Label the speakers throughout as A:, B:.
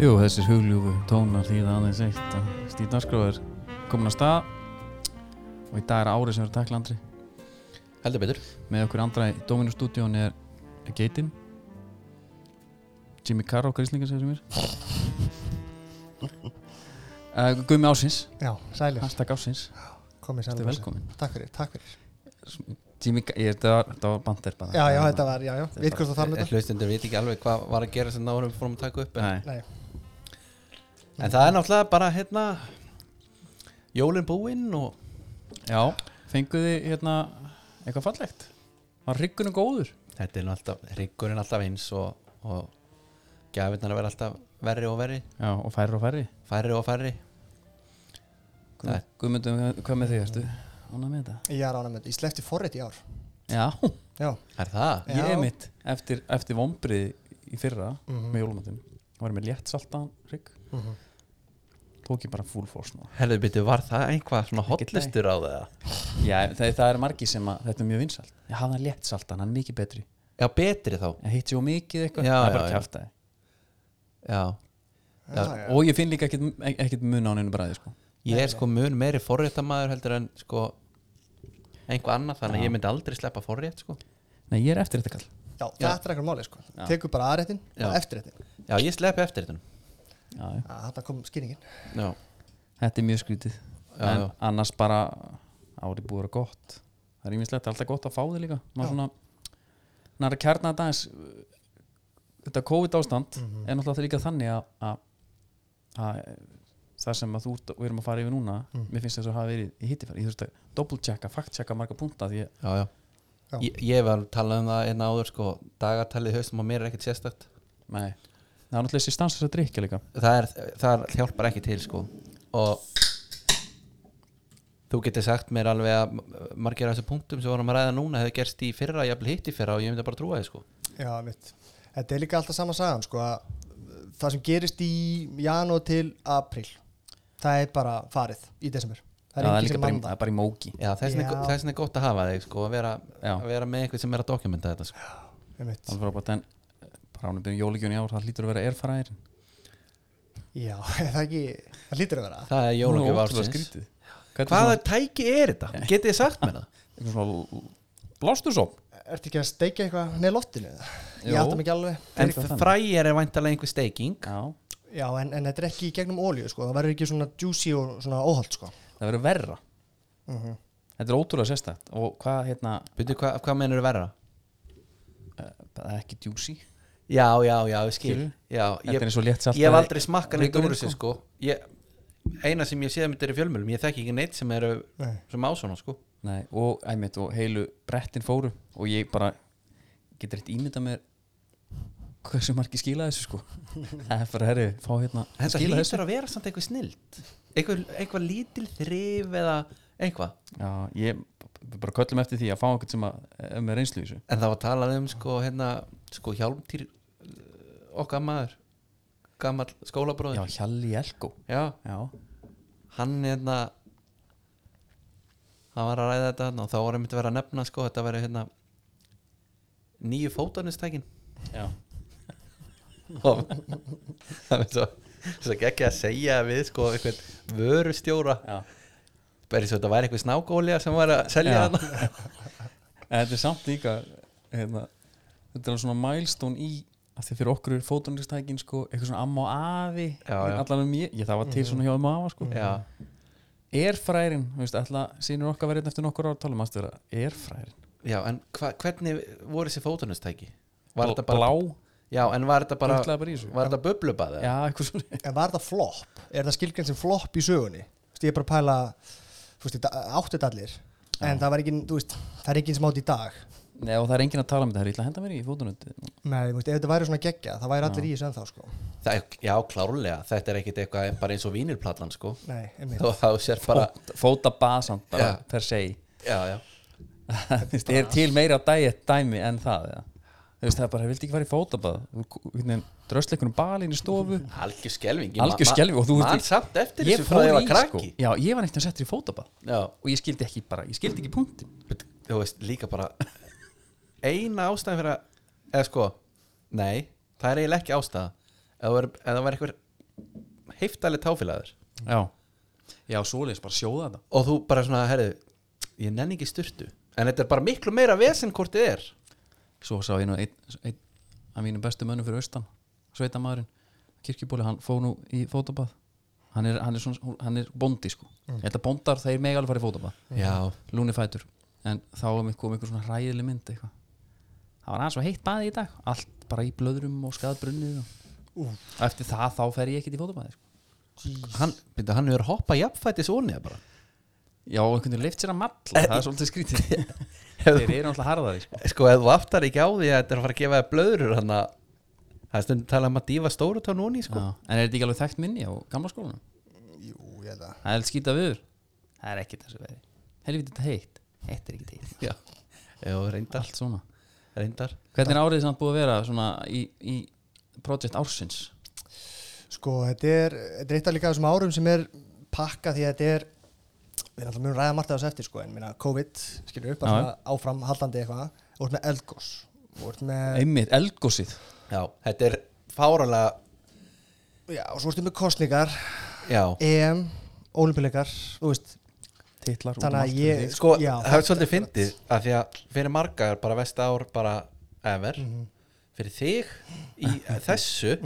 A: Jú, þessir hugljúfu tónar þýða aðeins eitt að Stíð Narskró er komin að stað og í dag er árið sem við erum að takla andri
B: Heldur betur
A: með okkur andra í Dominus stúdíón er Geitin Jimmy Carr okkar íslingar segir sem er uh, Gumi Ásins
C: Já, sælir,
A: hashtag Ásins,
C: komið
A: þetta
C: sælir
A: er velkomin
C: Takk fyrir, takk fyrir
A: Jimmy, Carr- ég, þetta, var, þetta var bandir bara
C: Já, já, þetta var, já, já, við hvort þú þarf þetta
B: Hlustendur veit ekki alveg hvað var að gera sem náðurum fórum að taka upp en,
A: Nei,
C: Nei,
B: en það er náttúrulega bara hérna Jólin búinn og
A: Já, fenguð þið hérna eitthvað fallegt Var riggunum góður?
B: þetta er nú alltaf, riggurinn alltaf eins og, og gæfinnar að vera alltaf verri og verri,
A: Já, og færri og færri
B: færri og færri Nei.
A: Guðmundum, hvað með þig, ertu? Ánað með þetta?
C: ég er ánægð með þetta, ég sleppti forrið í ár
A: Já,
C: Já,
B: Er það?
A: ég
C: Já.
A: er mitt eftir, eftir vombrið í fyrra
C: Mhm.
A: með jólumatinn var ég með létt saltan rigg
C: mm -hmm.
A: tók ég bara full force nú
B: Herðu betur, var það einhvað svona hotlistur á það?
A: Já, það, það er margi sem að þetta er mjög vinsalt ég hafði hann létt saltan, hann er mikið betri
B: Já, betri þá
A: ég heitti og mikið eitthvað,
B: Já,
A: það er
B: já,
A: bara
B: já.
A: kjáft
B: Já, Já,
C: já, já.
A: og ég finn líka ekkit, ekkit mun á hennu bræði sko.
B: ég er sko mun meiri forréttamaður heldur en sko einhvað annað, þannig að ég myndi aldrei sleppa forrétt sko
A: Nei, ég er eftir þetta kall
C: já þetta er eitthvað máli, sko Tekur bara aðréttin
B: Já.
C: og eftirréttin
B: Já, ég sleppi eftir þetta
A: já, já.
C: Já, Þarna kom skýringin
B: Já,
A: Þetta er mjög skrítið
B: Já,
A: en
B: já.
A: annars bara árið búið að vera gott það er ímislegt alltaf gott að fá þig líka maður
C: Já.
A: svona nær að kjarna þetta aðeins þetta COVID ástand
B: Mhm.
C: Mhm.
A: er náttúrulega líka þannig að, að, að það sem að þú ert- við erum að fara yfir núna
B: Mm.
A: mér finnst þess að hafa verið í hittifæri ég þurfti að doppelchecka, fact-checka marga punta því ég,
B: já, já.
C: Já.
B: Ég, ég var að tala um það einn áður sko, dagartalið í haustum á mér er ekkert sérstakt
A: nei, það er náttúrulega þessi stans þess að drikja líka
B: það, er, það hjálpar ekki til sko. og þú getur sagt mér alveg að m- margir af þessu punktum sem vorum að ræða núna hefur gerst í fyrra, jafnvel hitt í fyrra og ég myndi bara að trúa þið sko.
C: Já, mitt Þetta er líka alltaf sama sagan, sko að Það sem gerist í janúar til april Það er bara farið í desember
A: Já,
C: Það er
A: það er
C: engin
A: líka
C: sem
A: bara, í-
C: mann
A: það
C: það
A: er bara í móki
B: Já, þess vegna er
C: Já.
B: go- þess vegna er gott að hafa þig sko, að, vera,
A: Já.
B: að vera með eitthvað sem er að dokumenta þetta sko.
C: Einmitt.
A: það er frábært en bara ánum byrjum jólíkjun í ár það lítur að vera erfaraðir
C: Já, er það ekki Það lítur að vera
B: það er jólagjöf ársins hvaða tæki er þetta? getið þið sagt mér það?
A: eitthvað svona blástursóp
C: Ertu ekki að steikja eitthvað neð loftinu? eða? Ég
A: Jú.
C: átta mig ekki alveg
B: en
A: Eitthvað þannig.
B: fræjar er væntalega einhver steiking
A: já,
C: Já, en, en þetta er ekki í gegnum ólíu sko. það verður ekki svona juicy og svona óholt sko.
A: það verður verra
C: mm
B: Mhm.
C: -hmm.
A: þetta er ótrúlega sérstætt og hvað hérna eh,
B: Byrju, hva, hvað mennur verra?
A: það er ekki djúsi
B: já, já, já, ég skil
A: Skilurðu?
B: já,
A: þetta er eins og létt saltaði-
B: ég hef aldrei smakkað neitt úr
A: Reykurinn,
B: þessu sko ég, eina sem ég séð um þetta er í fjölmjölum ég þekki ekki neitt sem eru
C: Nei.
B: sem á svona sko
A: Nei, og æmitt og heilu brettin fóru og ég bara getur eitt ímynda mér hversu margi skila þessu sko það er bara herri, fá hérna
B: þetta
A: skila
B: hlýtur
A: þessu
B: að vera samt eitthvað snilt eitthvað, eitthvað lítil þrif eða eitthvað
A: já, ég við bara köllum eftir því að fá einhvern sem að er með reynslu í þessu
B: en það var talað um sko hérna sko hjálmtýr uh, okkar maður gammal
A: já,
B: skólabróður
A: Hjalli Elko
B: já,
A: já,
B: hann hérna hann var að ræða þetta þarna og þá var einmitt verið að nefna sko þetta verið hérna nýju fótanistækin
A: já.
B: og það er svo, svo ekki að segja við sko einhvern vörustjóra
A: já.
B: bara eins og þetta væri einhver snákólja sem var að selja
A: Já.
B: hana
A: En þetta er samt líka hérna, þetta er alveg svona milestone í að því fyrir okkur er fótunaristækin sko, eitthvað svona amma og afi
B: Já, já. Mhm.
A: allan um ég, ég það var til svona hjá amma og afa sko.
B: já,
A: er frærin, þú veist, alltaf sínur okkar verið eftir nokkur ára talum aðstöðra, er frærin
B: já, en hva, hvernig voru þessi fótunustæki?
A: Bl-
B: Var þetta bara,
A: blá,
B: já, en var þetta bara
A: Drullaði bara í þessu.
B: var þetta bublubað? eða?
A: já, eitthvað svona
C: En var það flop? Er það skilgrenn sem flop í sögunni? Þú veist, Ég er bara að pæla þú veist, þetta áttið allir en það, var ekki, veist, það er ekki sem átt í dag
A: Nei, og það er enginn að tala um þetta, það er illa að henda mér í fótunarundi
C: Nei, þú veist, ef þetta væri svona geggja það væri allir í þessu ennþá sko.
B: Það, er- já, klárlega, þetta er ekkit eitthvað bara eins og vínilplatlan sko
C: Nei, einmitt.
B: og þá sér bara,
A: fóta basan, bara
B: Já.
A: per se
B: já, já
A: Þú veist, er til meira dæ- dæmi en það, eða? Þú veist, það er bara, ég vildi ekki fara í fótabað drösla einhvern balinn í stofu
B: algjör skelving
A: Algjör skelfing, og þú ert
B: mann
A: í-
B: samt eftir
A: ég
B: þessu frá því að ég
A: fór í
B: var
A: sko,
B: krakki
A: já, ég var eitthvað settur í fótabað
B: já,
A: og ég skildi ekki bara, ég skildi ekki punktin
B: but, þú veist líka bara eina ástæðan fyrir að eða sko, nei, það er eiginlega ekki ástæða ef það væri- ef það var einhver heiftalið táfélagur
A: já, já, svoleiðis, bara sjóða þetta
B: og þú bara svona, herðu, ég nenni ekki styrtu en þetta er bara miklu meira vesen hvort þið er
A: svo sá ég nú einn ein, að mínum bestu mönnum fyrir austan sveitamæðurinn, kirkjubóli, hann fóð nú í fótabað hann er, hann er, svona, hann er bondi sko þetta bondar, þeir mega alveg fara í fótabað
B: já,
A: lúni fætur en þá var mér kom einhver svona ræðileg mynd eitthvað það var aðeins svo heitt baði í dag allt bara í blöðrum og skadbrunnið og... og eftir það þá fer ég ekkert í fótabæði sko.
B: hann, byrja, hann er að hoppa jafnfætis ónið bara
A: já, og einhvern veginn leift sér að matla það er svolítið skrítið þeir
B: Ef
A: eru náttúrulega harðaði sko.
B: sko ef þú aftar ekki á því að þetta er að fara að gefa þér blöður hann að það er stundum talað um að dífa stóru tán onni
A: Já,
B: sko.
A: en er þetta ekki alveg þekkt minni á gamla skólanum
C: Jú, ég held að
A: það er skýta viður það er ekkert þessu veri helvítið þetta heitt, heitt er ekkert heitt
B: já, já reyndar,
A: allt svona
B: reyndar.
A: hvernig er árið samt búið að vera svona í, í project ársins
C: Sko, þetta er, þetta er eitt af líka þessum árum sem er pakka því að þetta er við erum alltaf mjög ræða margt af þessu eftir sko en minna COVID, skilur upp, bara
A: Já.
C: svona áfram haldandi eitthvað, og ert með eldgós og ert með,
A: einmitt, eldgósið
B: já, þetta er fáralega
C: já, og svo ertu með kostningar
B: já,
C: EM, ólimpileikar, þú veist
A: titlar út um
C: þannig
A: allt.
C: að ég,
B: sko,
C: já,
B: það er svolítið fyndið að því að fyrir margar bara vest ár bara ever
A: Mhm.
B: fyrir þig í þessu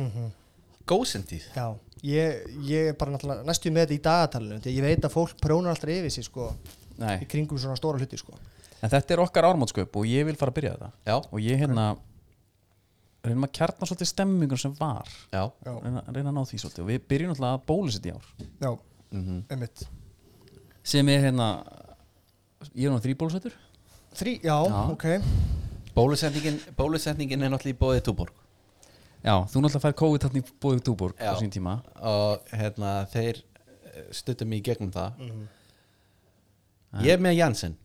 B: gósentíð
C: já, ég, ég er bara náttúrulega næstu með þetta í dagatalinu, því að ég veit að fólk prónar alltaf yfir sig sko,
A: Nei.
C: í kringum svona stóra hluti sko
A: En þetta er okkar ármátskaup og ég vil fara að byrja þetta
B: já,
A: og ég hérna reynum að kjarna svolítið stemmingun sem var
B: já,
C: já,
A: reyna, reyna að ná því svolítið og við byrjum alltaf að bólusett í ár
C: já,
B: mm
A: Mhm.
C: einmitt
A: sem er hérna ég er nú þrýbólusettur
C: þrý, já,
A: Já.
C: ok,
B: bólusetningin bólusetningin er náttúrulega í bóðið túborg
A: Já, þú náttúrulega fær COVID þarna í búið Dúborg á
B: Já.
A: sín tíma
B: og hérna þeir eh, stuttum í gegnum það
A: Mhm.
B: ég er með Janssen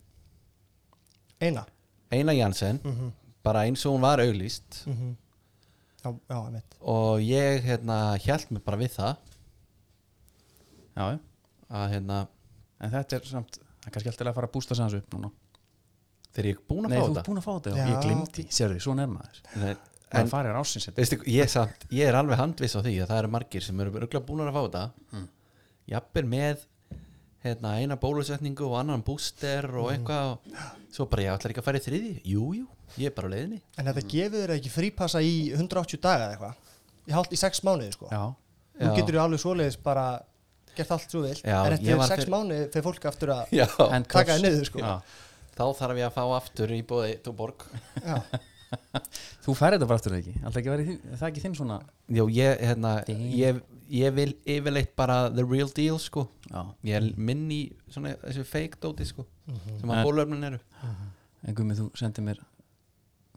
C: eina
B: Einar Janssen,
A: Mhm.
B: bara eins og hún var auglýst
A: Mm.
C: já, já, einmitt
B: og ég hérna hjælt mig bara við það
A: Já, já.
B: að hérna
A: en þetta er samt það er kannski alltaf að fara að bústa sig hans upp núna
B: þegar ég er búin að
A: Nei,
B: fá
A: þú
B: þetta
A: ert búin að fá þetta, já.
C: Já.
A: ég glimti Sérðu, svona er maður
B: Nei,
A: Það
B: en
A: farir ársins þetta
B: veistu, ég, samt, ég er alveg handviss á því að það eru margir sem eru örgulega búin að fá þetta jafnvel með hérna, eina bólusetningu og annan búster og eitthvað og, svo bara ég ætlar ekki að fara í þriði jú, jú, ég er bara á leiðinni
C: En þetta gefur þér ekki frípassa í 180 daga eða eitthvað? Í hálft í 6 mánuði sko.
A: Já,
C: Nú
B: Já.
C: getur þú alveg svoleiðis bara gert allt svo vel.
B: Já,
C: en
B: ég
C: eftir
B: var
C: 6
B: fyrir-
C: mánuði fyrir fólk aftur að
B: Já,
A: En
C: taka
A: köfs-
C: þér niður sko.
A: já.
B: þá þarf ég að fá aftur í bóði Túborg
C: Já.
A: Þú færir þetta bara aftur eða ekki, alltaf ekki verið þín- það er ekki þinn svona
B: Já, ég, hérna,
A: Damn.
B: ég, ég vil yfirleitt bara the real deal, sko
A: Já,
B: Ég er minn í svona þessu fake dóti, sko sem
A: En-
B: að bólöfnin eru
A: en Gumi, þú sendir mér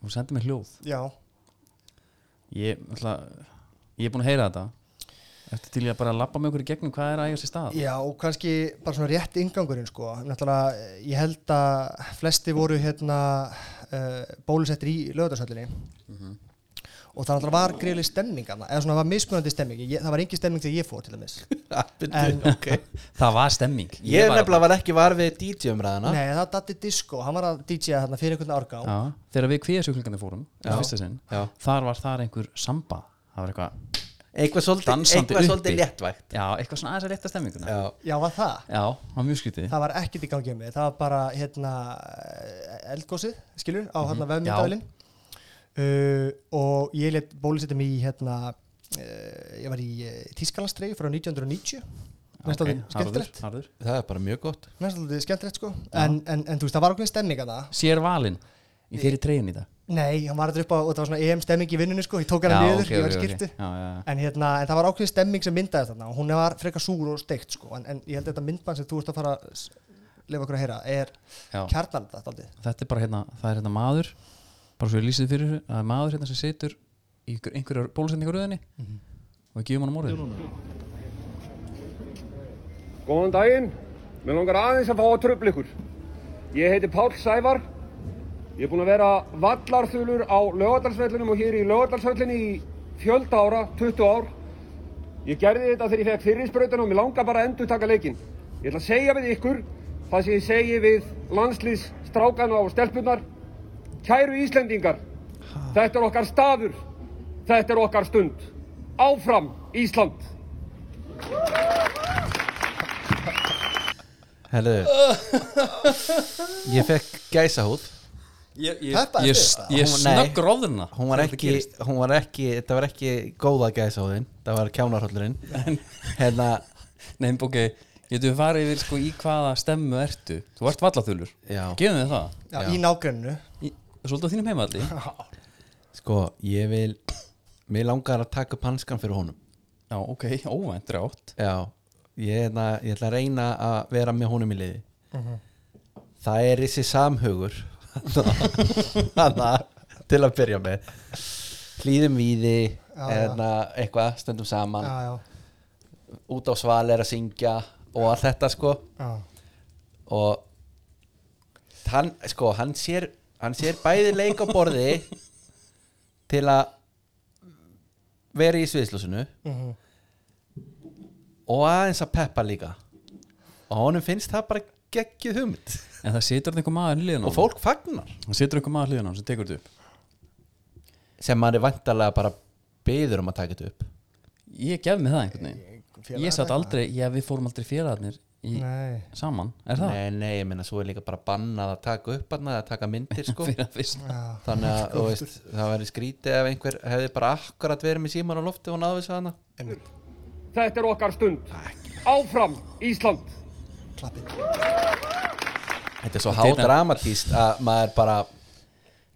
A: þú sendir mér hljóð
C: Já.
A: ég, ætla, ég er búin að heyra þetta eftir til ég að bara labba með okkur í gegnum hvað er að eiga sér stað
C: Já, og kannski bara svona rétt ingangurinn sko. Náttúrulega, eh, ég held að flesti voru hérna uh, bólusettir í lögðarsöllinni og það náttúrulega var greiðlega stemming þarna, eða svona var mismunandi stemming ég, það var engin stemming þegar ég fór til dæmis En-
B: okay.
A: það var stemming
B: Ég
A: var
B: nefnilega var ekki var við DJ-umræðana
C: Nei, það datti disco, hann var að DJ þarna fyrir einhvern árgang
A: já, þegar við kvíðasjóklingandi fórum
B: Já.
A: fyrsta sinn,
B: Já.
A: þar var þar einhver samba það var eitthvað,
B: Eitthvað svolítið,
A: Dansandi
B: eitthvað
A: uppi.
B: svolítið léttvægt
A: já, eitthvað svona aðeins að leta stemminguna já,
B: Já,
C: Já, var það?
A: það var mjög skrítið
C: það var ekkert í gangi með það var bara hérna eldgósið, skilur,
A: Mhm.
C: á hérna vefmyndavælin uh, og ég let bólusetja mig í hérna uh, ég var í uh, Tískalandstregi frá 1990 næst alveg skemmtilegt
A: harður
B: það er bara mjög gott
C: næst alveg skemmtilegt sko en, en, en þú veist, það var okkur stemming að það
A: sér valinn í þeirri treyjun í dag
C: nei, hann var þetta upp á, og það var svona EM stemming í vinnunni sko, ég tók hann niður,
A: ok,
C: ég var í
A: ok, ok.
C: skýrtu
A: Já, já, já.
C: En, hérna, en það var ákveðin stemming sem myndaði þarna og hún var frekar súr og steikt sko. en, en ég held að þetta myndbann sem þú ert að fara að s- leifa okkur að heyra er
A: Já.
C: kjarnan þetta aldrei
A: þetta er bara hérna, það er hérna maður bara svo ég lýsið fyrir þessu, það er maður hérna sem situr í ykkur- einhverjar bólusetningaröðinni og við gefum hann á morðið
D: Góðan daginn, mér langar aðeins að fá að tröfla ykkur. Ég heiti Páll Sævar Ég er búinn að vera vallarþulur á lögadalsvellinum og hér í lögadalsvellinni í fjölda ára, 20 ár. Ég gerði þetta þegar ég fekk fyrirsprautan og mér langar bara að endur taka leikin. Ég ætla að segja við ykkur það sem ég segi við landslýs, strákana og stelpunar. Kæru Íslendingar, þetta er okkar staður, þetta er okkar stund. Áfram Ísland!
B: Herðu Ég fekk gæsahúð
A: ég, ég,
C: Þetta er
A: ég,
C: fyrsta.
A: ég
B: Hún- nei.
A: snögg róðurna
B: hún var, ekki, hún var ekki Þetta var ekki góða gæsahúðin Það var kjánarhóllurinn Hérna,
A: Nei, ok, getur við farið yfir sko í hvaða stemmu ertu Þú ert vallathulur,
B: Já.
A: gefum við það
C: já, í nágrenninu
A: í, Svolítið á þínum heimalli
B: sko, ég vil Mér langar að taka upp hanskan fyrir honum
A: Já, ok, óvænt rátt
B: Já, ég, hérna, ég ætla að reyna að vera með honum í liði Það er þessi samhugur Hanna til að byrja með Hlýðum víði
C: Já,
B: hérna, eitthvað, stöndum saman
C: já, já,
B: út á sval er að syngja og allt þetta sko
C: já,
B: og hann, sko, hann sér hann sér bæði leik á borði til að vera í sviðslúsinu
C: Mhm.
B: og aðeins að peppa líka og honum finnst það bara geggjuð hugmynd
A: En það situr einhver maður hliðan á
B: og fólk fagnar
A: Það situr einhver maður hliðan á honum sem tekur þetta upp
B: sem maður er vantarlega bara byður um að taka þetta upp
A: Ég gef mig það einhvern veginn Ég satt aldrei, já við fórum aldrei félagarnir í,
C: nei
A: saman, er það?
B: nei, nei, ég meina svo er líka bara bannað að taka upp hann að taka myndir sko
A: Fyrir að fyrst
C: já,
B: þannig að þú veist, það væri skrítið ef einhver hefði bara akkurat verið með síman á lofti og náðu þessu hana
D: Þetta er okkar stund. Áfram Ísland!
C: klappið
B: þetta er svo
A: Þetta er-
B: hádramatíst að maður bara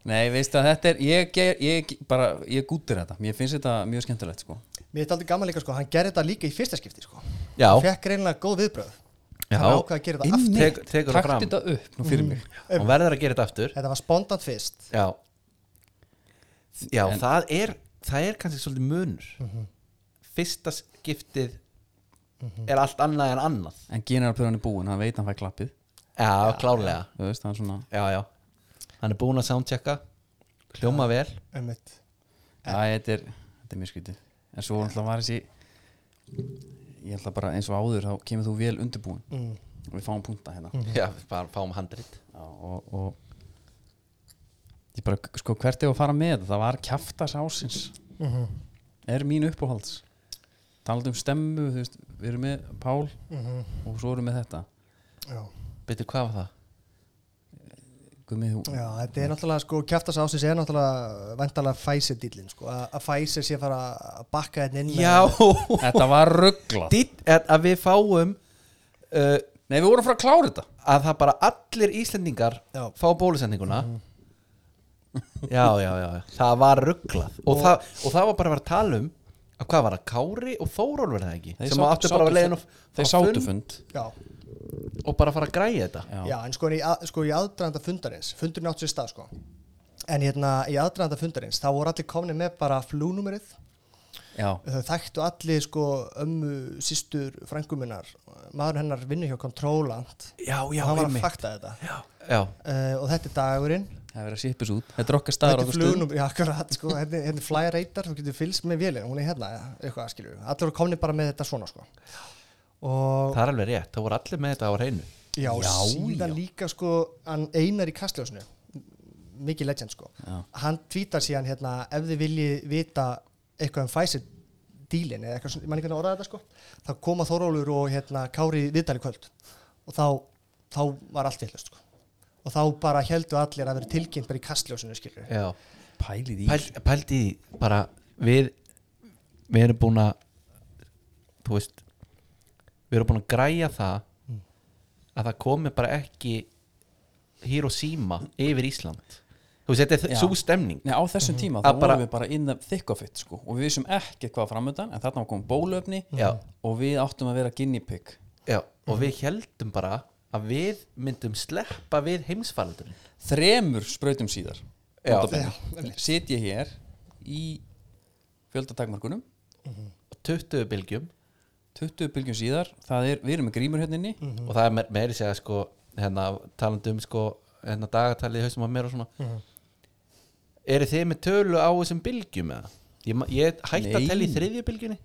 A: Nei, veistu að þetta er, ég, ger, ég bara, ég gútir þetta Mér finnst þetta mjög skemmtilegt sko
C: Mér er aldrei gaman líka sko, hann gerði þetta líka í fyrsta skipti sko
B: Já.
C: Hann Fekk reynilega góð viðbröð
B: Já.
C: Hann ákvað að gera þetta aftur
B: Tek- tekur það
A: Taktu
B: fram
A: þetta upp nú fyrir mig
B: og verður að gera þetta aftur
C: Þetta var spontant fyrst
B: já, já það er það er kannski svolítið munur
A: Mhm.
B: fyrsta skiptið
A: Mhm.
B: er allt annað en annað
A: En generalpöðan er búin, hann veit að hann fæ klappið
B: já, klárlega
A: Þú veist, hann svona
B: já, já. hann er búinn að soundchecka hljóma vel
C: um mitt
A: Já, þetta er, þetta er mjög skrítið En svo náttúrulega var þessi Ég ætla bara eins og áður Þá kemur þú vel undirbúin Og við fáum punta hérna
B: já, bara fáum handrit
A: Já, og, og Ég bara, sko, hvert er að fara með þetta? Það var kjaftas ásins Er mín uppáhalds Talandi um stemmu, þú veist Við erum með Pál Og svo erum við þetta
C: Já,
B: betur hvað var það?
A: Gumi, þú,
C: já þetta er náttúrulega sko, kjæftast ásins er náttúrulega vendalega Pfizer dýlin sko Að að Pfizer sé að fara að bakka þetta inn með-
B: já
A: Þetta var ruggla
B: dýtt er að við fáum uh,
A: Nei, við vorum frá að klára þetta
B: að það bara allir Íslendingar
C: Já.
B: fá bólusendinguna
A: Mhm.
B: já, já, já, já það var rugglað og, það, og það var bara að vera að tala um að hvað var það, Kári og Þórólfur það ekki
A: Þeir
B: sem
A: sátu-
B: áttu bara
A: sátu
B: að leiðin og,
A: Þeir
B: á
A: sátu fund
C: Já,
B: og bara að fara að græja þetta
A: Já.
C: Já, en sko, í, að- sko í aðdraðanda fundarins fundurinn átt sér stað sko en hérna í aðdraðanda fundarins þá voru allir komni með bara flúnúmerið
A: Já,
C: þau þekktu allir sko ömmu sístur frænguminnar maður hennar vinnu hjá Contróland
B: já, já,
C: og hann var að
B: einmitt.
C: fakta þetta
B: já, já,
C: uh, og þetta er dagurinn
A: það er verið að sýppis út Þetta er okkar staður
C: þetta
A: og
C: er
A: okkar stund
C: flugnum, já, akkurat, sko, hérna, hérna er fly radar, þú getur fylgst með vélina hún er hérna, eitthvað skilur allir voru komni bara með þetta svona sko og
B: það er alveg rétt það voru allir með þetta á hreinu
C: já, síðan líka sko hann einar í kastljósinu mikið legend sko hann tvítar síðan hérna ef þið viljið vita eitthvað um Pfizer dílin eða eitthvað svona, mann einhvern veginn orðaði þetta sko þá koma Þórólur og hérna Kári viðdæli kvöld og þá, þá var allt villast sko og þá bara heldu allir að vera tilkynnt bara í kastljósinu skilur
B: já,
A: Pælið í
B: Pæl, pældi í því bara við við erum búin að þú veist við erum búin að græja það
A: Mm.
B: að það komi bara ekki Hiroshima yfir Ísland þú veist, þetta er
A: Já.
B: svo stemning
A: Nei, á þessum tíma þá
B: Að bara-
A: vorum við bara in the thick of it sko, og við vissum ekkert hvað var framöndan en þarna var komið bólöfni
B: Já.
A: og við áttum að vera guinea pig
B: Já. og við heldum bara að við myndum sleppa við heimsfaraldurinn
A: þremur sprautum síðar
B: Já.
A: notabene, sit ég hér í fjöldatakmarkunum
B: og 20 bylgjum
A: 20 bylgjum
B: Mhm.
A: síðar, það er, við erum með grímur hérna inni
B: og það er me- meiri segja sko hérna talandi um sko eh, hérna, dagatalið í haustum á mér og svona
A: Mhm.
B: mm. eru þið með tölu á þessum bylgjum eða? Ég, ma- ég hætti að
A: Nei.
B: tella í þriðju bylgjunni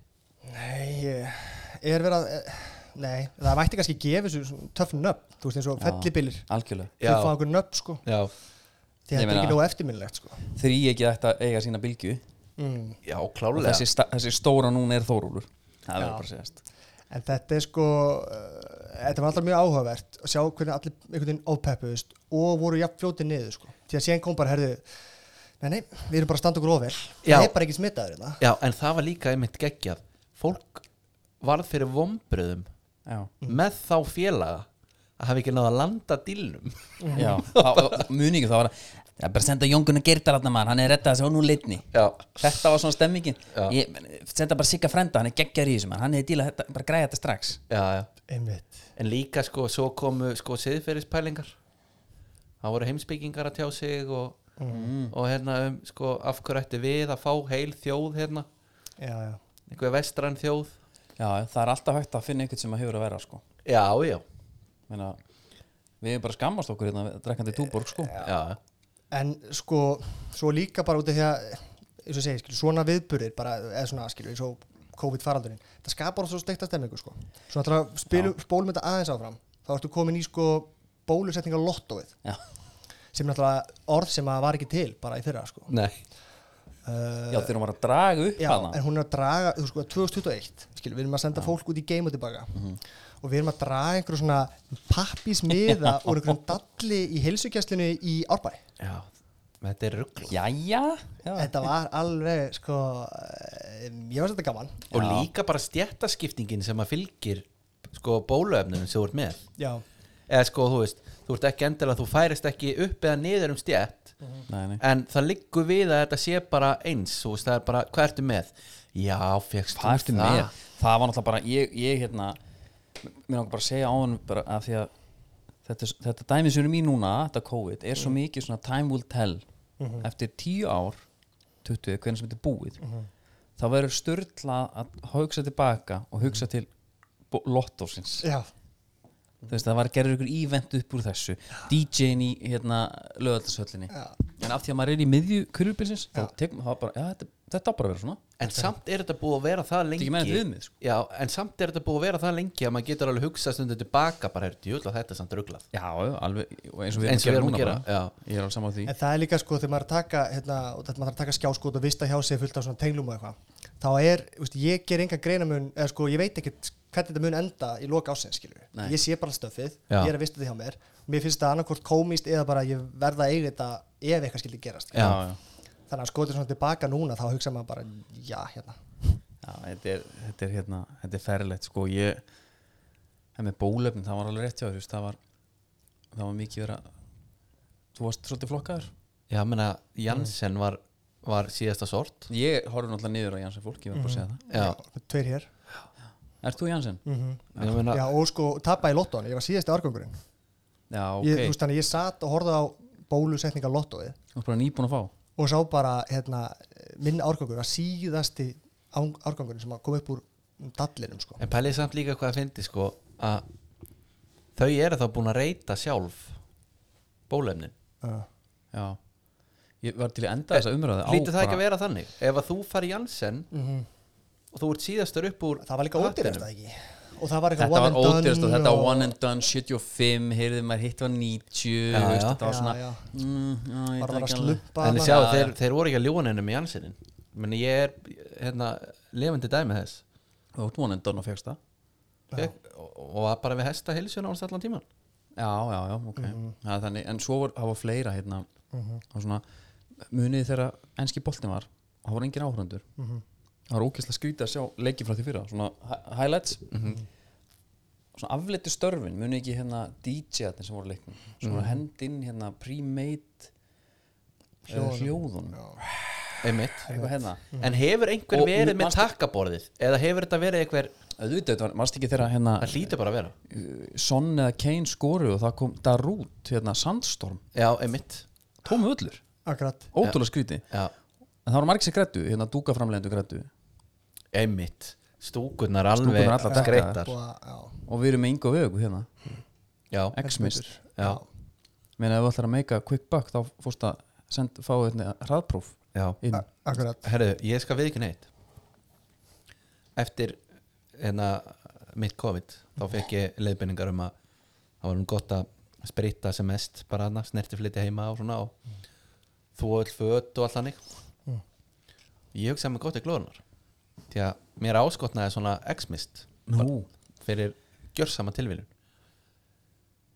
C: Nei, ég er verið að eh, Nei, það mætti kannski gefa þessu töff nöfn, þú veist eins og fellibilir
A: algjörlega
C: Þau fá einhver nöfn sko
B: já,
A: Ég
C: Því að þetta er
A: meina-
C: ekki nógu eftirminnilegt sko
A: þrý ekki þetta eiga sína bylgju
C: mm.
B: já
A: og
B: klálega
A: þessi, sta- þessi stóra núna er Þórólur það verður
C: Já.
A: bara að segjast
C: En þetta er sko eh, Þetta var alltaf mjög áhugavert að sjá hvernig allir einhvern veginn ofpeppuðust og voru jafn fljótið niður sko Því að síðan kom bara herðu Nei, nei, við erum bara að standa okkur ofel
B: Já.
C: Það er bara ekki smitaður hérna
B: já, en það var líka einmitt geggjað fólk varð fyrir vombröðum
A: já,
B: með þá félaga að hafa ekki náða að landa dílnum
A: já, Þá- muni ekki það var að það er bara að senda Jóngun að Geirta hann maður, hann er rettað þessi og nú litni
B: já,
A: þetta var svona stemmingin
B: Já.
A: ég, senda bara Sigga frenda, hann er geggjar í þessu maður, hann hefði dílað þetta, bara græða þetta strax
B: já, já
C: Einmitt
B: En líka sko, svo komu sko siðferðispælingar Það voru heimsbyggingar að tjá sig og, og hérna um sko af hverju ætti við að fá heil þjóð hérna
C: Já, já
B: einhver vestrann þjóð
A: já, það er alltaf hægt að finna einhvern sem að hefur að vera sko.
B: Já, já,
A: Meina, við erum bara að skammast okkur hérna, drekkandi túborg sko.
B: já,
C: en sko svo líka bara út af því að eins og ég segi, skilur, svona viðburðir bara, eða svona skilur, eins og COVID-faraldurinn það skapar oft svo steikta stemmingu sko svo náttúrulega að spilum, spólum þetta aðeins áfram þá ertu komin í sko bólusetningar lottóið
A: já.
C: sem náttúrulega orð sem að var ekki til bara í fyrra sko
B: nei
A: já, þegar hún var að draga upp
C: Eh, Já,
A: hana
C: en hún er að draga, þú sko, 2021 skilur, við erum að senda fólk út í geim og tilbaka og við erum að draga einhverjum svona pappismiða úr einhverjum dalli í heilsugjastlinu í árbæ
B: Já, þetta er ruggl
A: Jæja já.
C: þetta var alveg sko um, ég var þetta gaman
B: Og líka bara stjættaskiptingin sem að fylgir sko bóluefnunum sem þú ert með
C: já,
B: Eða sko, þú veist, þú ert ekki endilega þú færist ekki upp eða niður um stjætt
A: Nei, nei.
B: en það liggur við að þetta sé bara eins þú veist, það er bara, hvað ertu með? Já, fegst
A: Hvað ertu með? Það var náttúrulega bara, ég, ég hérna mér langar bara að segja á hann bara að því að þetta, þetta dæmi sem er í núna, þetta COVID er svo mikið svona time will tell eftir tíu ár 20, hvernig sem þetta er búið þá verður störla að hugsa tilbaka og hugsa til bó- lottósins
C: já,
A: þú veist, það var að gera ykkur ívent upp úr þessu DJ-in í hérna, lögaldasöllinni en af því að maður er í miðju kurvilbilsins þá tekum það bara, já, þetta, þetta á bara að vera svona
B: en samt er þetta búið að vera það lengi
A: ekki meira þetta viðmið, sko.
B: já, en samt er þetta búið að vera það lengi að maður getur alveg hugsað stundum tilbaka bara, heyrðu, jöðla þetta er samt rugglað
A: já, já, alveg, og eins og við
B: eins og við erum að gera
A: núna bara.
B: já,
A: ég er alveg saman á því
C: en það er líka sko þegar maður er að taka hérna, og þetta maður þarf að taka skjáskot og vista hjá sig fullt af svona tenglum og eitthvað þá er, þú veist, ég ger enga greinamun eða sko, ég veit ekkert hvernig þetta mun enda í loka ásins, skilur
A: Nei.
C: ég sé bara stöfið,
B: Já.
C: ég er að vista því hjá mér mér finnst það annarkvort komist eða bara ég verða að eiga þetta ef eitthvað skildi gerast
B: já,
A: já,
C: þannig að skotið svona tilbaka núna þá hugsa maður bara, já, hérna
A: já, þetta er, þetta er hérna þetta er ferlegt, sko, ég en með bólefnin, það var alveg rétt hjá þér, þú veist, það var það var mikið vera þú varst svolítið flokkaður
B: já menna, Mm. Janssen var, var síðasta sort
A: ég horfði náttúrulega niður á Janssen fólk, ég
C: Mhm.
A: var bara að segja
B: já,
C: tveir hér
A: það Ert þú Janssen?
C: Mhm.
B: ég meina,
C: já, og sko, tappa í lottóan, ég var síðasti árgangurinn
A: Já, ok,
C: ég, þú veist þannig, að ég satt og horfði á bólusetninga lottóið
A: þú ert bara nýbúin að fá
C: og sá bara hérna, minn árgangur var síðasti án- árgangurinn sem að kom upp úr dallinum sko.
B: en pælið samt líka hvað að fyndi sko, að þau eru þá búin að reyta sjálf bólefnin
C: uh,
A: Já Ég var til að enda þessa umræðu á
B: Eh, Lítur það ekki að
A: bara-
B: vera þannig? Ef að þú fari Janssen og þú ert síðastur upp úr
C: það var líka ódýrast það ekki og það var
A: Þetta
C: eitthvað
A: var ódýrst og þetta
C: og-
A: var one and done 75, heyrðu maður hitt var 90
B: Já,
A: þú veist,
B: já.
A: Þetta var
C: Já,
A: svona
C: já.
A: mm, já, ég
C: bara
A: veit
C: var að
A: ekki alveg.
B: En
C: slumpa þarna.
B: sjáu, þeir, þeir voru ekki að ljúa nefnum í Janssenin Men ég er, hérna, levandi dæmi þess
A: Þú átt one and done og fegst það
B: Fek, og, og var bara við hesta heilsuna ánst allan tíman
A: Já, já, já, ok það, er þannig, En svo var, það var fleira hérna og svona munið þegar enski boltin var og það voru engin áhörundur Það var ókesslega skrítið að sjá leikið frá því fyrra svona hi- highlights svona afleiti störfin munið ekki hérna DJ-atni sem voru leiknum sem voru hendinn hérna pre-made hljóðunum, hljóðunum.
B: Einmitt Mhm.
A: eitthvað hérna
B: En hefur einhver
A: Og
B: verið
A: nú-
B: með
A: manstu-
B: takkaborðið? Eða hefur þetta verið einhver
A: auðvitað, var- varst ekki þeirra hérna
B: Það hlýtur bara að vera
A: Son eða Kane skoru og það kom Darút, hérna Sandstorm
B: Já, einmitt
A: tómu öllur,
C: akkurat
A: ótrúlega skríti
B: Já,
A: en það voru margir sem grættu, hérna dúkaframlegendu grættu
B: einmitt Stúkurnar alveg
A: Stúkurnar allar
B: skreittar
C: og, já.
A: og við erum með Ingo Vögu hérna
B: Já,
A: X-mist,
B: já,
A: meina ef þú ætlar að meika quick buck þá fórst að send, fá þetta hraðpróf
B: já
A: inn
C: A- Akkurat
B: Herðu, ég skal við ekki neitt Eftir hérna, mitt COVID þá fekk ég leiðbendingar um að það var um gott að spritta sem mest bara hana, snerti flytti heima og svona og mm. þú öll föt og allt hannig
C: Mm.
B: ég hugsaði með gott í glóðunar því að mér áskotnaði svona X-mist
A: Nú.
B: Bara fyrir gjörsama tilvílun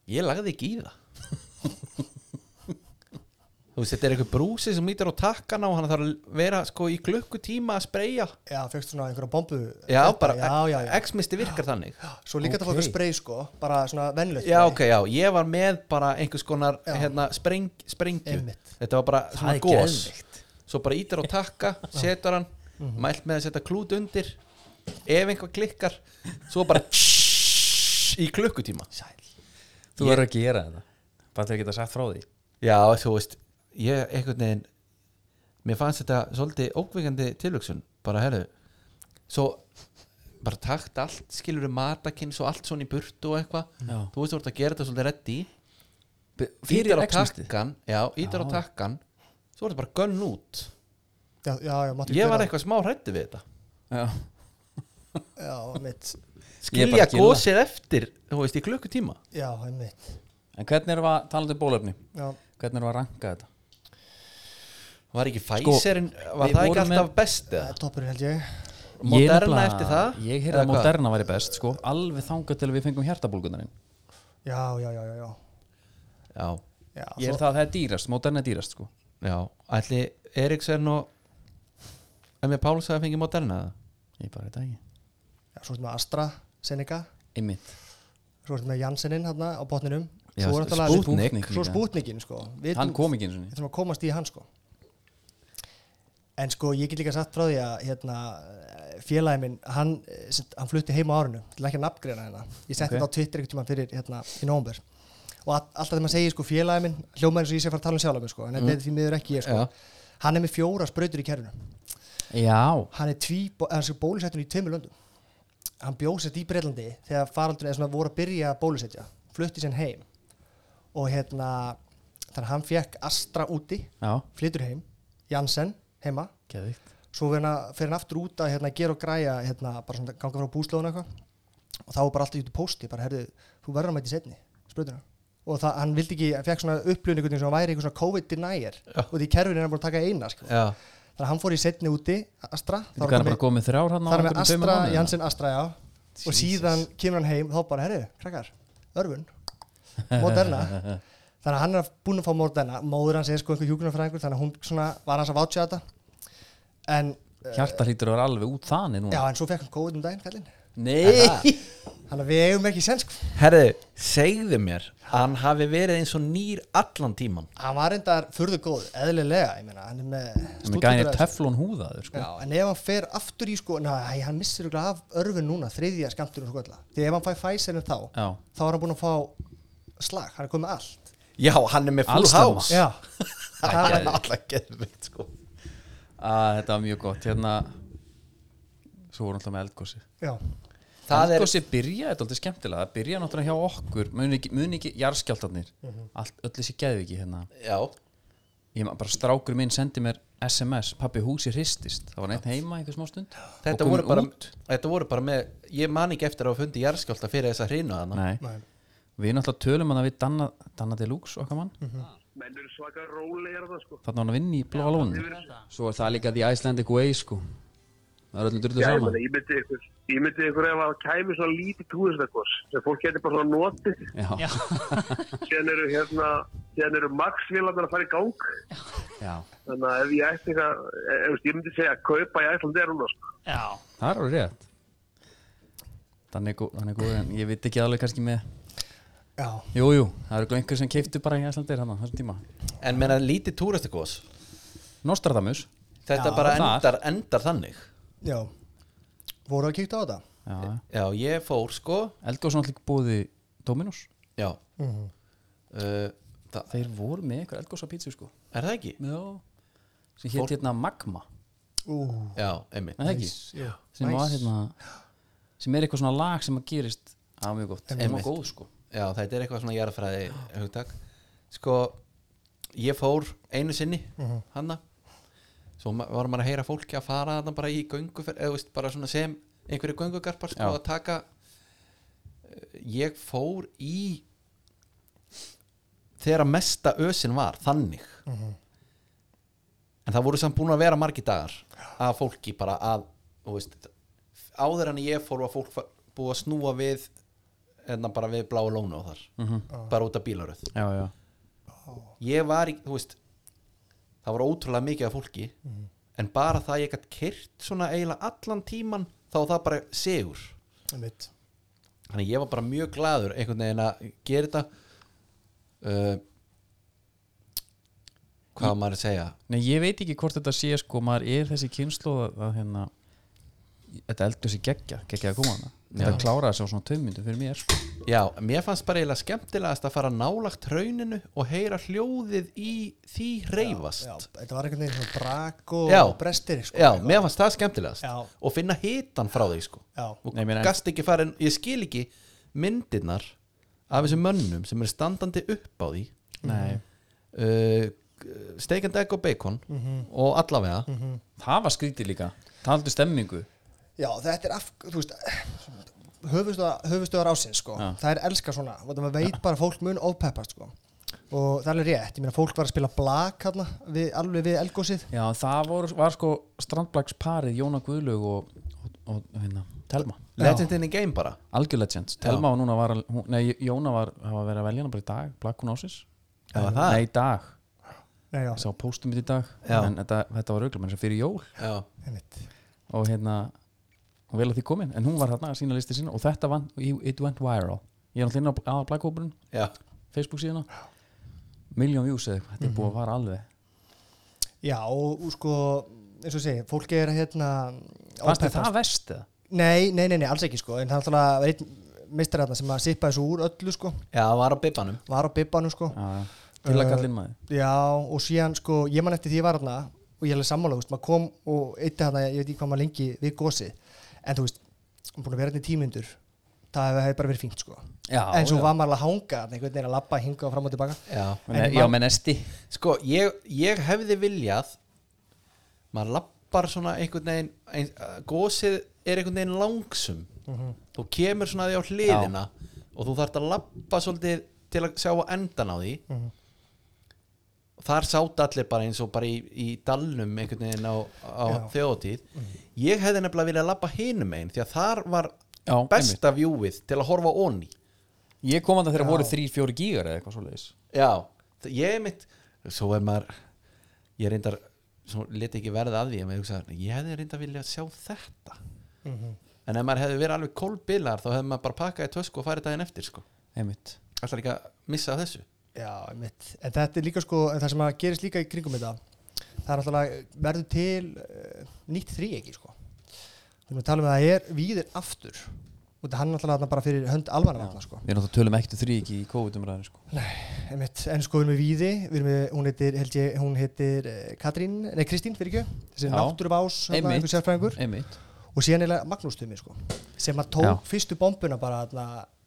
B: ég lagði ekki í það þú veist, þetta er eitthvað brúsi sem lítur á takkan á hann þarf að vera sko í klukkutíma að spreyja
C: Já, fegst svona einhverja bombu
B: já,
C: Þetta,
B: bara,
C: já, já, já.
B: X-misti virkar þannig
C: Svo líka
A: Ok.
C: þetta fór fyrir spray sko Bara svona venlögt
B: já, ok, já, ég var með bara einhvers konar
C: Já.
B: hérna, spreng, sprengju
C: Einmitt.
B: þetta var bara svona
A: er
B: gos
A: geðveikt. Mhm.
B: svo bara ítir á takka, setur hann mælt með að setja klút undir ef einhver klikkar svo bara í klukkutíma
A: þú verður að gera þetta bara til að geta sagt frá því
B: já, þú veist, ég einhvern veginn mér fannst þetta svolítið ókvikandi tilvöksun, bara herðu svo bara takt allt, skilur matakinn svo allt svona í burtu og eitthvað
A: Já.
B: þú veist, þú ert að gera þetta svolítið reddi
A: fyrir
B: ítar á
A: X-mistið.
B: takkan já, ítar á
A: Já.
B: takkan svo er þetta bara gönn út
C: Já, já, já máttu
B: ég var
C: gera-
B: eitthvað smá hrættu við þetta
A: Já.
C: Já, mitt
A: Ég er bara
B: skilja
A: að gilla.
B: gósið eftir þú veist, í klukkutíma
C: Já, mitt
A: en hvernig erum við að tala um bólöfni
C: Já,
A: hvernig erum við að ranka þetta
B: var ekki
A: Sko,
B: Pfizerin, var
A: við
B: það ekki
A: vorum
B: alltaf
A: með-
B: best eða?
C: það er toppurinn held ég
A: Ég
B: Moderna
A: nefnilega-
B: eftir það?
A: ég heyrði
B: Eða
A: að
B: hvað?
A: Moderna væri best sko alveg þangað til við fengum hjartabólgunarinn
C: Já, já, já, já, já
B: já,
C: Já,
A: ég er
C: svo-
A: það að það er dýrast Moderna er dýrast sko
B: já, ætli Eriksson og Emil Páls að fengi Moderna eða?
A: ég bara veit það ekki
C: já, Svo erum við Astra, Seneca
A: einmitt
C: Svo erum við Janseninn hérna á botninum
B: Já,
C: Svo er náttúrulega-
B: Sputnik.
C: Svo spútnikinn sko Við
A: hann
C: vitum-
A: kom ekki eins og
C: við þurfum að komast í hann sko en sko ég get líka sagt frá því að hérna, félagi minn hann, eh, sem- hann flutti heim á árinu til ekki að nafngreina hérna ég
A: Ok.
C: setti þetta á Twitter einhvern tímann fyrir hérna, í nómber og all, alltaf þegar maður segir sko félagi minn hljómaður eins og ég sé að fara að tala um sjálf mig sko en þetta er því miður ekki ég sko
B: Já.
C: hann er með fjóra sprautur í kerfinu
A: nýtt já
C: hann er tví, hann er bólusettur í tveimur löndum hann bjóðsett í Breitlandi þegar faraldurinn eða svona voru að byrja að bólusetja flutti sinn heim og hérna þannig að hann fekk Astra úti
A: já
C: flytur heim, Jansen heima
A: geðvikt
C: svo fer hann, fer hann aftur út að hérna, gera og græja hérna, bara svona ganga frá búslóðun eitthvað og þá var bara alltaf út í pósti bara herðu, þú verður að mæti setni sprutuna og það, hann vildi ekki, hann fekk svona upplifun einhvern veginn sem hann væri einhvern svona COVID-denier og því kerfinu er hann búin að taka eina sko.
B: já,
C: þannig að hann fór í setni úti, Astra þá
A: þú
C: var
A: kannar
C: komið-
A: bara komið þrjár hann
C: þar með Astra, Jansen Astra, já og síðan kemur hann heim og þá bara, herru, krakkar, örfun Moderna þannig að hann er búin að fá Moderna móður hans er sko einhver hjúkunarfræðingur þannig að hún svona var hans að vátsa þetta en,
A: hjarta hlýtur að vera alveg út þannig
C: já,
A: núna
C: en svo fekk hann COVID um daginn, kallinn
A: nei
C: þannig að við eigum ekki sko. sensk
B: herðu, segðu mér að hann hafi verið eins og nýr allan tíman
C: hann var reyndar furðu góð, eðlilega ég meina, hann er með
A: með
C: stúdentur-
A: gænir teflon húðaður sko
C: Já, en ef hann fer aftur í sko, næ, hann missir örugglega af örfun núna, þriðja skamtunum sko alltaf. Því ef hann fæ Pfizerin þá,
A: já
C: þá er hann búin að fá slag, hann er komið með allt.
B: já, hann er með full
A: Alls staðar.
B: house
C: Já,
B: það
C: það
B: er alltaf geðvikt sko
A: að þetta var mjög gott hérna svo voru alltaf með eldgósi
C: Já,
B: Það er-
A: eldgósi byrjaði þetta alltaf skemmtilega það byrjaði náttúrulega hjá okkur muni ekki, muni ekki jarðskjáltarnir allt, öll þessi geðviki hérna
B: já,
A: ég ma- bara strákur minn sendi mér SMS pappi húsi hristist, það var neitt heima einhver smá stund
B: þetta voru, bara, þetta voru bara með ég man ekki eftir að hafa fundið jarðskjálta fyrir þessa hrinu þarna.
A: Nei.
C: Nei.
A: við náttúrulega tölum að við Danna, Danna Deluxe okkar mann mm -hmm.
E: menn eru svaka rólegir það sko
A: þannig að hann vinn í bláa lóninu
F: Svo er það líka The Icelandic Way sko Það er öllum drullu
E: Já, ég
F: saman
E: meina, ég myndi ykkur, ég myndi ykkur ef að það kæmi svona lítið túristakos sem fólk getur bara svona notið
F: Já,
E: síðan eru hérna, síðan eru maxvélarnar að fara í gang
F: já
E: þannig að ef ég ætti eitthvað, ef, ef, ég myndi segja að kaupa í Æslandi er núna sko
G: Já,
A: það er alveg rétt þannig er gó- hann er góð en ég veit ekki alveg kannski með
C: já,
A: jújú, jú, það eru einhver sem keiftu bara í Æslandir hann á þessum tíma
B: en meina lítið túristakos
A: Nostradamus
B: þetta
C: Já,
B: bara
A: þar.
B: endar, endar þannig
C: já. Voru að kíkta á þetta?
A: já.
B: já, ég fór sko
A: Eldgóðs náttúrulega líka búið í Dominos
B: já uh, það,
A: þeir voru með eitthvað eldgóðs á pítsu sko
B: er það ekki?
A: já. sem hétt hérna Magma
C: Ú,
B: já, einmitt
A: er það ekki?
C: já.
A: sem var hérna sem er eitthvað svona lag sem að gerist að mjög gott, það var
B: Einmitt.
A: góð sko
B: já, þetta er eitthvað svona jarðfræði hugtak sko ég fór einu sinni hanna svo ma- var maður að heyra fólki að fara þarna bara í göngu eða þú veist bara svona sem einhverju göngugarpar sko
A: Já.
B: að taka Eh, ég fór í þegar að mesta ösin var þannig en það voru samt búin að vera margi dagar að fólki bara að þú veist, áður en ég fór var fólk fa- búið að snúa við enna hérna bara við bláa lónu og þar bara út af bílaröð
A: já, já,
B: ég var í, þú veist það var ótrúlega mikið af fólki
C: Mhm.
B: en bara það að ég gætt kyrt svona eiginlega allan tíman þá var það bara segur
A: hérna.
C: einmitt.
B: þannig að ég var bara mjög gladur einhvern veginn að gera þetta uh, hvað á maður að segja
A: Nei, ég veit ekki hvort þetta sé sko, maður er þessi kynslu að, að hérna þetta eldur sér geggja, geggja að koma hana þetta kláraði sér á svona tömmyndum fyrir mér sko.
B: já, mér fannst bara eiginlega skemmtilegast að fara nálagt rauninu og heyra hljóðið í því reyfast
C: Já,
B: já,
C: þetta var einhvern veginn svona brak og
B: Já.
C: brestir sko,
B: mér fannst það skemmtilegast
C: Já.
B: og finna hitan frá því sko
C: Já.
B: og
A: Nei, ég meina-
B: gast ekki farin, ég skil ekki myndirnar af þessum mönnum sem er standandi upp á því
A: Nei,
B: uh, steikandi egg og bacon og allavega
A: það var skrítið líka taldu stemmingu
C: Já, þetta er af, þú veist höfustöðar, höfustöðar ásins sko
A: Já.
C: það er elska svona, og það veit bara að fólk mun ofpeppast sko og það er alveg rétt, ég meina fólk var að spila blak hérna, við, alveg við elgósið
A: Já, það voru, var sko strandblagsparið Jóna Guðlaug og, og, og hérna, Telma
B: legend in the game bara
A: Algjör Legends, Telma var núna var, al- hún, nei, Jóna var, hafa verið að velja hana bara í dag Blakkun Ásis
B: Já, var það?
A: Nei, í dag,
C: Nei, já,
A: ég sá póstum mitt í dag
B: Já.
A: en þetta, þetta var auglum eins og fyrir jól
B: já,
C: einmitt
A: og hérna og vel að því komin, en hún var þarna að sína listi sína og þetta vann, it went viral ég er náttúrulega inn á aðablakópurinn,
B: já.
A: Facebook síðuna Million views eða eitthvað, þetta er búið að fara alveg
C: Já, og og sko, eins og ég segi, fólk er hérna
A: Fannst þið
C: ofpeppast.
A: það vest eða?
C: Nei, nei, nei, nei, alls ekki sko en það er náttúrulega var einn meistari hérna sem að sippa þessu úr öllu sko
B: já, það var á bibbanum
C: var á bibbanum sko
A: Já, Uh, já. Til að
C: Eh,
A: kalla inn maður
C: Já, og síðan sko, ég man eftir því ég var hérna og ég er alveg sammála, þú veist, maður kom og eitt hérna, ég veit ekki hvað maður lengi við gósið en þú veist, maður búin að vera hérna í tímyndur það hefði bara verið fínt sko
A: Já,
C: en svo
A: já.
C: var maður alveg að hanga, þarna, einhvern veginn að labba hinga og fram og tilbaka
B: já.
A: Men,
C: en
A: já,
C: man-
A: menn esti
B: sko, ég, ég hefði viljað maður lappar svona einhvern veginn ein, gósið er einhvern veginn langsum þú kemur svona því á hliðina og þú þarft að lappa svolítið til að sjá á endan á því þar sátt allir bara eins og bara í, í dalnum einhvern veginn á, á
C: Já.
B: þjóðtíð ég hefði nefnilega viljað lappa hinum einn því að þar var
A: Já,
B: besta vjúið til að horfa onni
A: Ég kom að það þegar voru 3-4 gígar eða eitthvað svoleiðis
B: Já, þ- ég er mitt Svo er maður Ég reyndar, svo leti ekki verða að því en maður hugsaði, Ég hefði reyndar viljað sjá þetta En ef maður hefði verið alveg kolbilar þá hefði maður bara pakkað í tösku og farið daginn eftir sko.
A: Einmitt
B: Ætlar ekki að missa af þessu
C: Já, mitt. En þetta er líka sko, en það sem að gerist líka í kringum þetta, það er alltaf verður til uh, nýtt þríegi sko. Þannig að tala um að það er víðir aftur. Og þetta hann alltaf bara fyrir hönd almannavarna sko.
A: Við náttúrulega tölum ekkert þrý ekki í COVID-umræðinu sko.
C: Einmitt. En sko við erum við víði, við erum við, hún heitir, held ég, hún heitir uh, Katrín, nei Kristín fyrir ekki, þessi
A: Já.
C: náttúruvás, hérna,
A: Einmitt.
C: einhver sérfræðingur.
A: Einmitt
C: Og síðan er Magnús Tumi sko, sem að tók
A: Já.
C: fyrstu bombuna bara allna,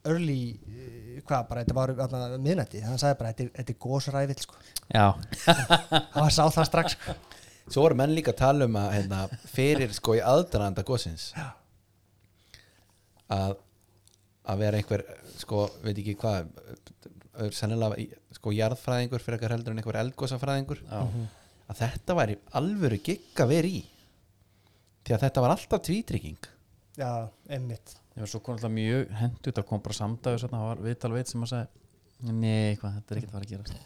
C: early, eh, hvað bara, þetta var allna, miðnætti, hann sagði bara, þetta er- þetta er gósræðil sko.
A: Já,
C: Hann sá það strax sko.
B: Svo voru menn líka að tala um að hérna, fyrir sko í aðdraðanda gósins að að vera einhver sko, veit ekki hvað er sennilega í- sko jarðfræðingur fyrir eitthvað heldur en einhver eldgósafræðingur að þetta væri alvöru gigg að vera í því að þetta var alltaf tvítrygging
C: Já, einmitt.
A: ég var svo kom alltaf mjög hendt út að kom bara samdæðu svona, það var viðtal veit sem að segja Nei, hvað, þetta er ekkert að fara að gera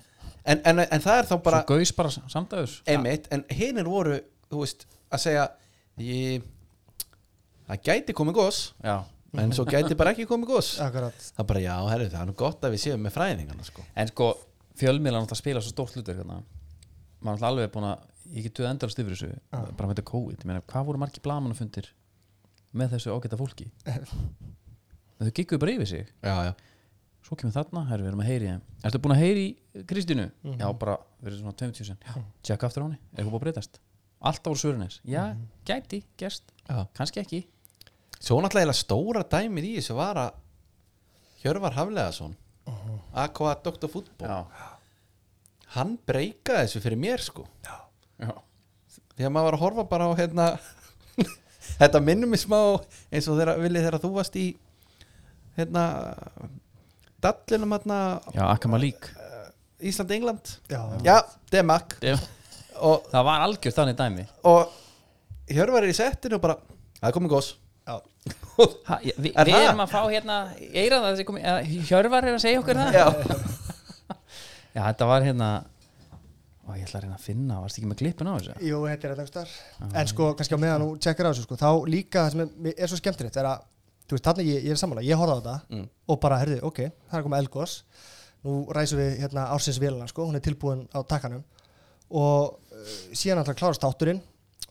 B: en, en, en það er þá bara
A: Svo gaus bara samdæðus
B: einmitt, en hinir voru þú veist, að segja ég, það gæti komið gós
A: Já
B: en svo gæti bara ekki komið gós
C: Akkurat.
B: það er bara já, herri, það er nú gott að við séum með fræðingana sko.
A: En sko, fjölmiðlan átt að spila svo stórt hlutur hérna Maður er náttúrulega alveg búin að Ég getu endalast yfir þessu Bara með þetta COVID, ég meina, hvað voru margir blamanufundir Með þessu ágæta fólki En Þau gikkuðu bara yfir sig
B: já, já.
A: svo kemur þarna, herru, við erum að heyri þeim Ertu búin að heyri í Kristínu?
B: Mhm.
A: Já, bara, við erum svona 20 sen Já, tjekka aftur á henni, er hún búin að breytast? Alltaf voru svörin eins, já, gæti, gerst
B: Mhm. Já.
A: kannski ekki
B: svo náttúrulega eiginlega stóra dæmið í þessu var að Hjörvar Hafleðason Aqua Dr. Fútbol hann breykaði þessu fyrir mér sko
A: já,
B: því að maður var að horfa bara á hérna þetta minnum mig smá eins og þeirra vilja þeirra þú varst í hérna dallinum hérna
A: já akkama lík
B: Ísland-England
C: Já.
B: já Demak og,
A: það var algjörð þannig dæmi
B: og Hjörvar er í settinu og bara það er komið gós
C: Já.
A: ha, ég- vi,
B: Er
A: við
B: það?
A: erum að fá hérna eira það komi, eða, Hjörvar er að segja okkur það já. þetta var hérna og ég ætla að reyna að finna varst ekki með klippun á þessu
C: Jú, þetta er þetta einhvers staðar. en sko, kannski á meðan þú tjekkar á þessu sko, þá líka það sem er- mér er svo skemmtilegt er að, þú veist, þannig ég, ég er sammála, ég horfði á þetta og bara, herðu, ok, það er að koma Elgos nú ræsum við hérna ársins vélina sko, hún er tilbúin á takkanum og uh, síðan alltaf klárast þátturinn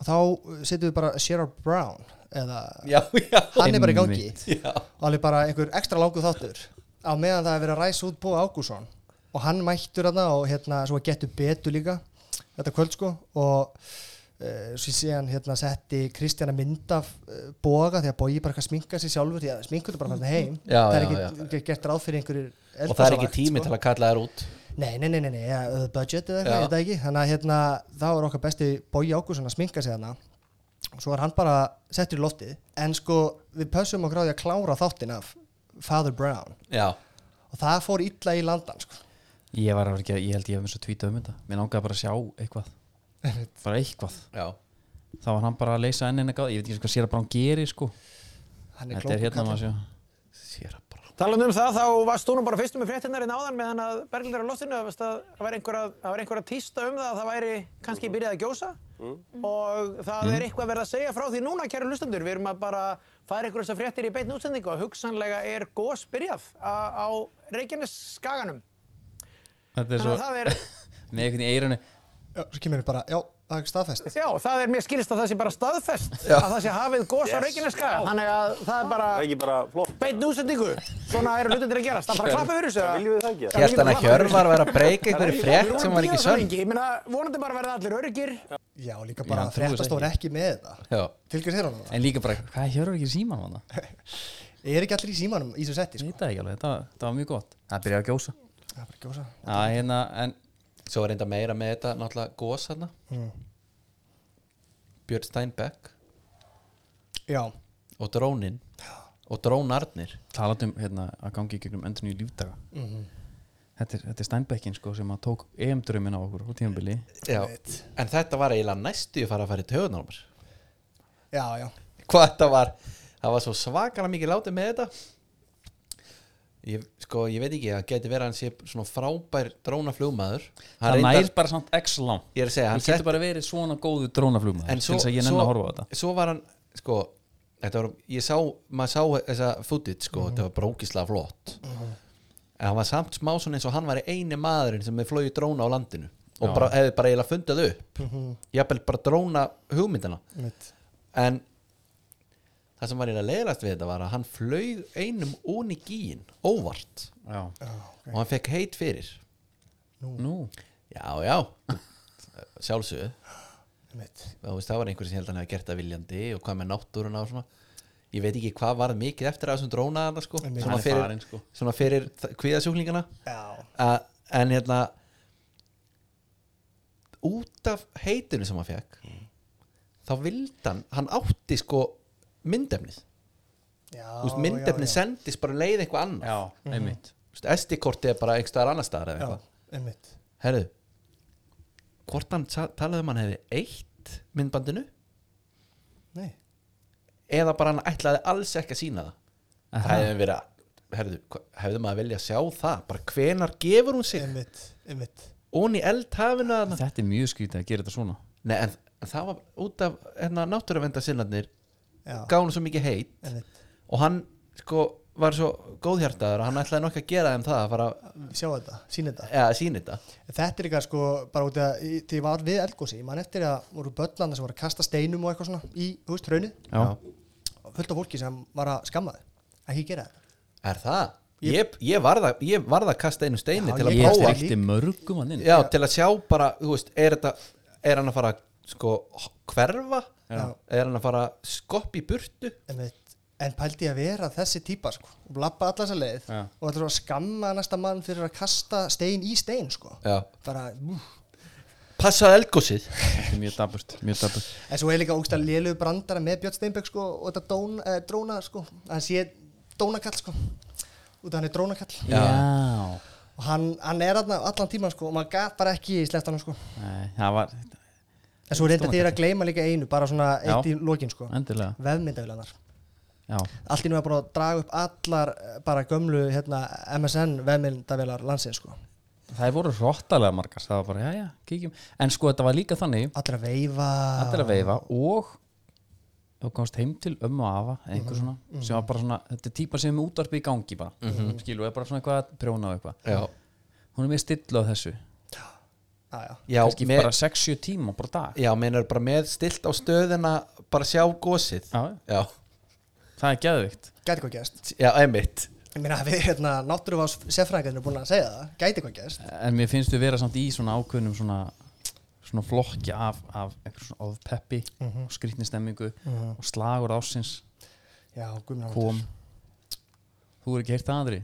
C: og þá uh, setjum við bara Sherrod Brown eða,
B: já já
C: hann er bara í gangi
A: Einmitt.
B: já
C: og alveg bara einhver ekstra langu þáttur á meðan það er verið að ræsa út Bóa Ágússon og hann mættur hann og hérna svo getur betur líka þetta kvöld sko og uh, svo síðan hérna setti Kristjana mynd af uh, Bóga því að Bógi bara eitthvað sminka sig sjálfur því að sminkur þetta bara hann heim
B: Já,
C: það er
B: já,
C: ekki já. gert ráð fyrir einhverjir sko.
B: og það er ekki
C: eldhúsavakt,
B: tími til að kalla þær út
C: Nei, nei, nei, nei, nei ja, uh, budget eða eitthvað,
B: Já.
C: ég veit það ekki þannig að hérna, þá er okkar besti Bói Ágússon að sminka sig þarna og svo er hann bara settur í loftið en sko, við pössum okkur á því að klára þáttin af Father Brown
B: já
C: og það fór illa í landan sko.
A: ég var alveg ekki að, ég held ég hef eins og tvítið um þetta mér langaði bara að sjá eitthvað bara eitthvað,
B: já
A: þá var hann bara að leysa enn eina gáð, ég veit ekki hvað sér að bara hann gerir sko
C: Hann
A: þetta er
C: klókur
A: hérna
C: kallinn.
A: maður að sjá
B: sér að bara
G: Talandi um það, þá varst þú nú bara fyrstum með fréttinnar í náðan meðan að Berglindar á loftinu, það varst að það væri einhver að, það var einhver að tísta um það að það væri kannski
H: Mm.
G: byrjað að gjósa og það er eitthvað verið að segja frá því núna, kæru hlustendur, við erum að bara fara ykkur þessar fréttir í beitn útsendingu og hugsanlega er gós byrjað á- á Reykjanes skaganum.
A: þetta er
G: Þannig að
A: svo,
G: það er,
A: með einhvern í eirunni
C: Já, svo kemur við bara, já, það er ekki staðfest
G: já, það er mér skilist að það sé bara staðfest að það sé hafið gós á Reykjanes skaga, þannig að það er bara
H: ekki bara flott,
G: beitn útsendingu, svona eru hlutendur að gerast, það er bara að klappa fyrir þessu.
H: viljum við Hérna
E: sko.
H: það ekki?
B: Hélt hann að Hjörvar var að breyka einhverju frétt sem var ekki sönn
G: Ég meina, vonandi bara verða allir öryggir.
C: Já, líka bara
A: hann trúir
C: fréttastofur ekki með þetta
B: Já,
C: Tilgjur þeirra hann það?
A: en líka bara, hvað er Hjörvar ekki í síman hann
C: Er ekki allir í símanum í þessu setti
A: ég
C: sko?
A: veit það ekki alveg, þetta, þetta var mjög gott það byrjaði að gjósa
C: Það er bara gjósa
A: Já, hérna, en
B: svo er enda meira með þetta náttúrulega gós hann Björn Steinbeck
C: Já,
B: og drónin og drónarnir
A: talaðum hérna að gangi í gegnum endur nýju lífdaga
B: Mhm.
A: þetta, er, þetta er Steinbeckin sko sem að tók EM-drömmin á okkur á tímabili
B: Já. en þetta var eiginlega næstu að fara að fara í töðunar á mér
C: já, já
B: hvað þetta var það var svo svakalega mikið látið með þetta ég, sko, ég veit ekki það geti verið að hann sé svona frábær drónaflugmaður Hann
A: það
B: reyndar-
A: nær bara samt x langt
B: Ég er að segja, hann
A: hann getur
B: sett-
A: bara verið svona góðu drónaflugmaður
B: En
A: til þess að ég nenni að horfa á þetta
B: svo var hann sko, þetta var, ég sá, maður sá þessa footage
A: Mhm.
B: sko, þetta var brókislega flott en hann var samt smá svona eins og hann var eini maðurinn sem hefði flogið dróna á landinu og bara, hefði bara eiginlega fundið upp
A: Mhm.
B: jafnvel bara dróna hugmyndina
C: Mitt.
B: en það sem var eiginlega leiðast við þetta var að hann flög einum ón í gíin óvart
A: já.
B: og hann fekk heit fyrir
A: nú,
B: já, já, sjálfsögðu
C: Mitt.
B: þú veist, það var einhver sem ég held að hann hefði gert það viljandi og hvað með náttúruna og svona ég veit ekki hvað varð mikið eftir að þessum drónaðana sko,
C: Einmitt.
B: svona
A: Hann er
B: fyrir,
A: farinn, sko.
B: svona fyrir kviðasjúklingana
C: Já,
B: en hérna út af heitinu sem hann fekk þá vildi hann, hann átti sko myndefnið,
C: já,
B: þú veist,
C: já,
B: myndefnið
C: já.
B: sendist bara leið eitthvað annað,
A: já, einmitt
B: SD-kortið er bara einhverstaðar annar staðar eða
C: Já,
B: eitthvað
C: einmitt
B: Herðu Hvort hann sa- talaði um hann hefði eitt myndbandinu
C: Nei,
B: eða bara hann ætlaði alls ekki að sína það Það hefði verið að herðu, hva- hefði maður að vilja sjá það bara hvenar gefur hún sig
C: einmitt, einmitt
B: ón í eldhafinu þarna?
A: þetta er mjög skrítið að gera þetta svona
B: Nei, en, en það var út af hérna, náttúruvendarsinnarnir
C: Já,
B: gaf hún svo mikið heit
C: einmitt
B: og hann sko var svo góðhjartaður og hann ætlaði nokkuð að gera þeim það að fara að-
C: Sjá þetta, sína þetta
B: eða, að sína þetta
C: Þetta er líka sko bara út af í- því ég var við elgósi, ég man eftir að voru börnlanda sem voru að kasta steinum og eitthvað svona í, þú veist, hraunið
A: já,
C: og fullt af fólki sem var að skamma þau ekki gera þetta
B: Er það? Ég, ég, varð að, ég varð að kasta einu steini
C: Já,
B: til að
C: ég
A: ég
C: prófa.
B: prófa
A: strikti mörgum hann inn
B: Já, til að sjá bara, þú veist, er þetta er hann að fara að, sko h- hverfa
C: Já.
B: er hann að fara að skoppa í burtu
C: einmitt, en pældi ég að vera þessi típa sko, og labba alla þessa leið
A: Já.
C: og þetta var að skamma næsta mann fyrir að kasta stein í stein sko.
B: Já.
C: bara, úf.
B: Passaði eldgósið
A: Þetta er mjög daburt, mjög daburt
C: en svo er líka ógst að lélugu brandara með Björn Steinbeck sko, og þetta dón, eh, dróna sko. hann sé dónakall sko. út af hann er drónakall
A: Já, Já.
C: og hann, hann er aðna allan tíman sko, og maður gaf bara ekki sleppt hann sko.
A: Nei, það var
C: en svo reynda þér að gleyma líka einu bara svona eitt
A: Já.
C: í lokin sko.
A: endilega
C: vefmyndavilanar
A: Já,
C: allt í nú er búin að draga upp allar eh, bara gömlu hérna, MSN vefmyndavilar landsins sko.
A: það voru hróttalega margar það var bara, já, já, kíkjum en sko þetta var líka þannig,
C: allir að veifa
A: allir
B: Ah.
A: að veifa og þú komst heim til ömmu og afa eða
B: Mhm.
A: einhver svona, sem var bara svona þetta er típa sem er með útvarpi í gangi bara mm -hmm. skilur, er bara svona eitthvað að prjóna og eitthvað
B: Mhm. Já,
A: hún er mér stillu á þessu,
C: Já, já.
B: já,
A: kannski
B: með,
A: bara 6-7 tíma bara á dag,
B: já meinar bara með stilt á stöðina bara sjá gósið
A: Já.
B: já,
A: það er geðvikt
C: gæti hvað gerst
B: já einmitt
C: ég meina við hérna, náttúruvás sérfræðingarnir er búin að segja það gæti hvað gerst
A: en mér finnst við vera samt í svona ákveðnum svona svona flokki af, af einhver svona ofpeppi og skrýtni stemmingu og slagur ásins
C: já, guðmjörn
A: mhm. kom þú er ekki heyrt það aðri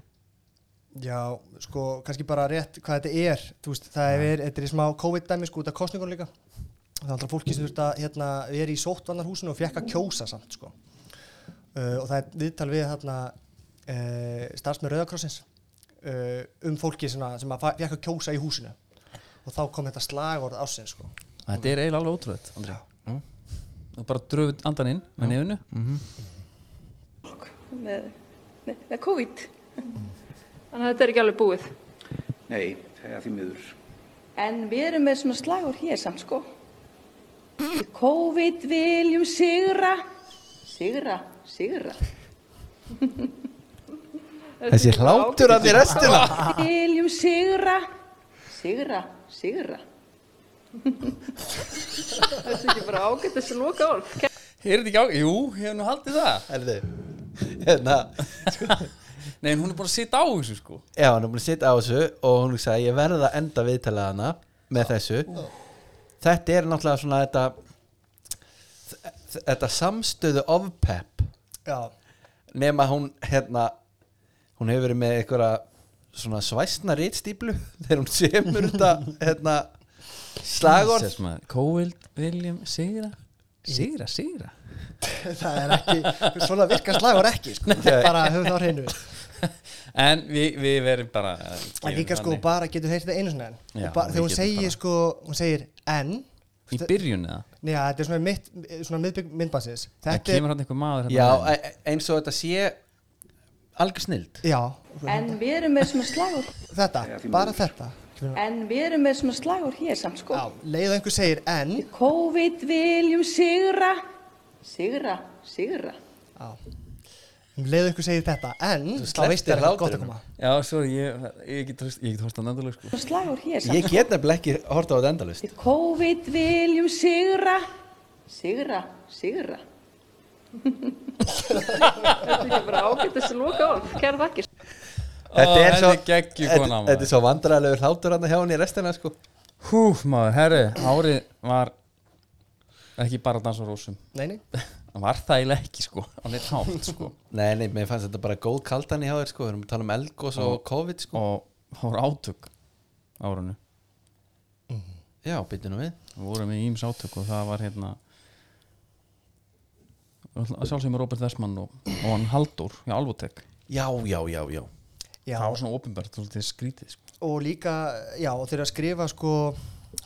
C: Já, sko, kannski bara rétt hvað þetta er, þú veist, það er, þetta er í smá COVID-dæmi, sko, út af kostningun líka það er alltaf fólki sem þurft að, hérna, vera í sóttvarnarhúsinu og fekk að kjósa samt, sko uh, og það er viðtal við, hérna uh, starfsmenn Rauðakrossins uh, um fólki sem að, sem að fa- fekk að kjósa í húsinu og þá kom þetta slagorð ásins, sko
A: þetta er eiginlega alveg ótrúlega Andri og bara dröfut andan inn með nefnu
H: með, með, með COVID. Þannig að þetta er ekki alveg búið.
I: Nei, það er því miður.
H: En við erum með svona slagur hér samt, sko. Við COVID viljum sigra, sigra, sigra.
B: Þessi hlátur að því restina
H: Viljum sigra, sigra, sigra. Þetta er ekki bara ágætt þessi loka orð.
A: er þetta ekki ákveð? Jú, ég hef nú haldið það
B: Herðu, hérna
A: nei, en hún er bara að sita á þessu sko
B: Já, hann er búin að sitja á þessu og hún sagði ég verði að enda viðtalið hana með þessu Þetta er náttúrulega svona þetta þ- þetta samstöðu ofpepp
C: Já,
B: nema hún hérna hún hefur verið með einhverja svona svæsna rítstýplu þegar hún semur þetta hérna slagorð
A: Jesus, maður. Kóvild Viljum Sigra Sigra, Sigra
C: það er ekki, svona virka slagorð ekki, sko bara höfum það á hreinu
A: en við, við verum bara
C: en líka, sko, bara getur heyrt þetta einu svona enn
A: Já,
C: og
A: við
C: bara, þegar hún
A: getum
C: segir,
A: bara-
C: sko, hún segir enn
A: í byrjun eða
C: Nei, já, þetta er svona, mitt, svona miðbygg myndbansins
A: það
C: Þetta
A: kemur hann einhver maður
B: Já,
A: hérna
B: e- e- eins og þetta sé algjör snild
C: Já,
H: En við erum með svona slagur,
C: þetta, bara þetta
H: en við erum með svona slagur hér samt, sko.
C: Já, leið og einhver segir en
H: COVID viljum sigra, sigra, sigra.
C: já. Leið og einhver segir þetta en Þá
B: slepptir
C: veist þér að gott um
B: hlátrinum.
C: að koma
A: já, svo ég, ég get horst- ég get horst hann endalega sko
H: Svona slagur hér samt,
B: Ég get nefnilega ekki horta á þetta endalust
H: Við COVID viljum sigra, sigra, sigra. Þetta er ekki bara ágætt þessi loka orð, kæra þakkir.
B: Þetta er
A: Ó,
B: svo,
A: henni geggjuð
B: þetta-
A: kona, maður.
B: þetta er svo vandræðilegur hlátur hann hjá hann í restina sko
A: hú, maður, herri, árið var ekki bara dans og rósum
C: Nei, nei,
A: það var það eiginlega ekki sko á neitt hátt sko
B: Nei, nei, mér fannst þetta bara góð kaldan í hjá þér sko Við erum að tala um eldgós og COVID sko
A: og það voru átök árunni
B: Já, býtum nú við
A: við vorum í íms átök og það var hérna sjálfsögum með Robert Versmann og, og hann Haldur hjá Alvotek
B: Já, já, já, já
C: já
A: það var svona ofinbært, svolítið skrítið sko.
C: Og líka, já, og þeir eru að skrifa sko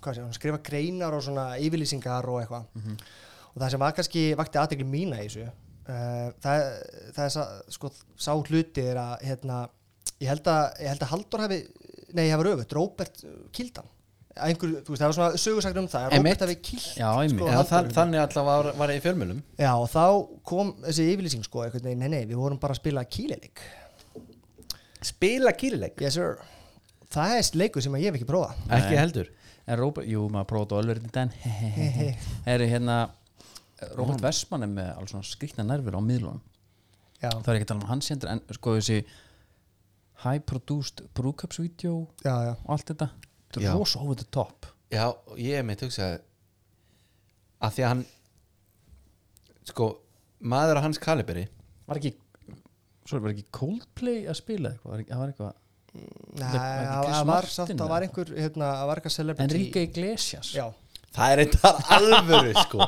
C: Hvað sé, hún skrifa greinar og svona yfirlýsingar og eitthvað Og það sem var kannski vakti aðtekli mína í þessu uh, Það, það er, sa- sko, sá hluti er að, hérna Ég held að, ég held að Halldór hafi Nei, ég hafi röfuð, Róbert uh, kildan Einhver, þú veist, það var svona sögursakir um það að
B: Einmitt.
C: Róbert hafi kilt
A: já, einmitt
B: Já, þann, þannig alltaf var, var ég í fjölmjölum
C: Já, og þá kom þessi yfirlýsing sko, einhvern veginn, nei, nei, við vorum bara að spila kílileik.
B: Spila kýrileik
C: Yes, sir. Það er leikur sem að ég hef ekki prófað.
B: Ekki heldur
A: en Robert, jú, maður prófaði að ölverði den herri, hérna Robert Versmann er með alveg svona skrítna nervir á miðlunum
C: Já,
A: það er ekki að tala um hans hendur en sko þessi high produced brúkaps video og
C: já, já.
A: allt þetta þetta
B: Já.
A: er rosa over the top
B: Já, og ég mitt hugsaði að því að hann sko, maður á hans kaliberi
A: var ekki sorry, var ekki Coldplay að spila eitthvað Var ekki- það var eitthvað,
C: Nei,
A: Var ekki
C: það
A: Chris
C: það var
A: Martin
C: samt,
A: eða?
C: það var einhver, hérna, það var eitthvað celebrity
A: Enrique Iglesias
C: Já,
B: Það er eitthvað alvöru sko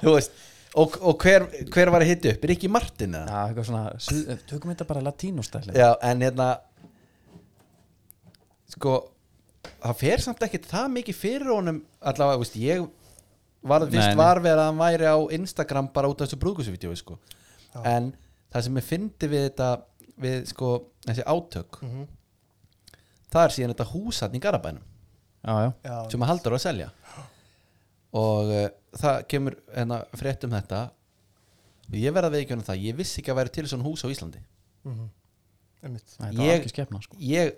B: Þú veist Og, og hver, hver var að hita upp? Rikki Martin
A: Já,
B: eða?
A: eitthvað svona, suð- eh, tökum þetta bara latínustæli
B: Já, en hérna Sko Það fer samt ekkert það mikið fyrir honum Allavega, þú veist, ég var, Vist
F: nei.
B: var við að hann væri á Instagram bara út af þessu brúðgúsuvídeói sko En það sem ég fyndi við þetta Við sko, þessi átök Það er síðan þetta húsatn í Garabænum
A: Já, já,
C: já,
B: sem að haldur að selja og uh, það kemur hérna, frétt um þetta og ég verða að veikjóna það ég vissi ekki að væri til svona hús á Íslandi
C: einmitt
A: Nei, þetta var
B: Ég-
A: ekki skefna sko.
B: ég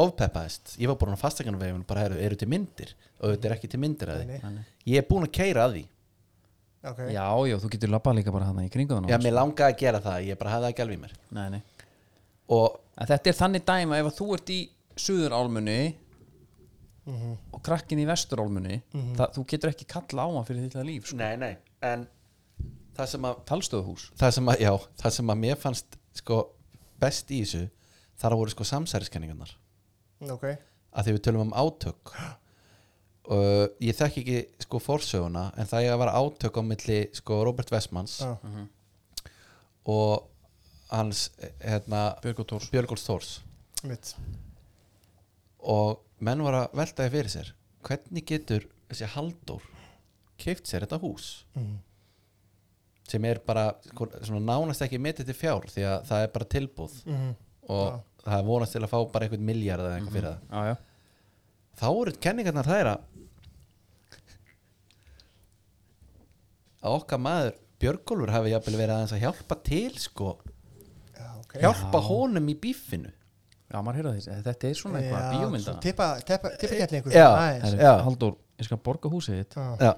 B: ofpeppaðist ég var búin að fastegna veginn bara heru, eru til myndir og þetta er ekki til myndir að
C: Nei,
B: því ég er búin að keira að því
C: Ok,
A: Já, já, þú getur labbað líka bara hana í kringu
B: já,
A: þannig
C: sko.
B: mér langaði að gera það, ég bara hafði það ekki alveg í mér
A: Nei, nei
B: og
A: að þetta er þannig dæma ef að þú ert í suðurálmunni og krakkin í vesturálmunni það, þú getur ekki kalla á hann fyrir þitt líf sko.
B: nei, nei, en það sem að
A: talstöðhús
B: það sem að, já, það sem að mér fannst sko best í þessu þar voru sko samsæriskenningarnar
C: ok
B: að því við tölum um átök uh, ég þekki ekki sko forsöguna en það er að vera átök á milli sko Robert Westmans
C: Já.
B: og hans eh, hérna,
A: Björgólf Thors.
B: Björgóls Þórs
C: Einmitt,
B: og menn voru að velta því fyrir sér hvernig getur þessi Halldór keift sér þetta hús
A: Mm.
B: sem er bara sko, svona nánast ekki metið til fjár því að það er bara tilbúð
A: Mm.
B: og það er vonast til að fá bara einhvern miljard eða eitthvað fyrir það
A: já, já.
B: þá eru kenningarnar þær að að okkar maður Björgólfur hafi jafnvel verið aðeins að hjálpa til sko,
C: já, ok
B: hjálpa honum í bífinu
A: já, maður heyrða þess þetta er svona eitthvað
C: Já,
A: bíómynda
C: svona Tippa, tippa, tippa getni einhver
B: Já.
C: aðeins.
A: Herri,
B: Já.
A: Halldór, ég skal borga húsið þitt
C: Já.
B: já,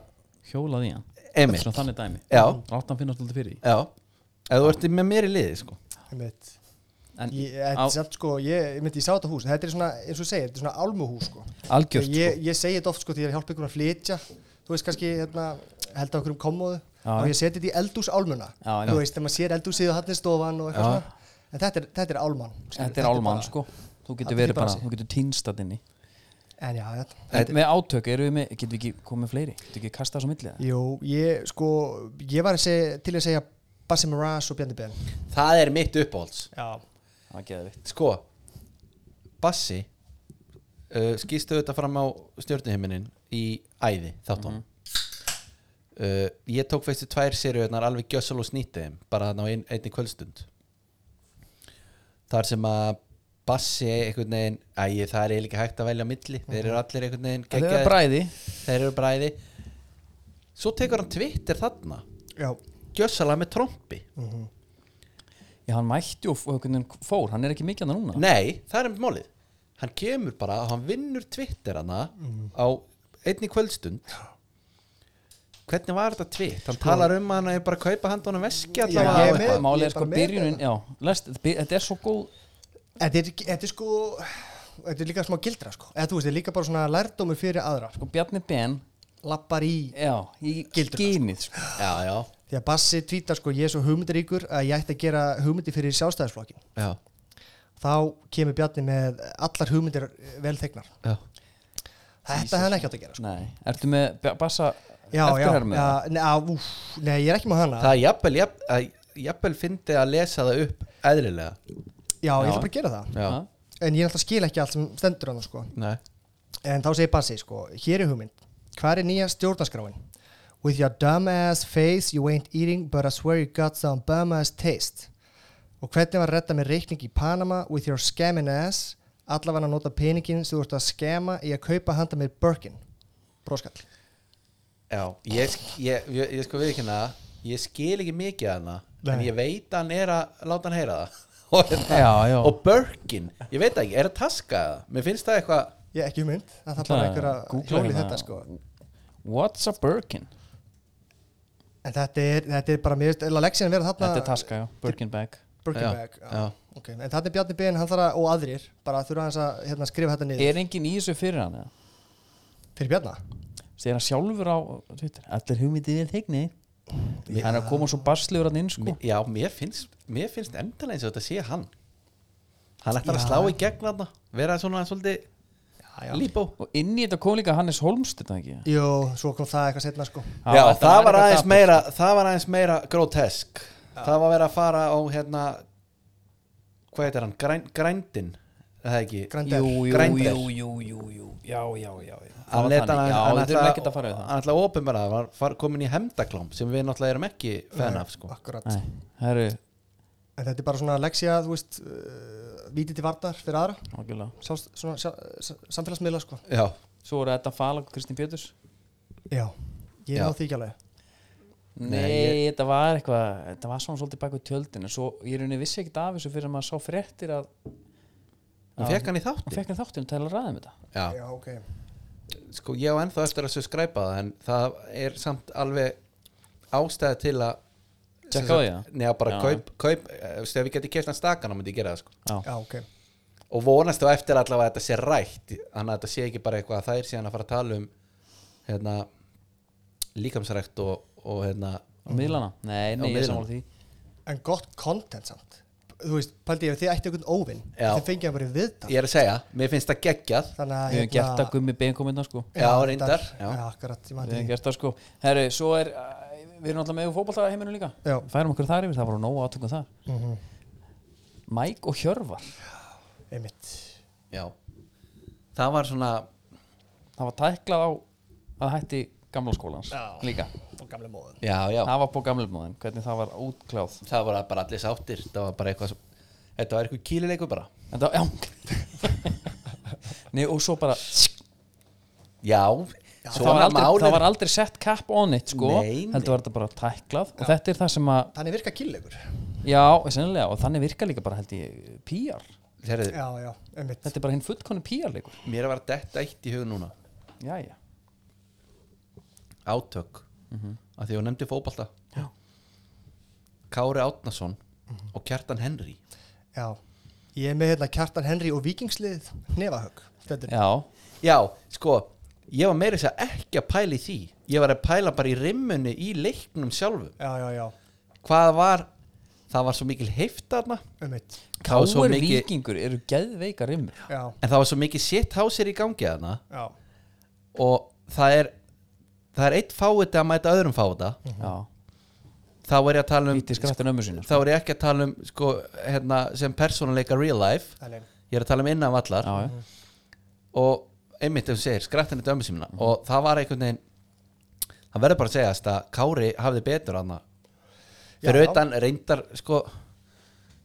A: hjólað í hann
B: Einmitt.
A: svona þannig dæmi
B: Já.
A: rátt hann finnast alltaf fyrir því
B: já eða þú ert með mér í liði sko
C: Einmitt
A: en
C: Ég, þetta
A: á,
C: er samt sko, ég, ég myndi, ég sá þetta hús Þetta er svona, eins og ég segi, þetta er svona álmuhús sko
A: algjört
C: ég,
A: sko.
C: ég segi þetta oft sko þegar ég hjálpa ykkur að flytja þú veist kannski hérna, held á okkur um komóðu
A: Já.
C: og ég seti þetta í eldús álmuna
A: Já, já.
C: þú veist þegar maður sér eldúsið og hann er stofan og eitthvað svona en þetta er, þetta er álman
A: þetta er álmann sko þú
C: Þetta
A: getur
C: er
A: verið
C: bara
A: bara,
C: sig.
A: þú getur týnstað inni
C: en já, þetta,
A: en með átök, erum við með, getum við ekki komið með fleiri getum við ekki kastað svo millið
C: jú, ég sko ég var að segja, til að segja Bassi Mraz og Bjarni Ben
B: það er mitt uppáhalds
C: já,
A: það er geðvikt
B: sko Bassi uh, skýstu þetta fram á stjórnuhiminin í æði þáttunum uh, ég tók fyrstu tvær seriðunar alveg gjössal og snýttiðum bara þannig á ein, einni kvöldstund þar sem að Bassi einhvern veginn æ, það er eiginlega ekki hægt að velja á milli Mhm. þeir eru allir einhvern veginn
A: það er
B: geggjaðir.
A: bræði
B: þeir eru bræði svo tekur hann Twitter þarna
C: já,
B: gjössalega með trompi
A: Já, hann mætti og og einhvern veginn fór, hann er ekki mikið hann núna
B: Nei, það er einmitt málið Hann kemur bara og hann vinnur Twitter hana á einni kvöldstund Hvernig var þetta tvitt? Hann talar um að hann er bara að kaupa handónum veski
C: Já,
B: allavega
C: ég
B: og
C: er með.
B: eitthvað.
A: Málið
C: ég
A: er
C: er
A: sko
C: bara með
A: byrjunin Já, lest, by, þetta er svo góð
C: þetta er, þetta er sko þetta er líka smá gildra sko eða þú veist, þetta er líka bara svona lærdómur fyrir aðra sko.
A: sko, Bjarni Ben,
C: lappar í
A: já, í
C: Gildruna,
A: gynið sko.
B: Já, já,
C: því að Bassi tvítar sko, ég er svo hugmyndaríkur að ég ætti að gera hugmyndi fyrir sjálfstæðisflokkin
B: já,
C: þá kemur Bjarni með allar hugmyndir vel þegnar
B: já.
C: þetta hefði ekki átt að gera sko.
A: Nei, ertu með Ba- Bassa
C: já, já,
A: eftirhermið?
C: já, ne, á, úf, nei, ég er ekki með hana
B: Það er jafnvel, jafnvel, að- jafnvel fyndi að lesa það upp eðlilega
C: já,
A: Já.
C: ég ætla bara að gera það
B: Já,
A: Ha?
C: en ég náttúrulega skil ekki allt sem stendur hann sko.
B: nei
C: en þá segir Bassi, sko, hér er hugmynd hvað er nýja stjórnarskráin with your dumbass face you ain't eating but I swear you got some bumass taste og hvernig var að redda með reikning í Panama with your scamming ass allavega að nota peningin sem þú ert að skema í að kaupa handa með Birkin broskall
B: Já, ég, ég, ég, ég sko viðkynna Ég skil ekki mikið að hana En
C: Nei.
B: ég veit að hann er að láta hann heyra það Og, hérna-
A: Já, já.
B: og Birkin, ég veit það ekki, er að taska það Mér finnst það eitthvað
C: Ég ekki hugmynd, það þarf
A: Ætla
C: bara
A: að
C: einhver að
A: googla
C: hjóli
A: hérna.
C: þetta sko
A: What's a Birkin?
C: En þetta er, þetta er bara mér, eða leksinu vera þarna
A: Þetta er taska, já, Birkin bag
B: Já,
C: Birkenbag já,
B: já.
C: ok. En þarna er Bjarni Ben, hann þarf að, og aðrir bara þurfa hans að hérna, skrifa þetta niður
A: Er engin í þessu fyrir hann? eða?
C: Fyrir Bjarna?
A: Segir hann sjálfur á Twitter Allir hugmyndið er þegni hann er að koma svo basliður hann inn sko
B: já, mér finnst, mér finnst endala eins og þetta sé hann hann ætlar að slá í gegn þarna vera svona svolítið líbó
A: og inn í þetta kom líka Hannes Holmst þetta ekki
C: Jó, svo kom það eitthvað setna sko
A: Já,
B: já,
A: þetta
B: það
A: eitthvað
B: var aðeins
A: dapurt. sko.
B: meira það var aðeins meira grotesk það var verið að fara á hérna hvað heitir hann, Græn, grændin er það ekki,
C: Grandel.
A: jú, jú,
B: Grindr.
A: jú, jú, jú, jú, já, já, já, já. Það
B: hann
A: var
B: leta
A: þannig.
B: hann
A: já,
B: hann
A: þetta er ekkert að fara við það
B: hann ætla að opinbera það, var far, komin í hemdaklám sem við náttúrulega erum ekki fenn af sko.
C: Akkurat
A: Nei, herru,
C: En þetta er bara svona leksja, þú veist uh, Víti til vartar fyrir aðra
A: ákjöla
C: Sá, svona, sá, sá- Samfélagsmiðla sko
B: já,
A: svo voru þetta Falag og Kristín Péturs
C: Já, ég
B: Já.
C: náði því ekki alveg
A: Nei, þetta var eitthvað þetta var svona svolítið baku tjöldin en svo ég rauninni vissi ekkert af þessu fyrir að maður sá fréttir að
B: hann fekk hann í
A: hann
B: þátti
A: fekk hann þáttinn til að ræða um þetta
B: já.
C: Já, ok
B: sko ég á ennþá eftir að subscribe það en það er samt alveg ástæði til að
A: Tjekka
B: sem
A: á því,
B: sagt, Nei, bara
A: Já.
B: kaup, kaup eh, þú veist, ef við getum keft hann stakan þá myndi ég gera það sko.
C: Já, ok
B: og vonast þá eftir allavega að þetta sé rætt þannig að þetta sé ekki bara eitthvað að það er síðan að fara að tala um hérna líkamsrækt og, og hérna
A: á miðlana, nei, nei, ég er
B: miðlana.
A: sammála því
C: En gott content samt Þú veist, pældi ég ef þið ætti einhvern óvinn
B: Já.
C: Þið fengið að vera viðtal
B: ég er að segja, mér finnst það hérna- geggjað
C: Þannig að hérna-
A: við hefum gert að gummi beinkominna sko
B: já, reyndar
C: Já,
B: já.
C: akkurat, ég
A: við
C: maður
A: hefum
C: því
A: gert það sko herru, svo er, uh, við erum alltaf með fótballta heiminu líka
C: Já.
A: færum okkur þar yfir, það var nóg átökum þar Mike og Hjörvar
C: Einmitt
B: já, það var svona
A: það var tæklað á að hætti gamla skólans
C: Já.
A: líka,
C: Og gamle móðun
B: já, já,
A: það var på gamlefnóðin hvernig það var útkláð
B: það var bara allir sáttir það var bara eitthvað, sem- þetta var eitthvað kýlileikur bara
A: en það, já Nei, og svo bara
B: já,
A: það, var aldrei,
B: málið-
A: það var aldrei sett cap on it sko,
B: Nei, nei.
A: heldur var þetta bara tæklað og þetta er það sem að,
C: Þannig virka killegur
A: já, sennilega og þannig virka líka bara held ég PR
B: Herri,
C: Já, já, einmitt
A: þetta er bara hinn fullkonni PR leikur
B: mér var detta eitt í hug núna
A: Jæja.
B: átök af því að hún nefndi fótbalta Kári Átnason og Kjartan Henry
C: Já Ég er með hérna Kjartan Henry og Vikingslið Hnefahögg Þetta er
A: já,
B: já, sko, ég var meira þess að ekki að pæla í því ég var að pæla bara í rimmunni í leiknum sjálfum
C: Já, já, já
B: hvað var, það var svo mikil heiftarna
C: Einmitt
B: Það var svo
A: Káur
B: mikið-
A: vikingur eru geðveika rimmur
C: Já,
B: en það var svo mikil sitt hásir í gangi þarna
C: já
B: og það er það er eitt fáið að mæta öðrum fáið
A: Já,
B: þá er ég að tala um
A: viti skrættin ömmu sína
B: þá er ég ekki að tala um sko, hérna, sem persónuleika real life
C: Þannig
B: ég er að tala um innan vallar
A: Já, Mhm. já.
B: og einmitt ef þú segir skrættin þetta ömmu sína og það var einhvern veginn það verður bara að segja að Kári hafði betur hann fyrir
C: Já.
B: utan reyndar sko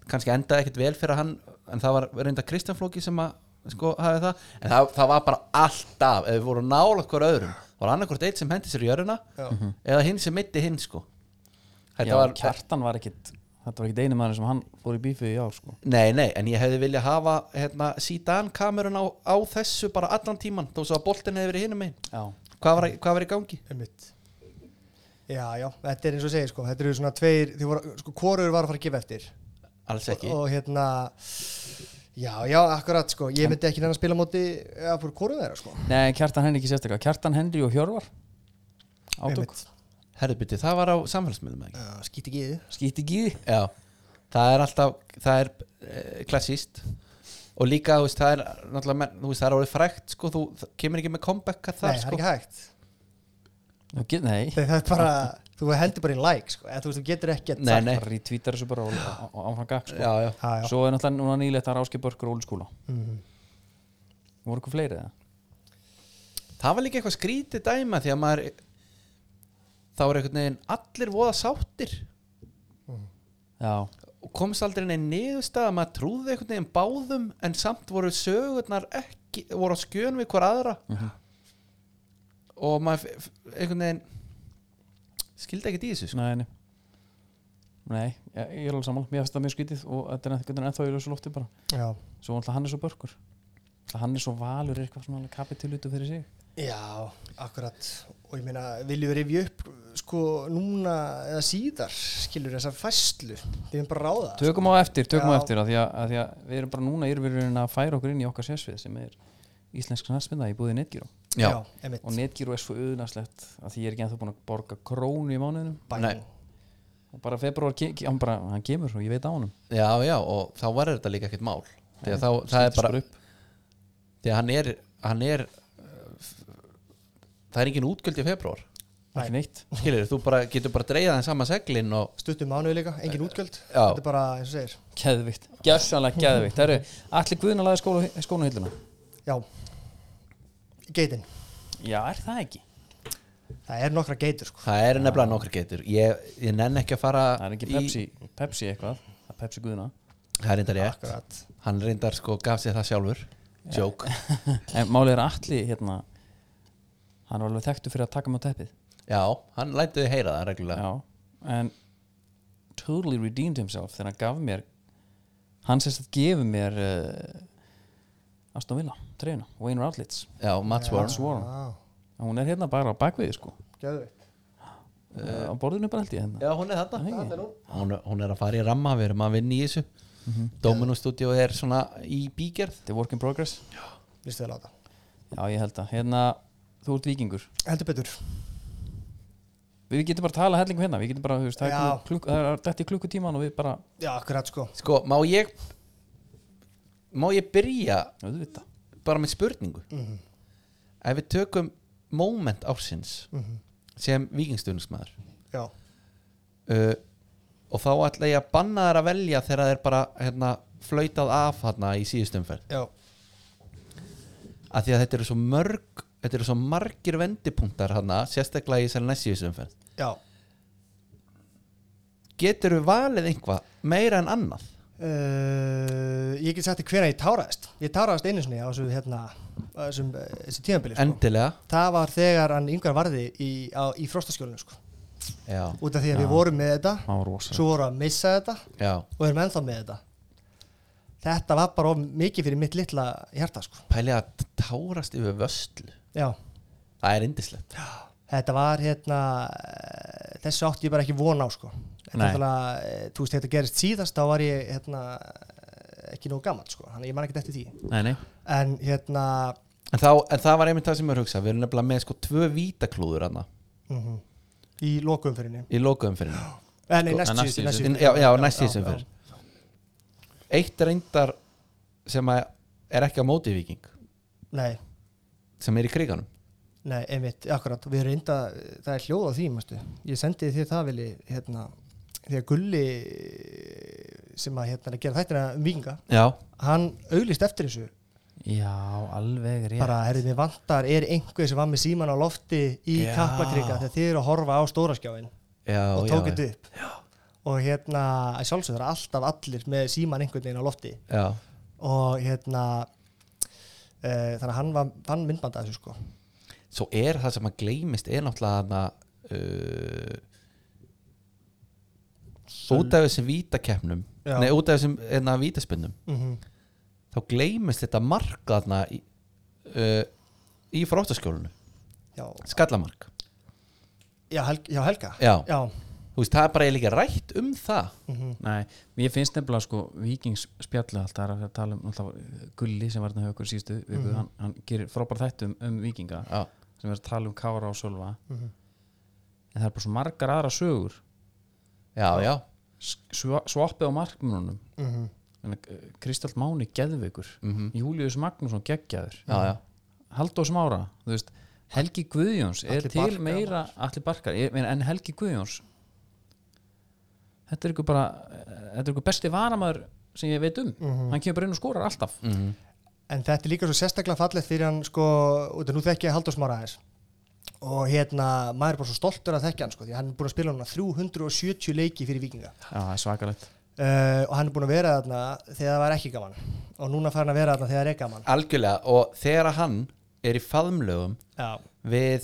B: kannski endaði ekkert vel fyrir hann en það var reyndar Kristján Flóki sem að sko hafði það en það, það var bara alltaf ef við vorum nála hver öðrum það var annarkvort eitt sem hendi sér í jöruna eða hinn sem mitti hinn sko þetta
A: Já,
B: var
A: Kjartan var ekkit Þetta var ekkit einu maður sem hann fór í bífið í ár sko.
B: Nei, nei, en ég hefði viljað hafa hérna, síðan kamerun á, á þessu bara allan tíman, þó svo að boltin hefði verið hinum megin
A: Já,
B: hvað var, hvað var í gangi?
C: Einmitt Já, já, þetta er eins og segir sko Þetta eru svona tveir Þið voru, sko, hvorur var að fara að gefa eftir
B: Alls ekki
C: Og hérna Já, já, akkurat sko Ég myndi ekki nefn að spila á móti Já, fyrir hvorur þeirra sko
A: Nei, Kjartan Henry ekki sérstaklega Kjartan Henry og Hjörvar Átök,
C: Einmitt.
B: Herðbyrti, það var á samfélagsmiðlum ekki?
C: Já, Skít ekki í þið
A: skýtti gíði
B: Já, það er alltaf það er eh, klassíst og líka, þú veist, það er náttúrulega, menn- þú veist, það er orðið frægt, sko, þú það kemur ekki með comeback að það,
C: Nei, það er
B: sko
C: ekki hægt
A: get, Nei,
C: Þegar það er bara, þú heldur bara í like sko, eða þú veist, þú getur ekki
B: Nei, nei,
A: bara í tvítar þessu bara og- og og áfram gakk sko.
B: já, já
C: Já, já,
A: Svo er náttúrulega núna nýlegt að ráski börkur og óliskúla mm Voru eitthvað fleiri eða?
B: Það var líka eitthvað skrítið dæma því að maður þá er einhvern veginn allir voða sáttir
A: Já,
B: og komst aldrei neinn niðurstað að maður trúði einhvern veginn báðum en samt voru sögurnar ekki voru á skjön við hver aðra og maður f- f- einhvern veginn skildi ekkert í þessu sko.
A: nei, nei Nei, ég, ég er alveg sammála Mér finnst það mjög skýtið og þetta er einhvern veginn ennþá í ljósu lofti bara
C: já.
A: Svo náttúrulega hann er svo börkur Hann er svo valur er eitthvað svona kapitulutu fyrir sig
C: já, akkurat og ég meina, viljum við rifja upp sko núna eða síðar skilur þessar fæslu þeir erum bara að ráða sko.
A: Tökum á eftir, tökum á
C: Já.
A: eftir að því að, að því að við erum bara núna yfirverðurinn að færa okkur inn í okkar sérsvið sem er íslensk snarsmynda í búði netgíró
B: Já.
C: einmitt.
A: og netgíru er svo auðnarslegt að því ég er ekki ennþá búin að borga krónu í mánuðinum
C: Bang.
B: Nei.
A: og bara februar, ke- ke- hann bara, hann kemur og ég veit á honum
B: já, já, og þá var þetta líka ekkert mál því að þá, það
A: Stendur
B: er bara því að hann er, hann er uh, f- það er engin útgjöld í februar
A: ekki neitt
B: skilur, þú bara, getur bara dreigðað þeim sama seglin og
C: stuttum mánuði líka, engin útgjöld
B: Eh, já.
C: þetta er bara eins og segir
A: Geðvikt, gjössanlega geðvikt Það eru allir guðin að laga skóla, skónahilluna
C: já, geitin,
A: Já, er það ekki?
C: það er nokkra geitur sko.
B: það er nefnilega nokkur getur ég, ég nenn ekki að fara
A: Það er ekki
B: í-
A: Pepsi, Pepsi eitthvað Það er Pepsi guðina
B: það er reyndar ég,
C: Akkurat.
B: hann reyndar sko gaf sér það sjálfur joke,
A: En málið er allir hérna Hann var alveg þekktu fyrir að taka mig á teppið
B: já, hann lætiði heyra það reglulega,
A: Já, en totally redeemed himself þegar hann gaf mér Hann sérst að gefa mér uh, Aston Villa, treyna, Wayne Routledge
B: já, Mats Warren
A: Sworn,
C: já,
A: hún er hérna bara á bakviði sko
C: geðvikt
A: uh, Á borðinu bara held ég hérna
B: já, hún er þetta hún, hún er að fara í ramma, við erum að vinna í þessu mm Domino Studio er svona í bígerð
A: Þetta er work in progress
C: líst vel á þetta
A: Já, ég held að Hérna, þú ert vikingur
C: heldur betur,
A: Við getum bara að tala hellingum hérna Við getum bara, þú veist, það er
C: Já.
A: klukk- það er dætt í klukkutíman og við bara
C: já, akkurat sko
B: sko, má ég má ég byrja
A: auðvitað
B: bara með spurningu ef við tökum moment ársins sem vikingstunningsmaður
C: já,
B: uh, og þá ætla ég að banna þær að velja þegar þeir bara hérna, flöytað af hérna í síðustumferð
C: já,
B: af því að þetta eru svo mörg þetta eru svo margir vendipunktar hérna, sérstaklega í þessari næst síðustumferð
C: já
B: getur við valið einhvað meira en annað
C: Uh, ég get sagt því hvena ég táraðist ég táraðist einu sinni á þessu hérna, á þessum, eh, þessu tíðanbili sko.
B: endilega
C: það var þegar hann yngvar varði í, á, í frostaskjólinu sko.
B: já,
C: út af því að við vorum með þetta
A: Það var rosa
C: svo vorum við að missa þetta
B: já.
C: og erum ennþá með þetta þetta var bara of mikið fyrir mitt litla hjarta sko.
B: pælið að tárast yfir vöslu
C: já,
B: það er indislegt
C: þetta var hérna eh, þessu átti ég bara ekki von á sko. Þetta
A: Nei.
C: er náttúrulega, eh, þú veist, þetta gerist síðast þá var ég hérna eh, ekki nóg gaman sko, þannig að ég man ekki eftir því
A: Nei, nei
C: en hérna
B: en, þá, en það var einmitt það sem ég hugsa við erum nefnilega með sko tvö vítaklúður hana
C: mhm, í lokuumfyrinni
B: í lokuðum fyrir
C: Eh, nei,
A: Sko,
C: næst
A: næst
C: síðustu,
A: síðustu.
C: næst
B: henni
C: síðustu.
B: já, já, næst því sem
C: já.
B: fyrir eitt reyndar sem að er ekki á móti viking
C: Nei,
B: sem er í kriganum
C: nei, einmitt, akkurat Við reynda, það er hljóð á því, mástu Ég sendi þér það vilji, hérna Þegar Gulli sem að hérna er að gera þættina um vikinga
B: já,
C: hann auglist eftir þessu
A: Já, alveg rétt
C: bara, herrið, mér vantar, er einhver sem var með síman á lofti í
B: Já.
C: kaplakriga þegar þið eru að horfa á stóraskjáin
B: já,
C: og
B: já,
C: tók þetta upp já. og hérna, að sjálfsögðu það er alltaf allir með síman einhvern veginn á lofti
B: já,
C: og hérna e, þannig að hann var, fann myndbanda þessu sko
B: svo er það sem að gleymist er náttúrulega hana uh, út af þessum vítakeppnum
C: Já.
B: nei, út af þessum hérna, vítaspinnum
C: mm
B: þá gleymist þetta mark hana í, uh, í fróttaskjólinu
C: já,
B: skallamark
C: já, helg, já, Helga
B: Já.
C: já,
B: þú veist, það er bara eiginlega rætt um það
A: Nei, mér finnst nefnilega sko Víkings spjalli allt það er að tala um náttúrulega Gulli sem var hérna hjá okkur síðustu viku hann, hann gerir frábær þættu um, um Víkinga
B: Já.
A: sem er að tala um Kára og Sölva en það er bara svo margar aðra sögur
B: já, já,
A: svappið á markmönunum mm
C: Mhm.
A: -hmm. Kristall Máni geðveikur Július Magnússon geggjaður
B: já, já.
A: Halldór Smára þú veist, Helgi Guðjóns er
C: Atli
A: til
C: Barkar.
A: meira allir barkar, ég, meina, en Helgi Guðjóns þetta er ykkur bara þetta er ykkur besti varamaður sem ég veit um,
C: Mhm.
A: hann kemur bara inn og skorar alltaf
C: en þetta er líka svo sérstaklega fallið fyrir hann sko, út af nú þekki ég Halldór Smára aðeins og hérna, maður er bara svo stoltur að þekki hann sko, því hann er búin að spila núna 370 leiki fyrir vikinga
A: já, það er svakalegt
C: uh, og hann er búin að vera þarna þegar það var ekki gaman og núna fær hann að vera þarna þegar það er gaman
B: algjörlega og þegar að hann er í faðmlögum
C: já,
B: við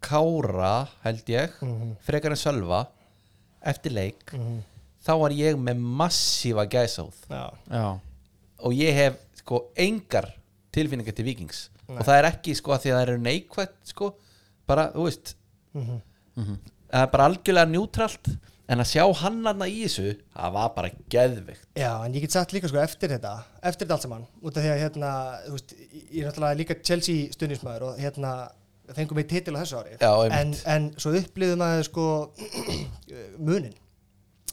B: Kára held ég,
C: Mhm.
B: frekar en Sölva eftir leik þá var ég með massífa gæsáð
C: já,
A: já,
B: og ég hef sko engar tilfinningar til vikings og það er ekki sko að því að það eru
C: Mhm.
B: neikvætt sko, bara, þú veist það er bara algjörlega njútralt en að sjá hann hann í þessu það var bara geðvikt
C: Já, en ég get sagt líka sko eftir þetta, eftir þetta allt saman, út af því að hérna, þú veist, ég er náttúrulega líka Chelsea stuðnismæður og hérna fengum við titil á þessu ári,
B: Já,
C: en,
B: einmitt.
C: en svo upplifðum að sko munin,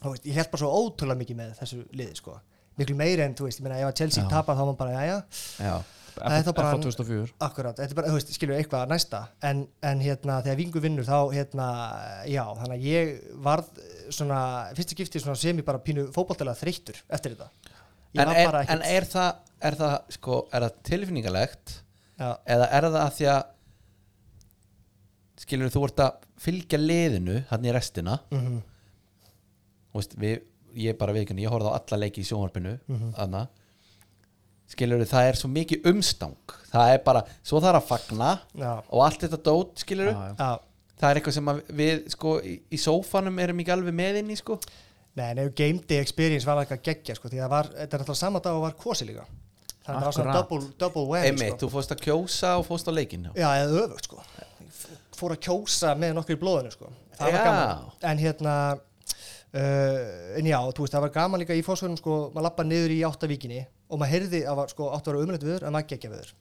C: þú veist, ég held bara svo ótrúlega mikið með þessu liði sko, miklu meiri en þú veist, ég meina ef að Chelsea tapar þá var maður bara, jæja,
B: já,
C: það er þá bara,
A: FH 2004.
C: akkurat, þetta er bara, þú veist, skilur eitthvað næsta, en, en hérna þegar vingu vinnur þá, hérna, já, þannig að ég varð svona, fyrsta skipti svona sem ég bara pínu fótboltilega þreyttur eftir þetta. Ég
B: en,
C: var
B: er,
C: bara
B: en
C: ekkert-
B: er það, er það sko, er það tilfinningalegt
C: Já,
B: eða er það að því að skilur þú ert að fylgja liðinu hann í restina mm -hmm. veist, við, ég bara viðkynni, ég horfði á alla leiki í sjónvarpinu mm -hmm. skilur það er svo mikið umstang það er bara, svo þarf að fagna
C: Já.
B: og allt þetta dót skilur
C: já.
B: það er eitthvað sem að við sko í, í sófanum erum ekki alveg með inn í sko
C: Nei, nei, game day experience var eitthvað geggja sko, því það var, þetta er alltaf sama dag og var kosi líka þannig að það var svona
A: Akkurat.
C: double, double whammy
B: einmitt,
C: sko.
B: þú fórst að kjósa og fórst á leikin
C: Já, eða öfugt sko F- fór að kjósa með nokkur í blóðinu sko það
B: Já.
C: var gaman, en hérna uh, en já, þú veist, það var gaman líka í fósvörnum sko, maður lappa niður í áttavíkinni og maður heyrði að var, sko, áttu að vera umlegt viður en maður geggja viður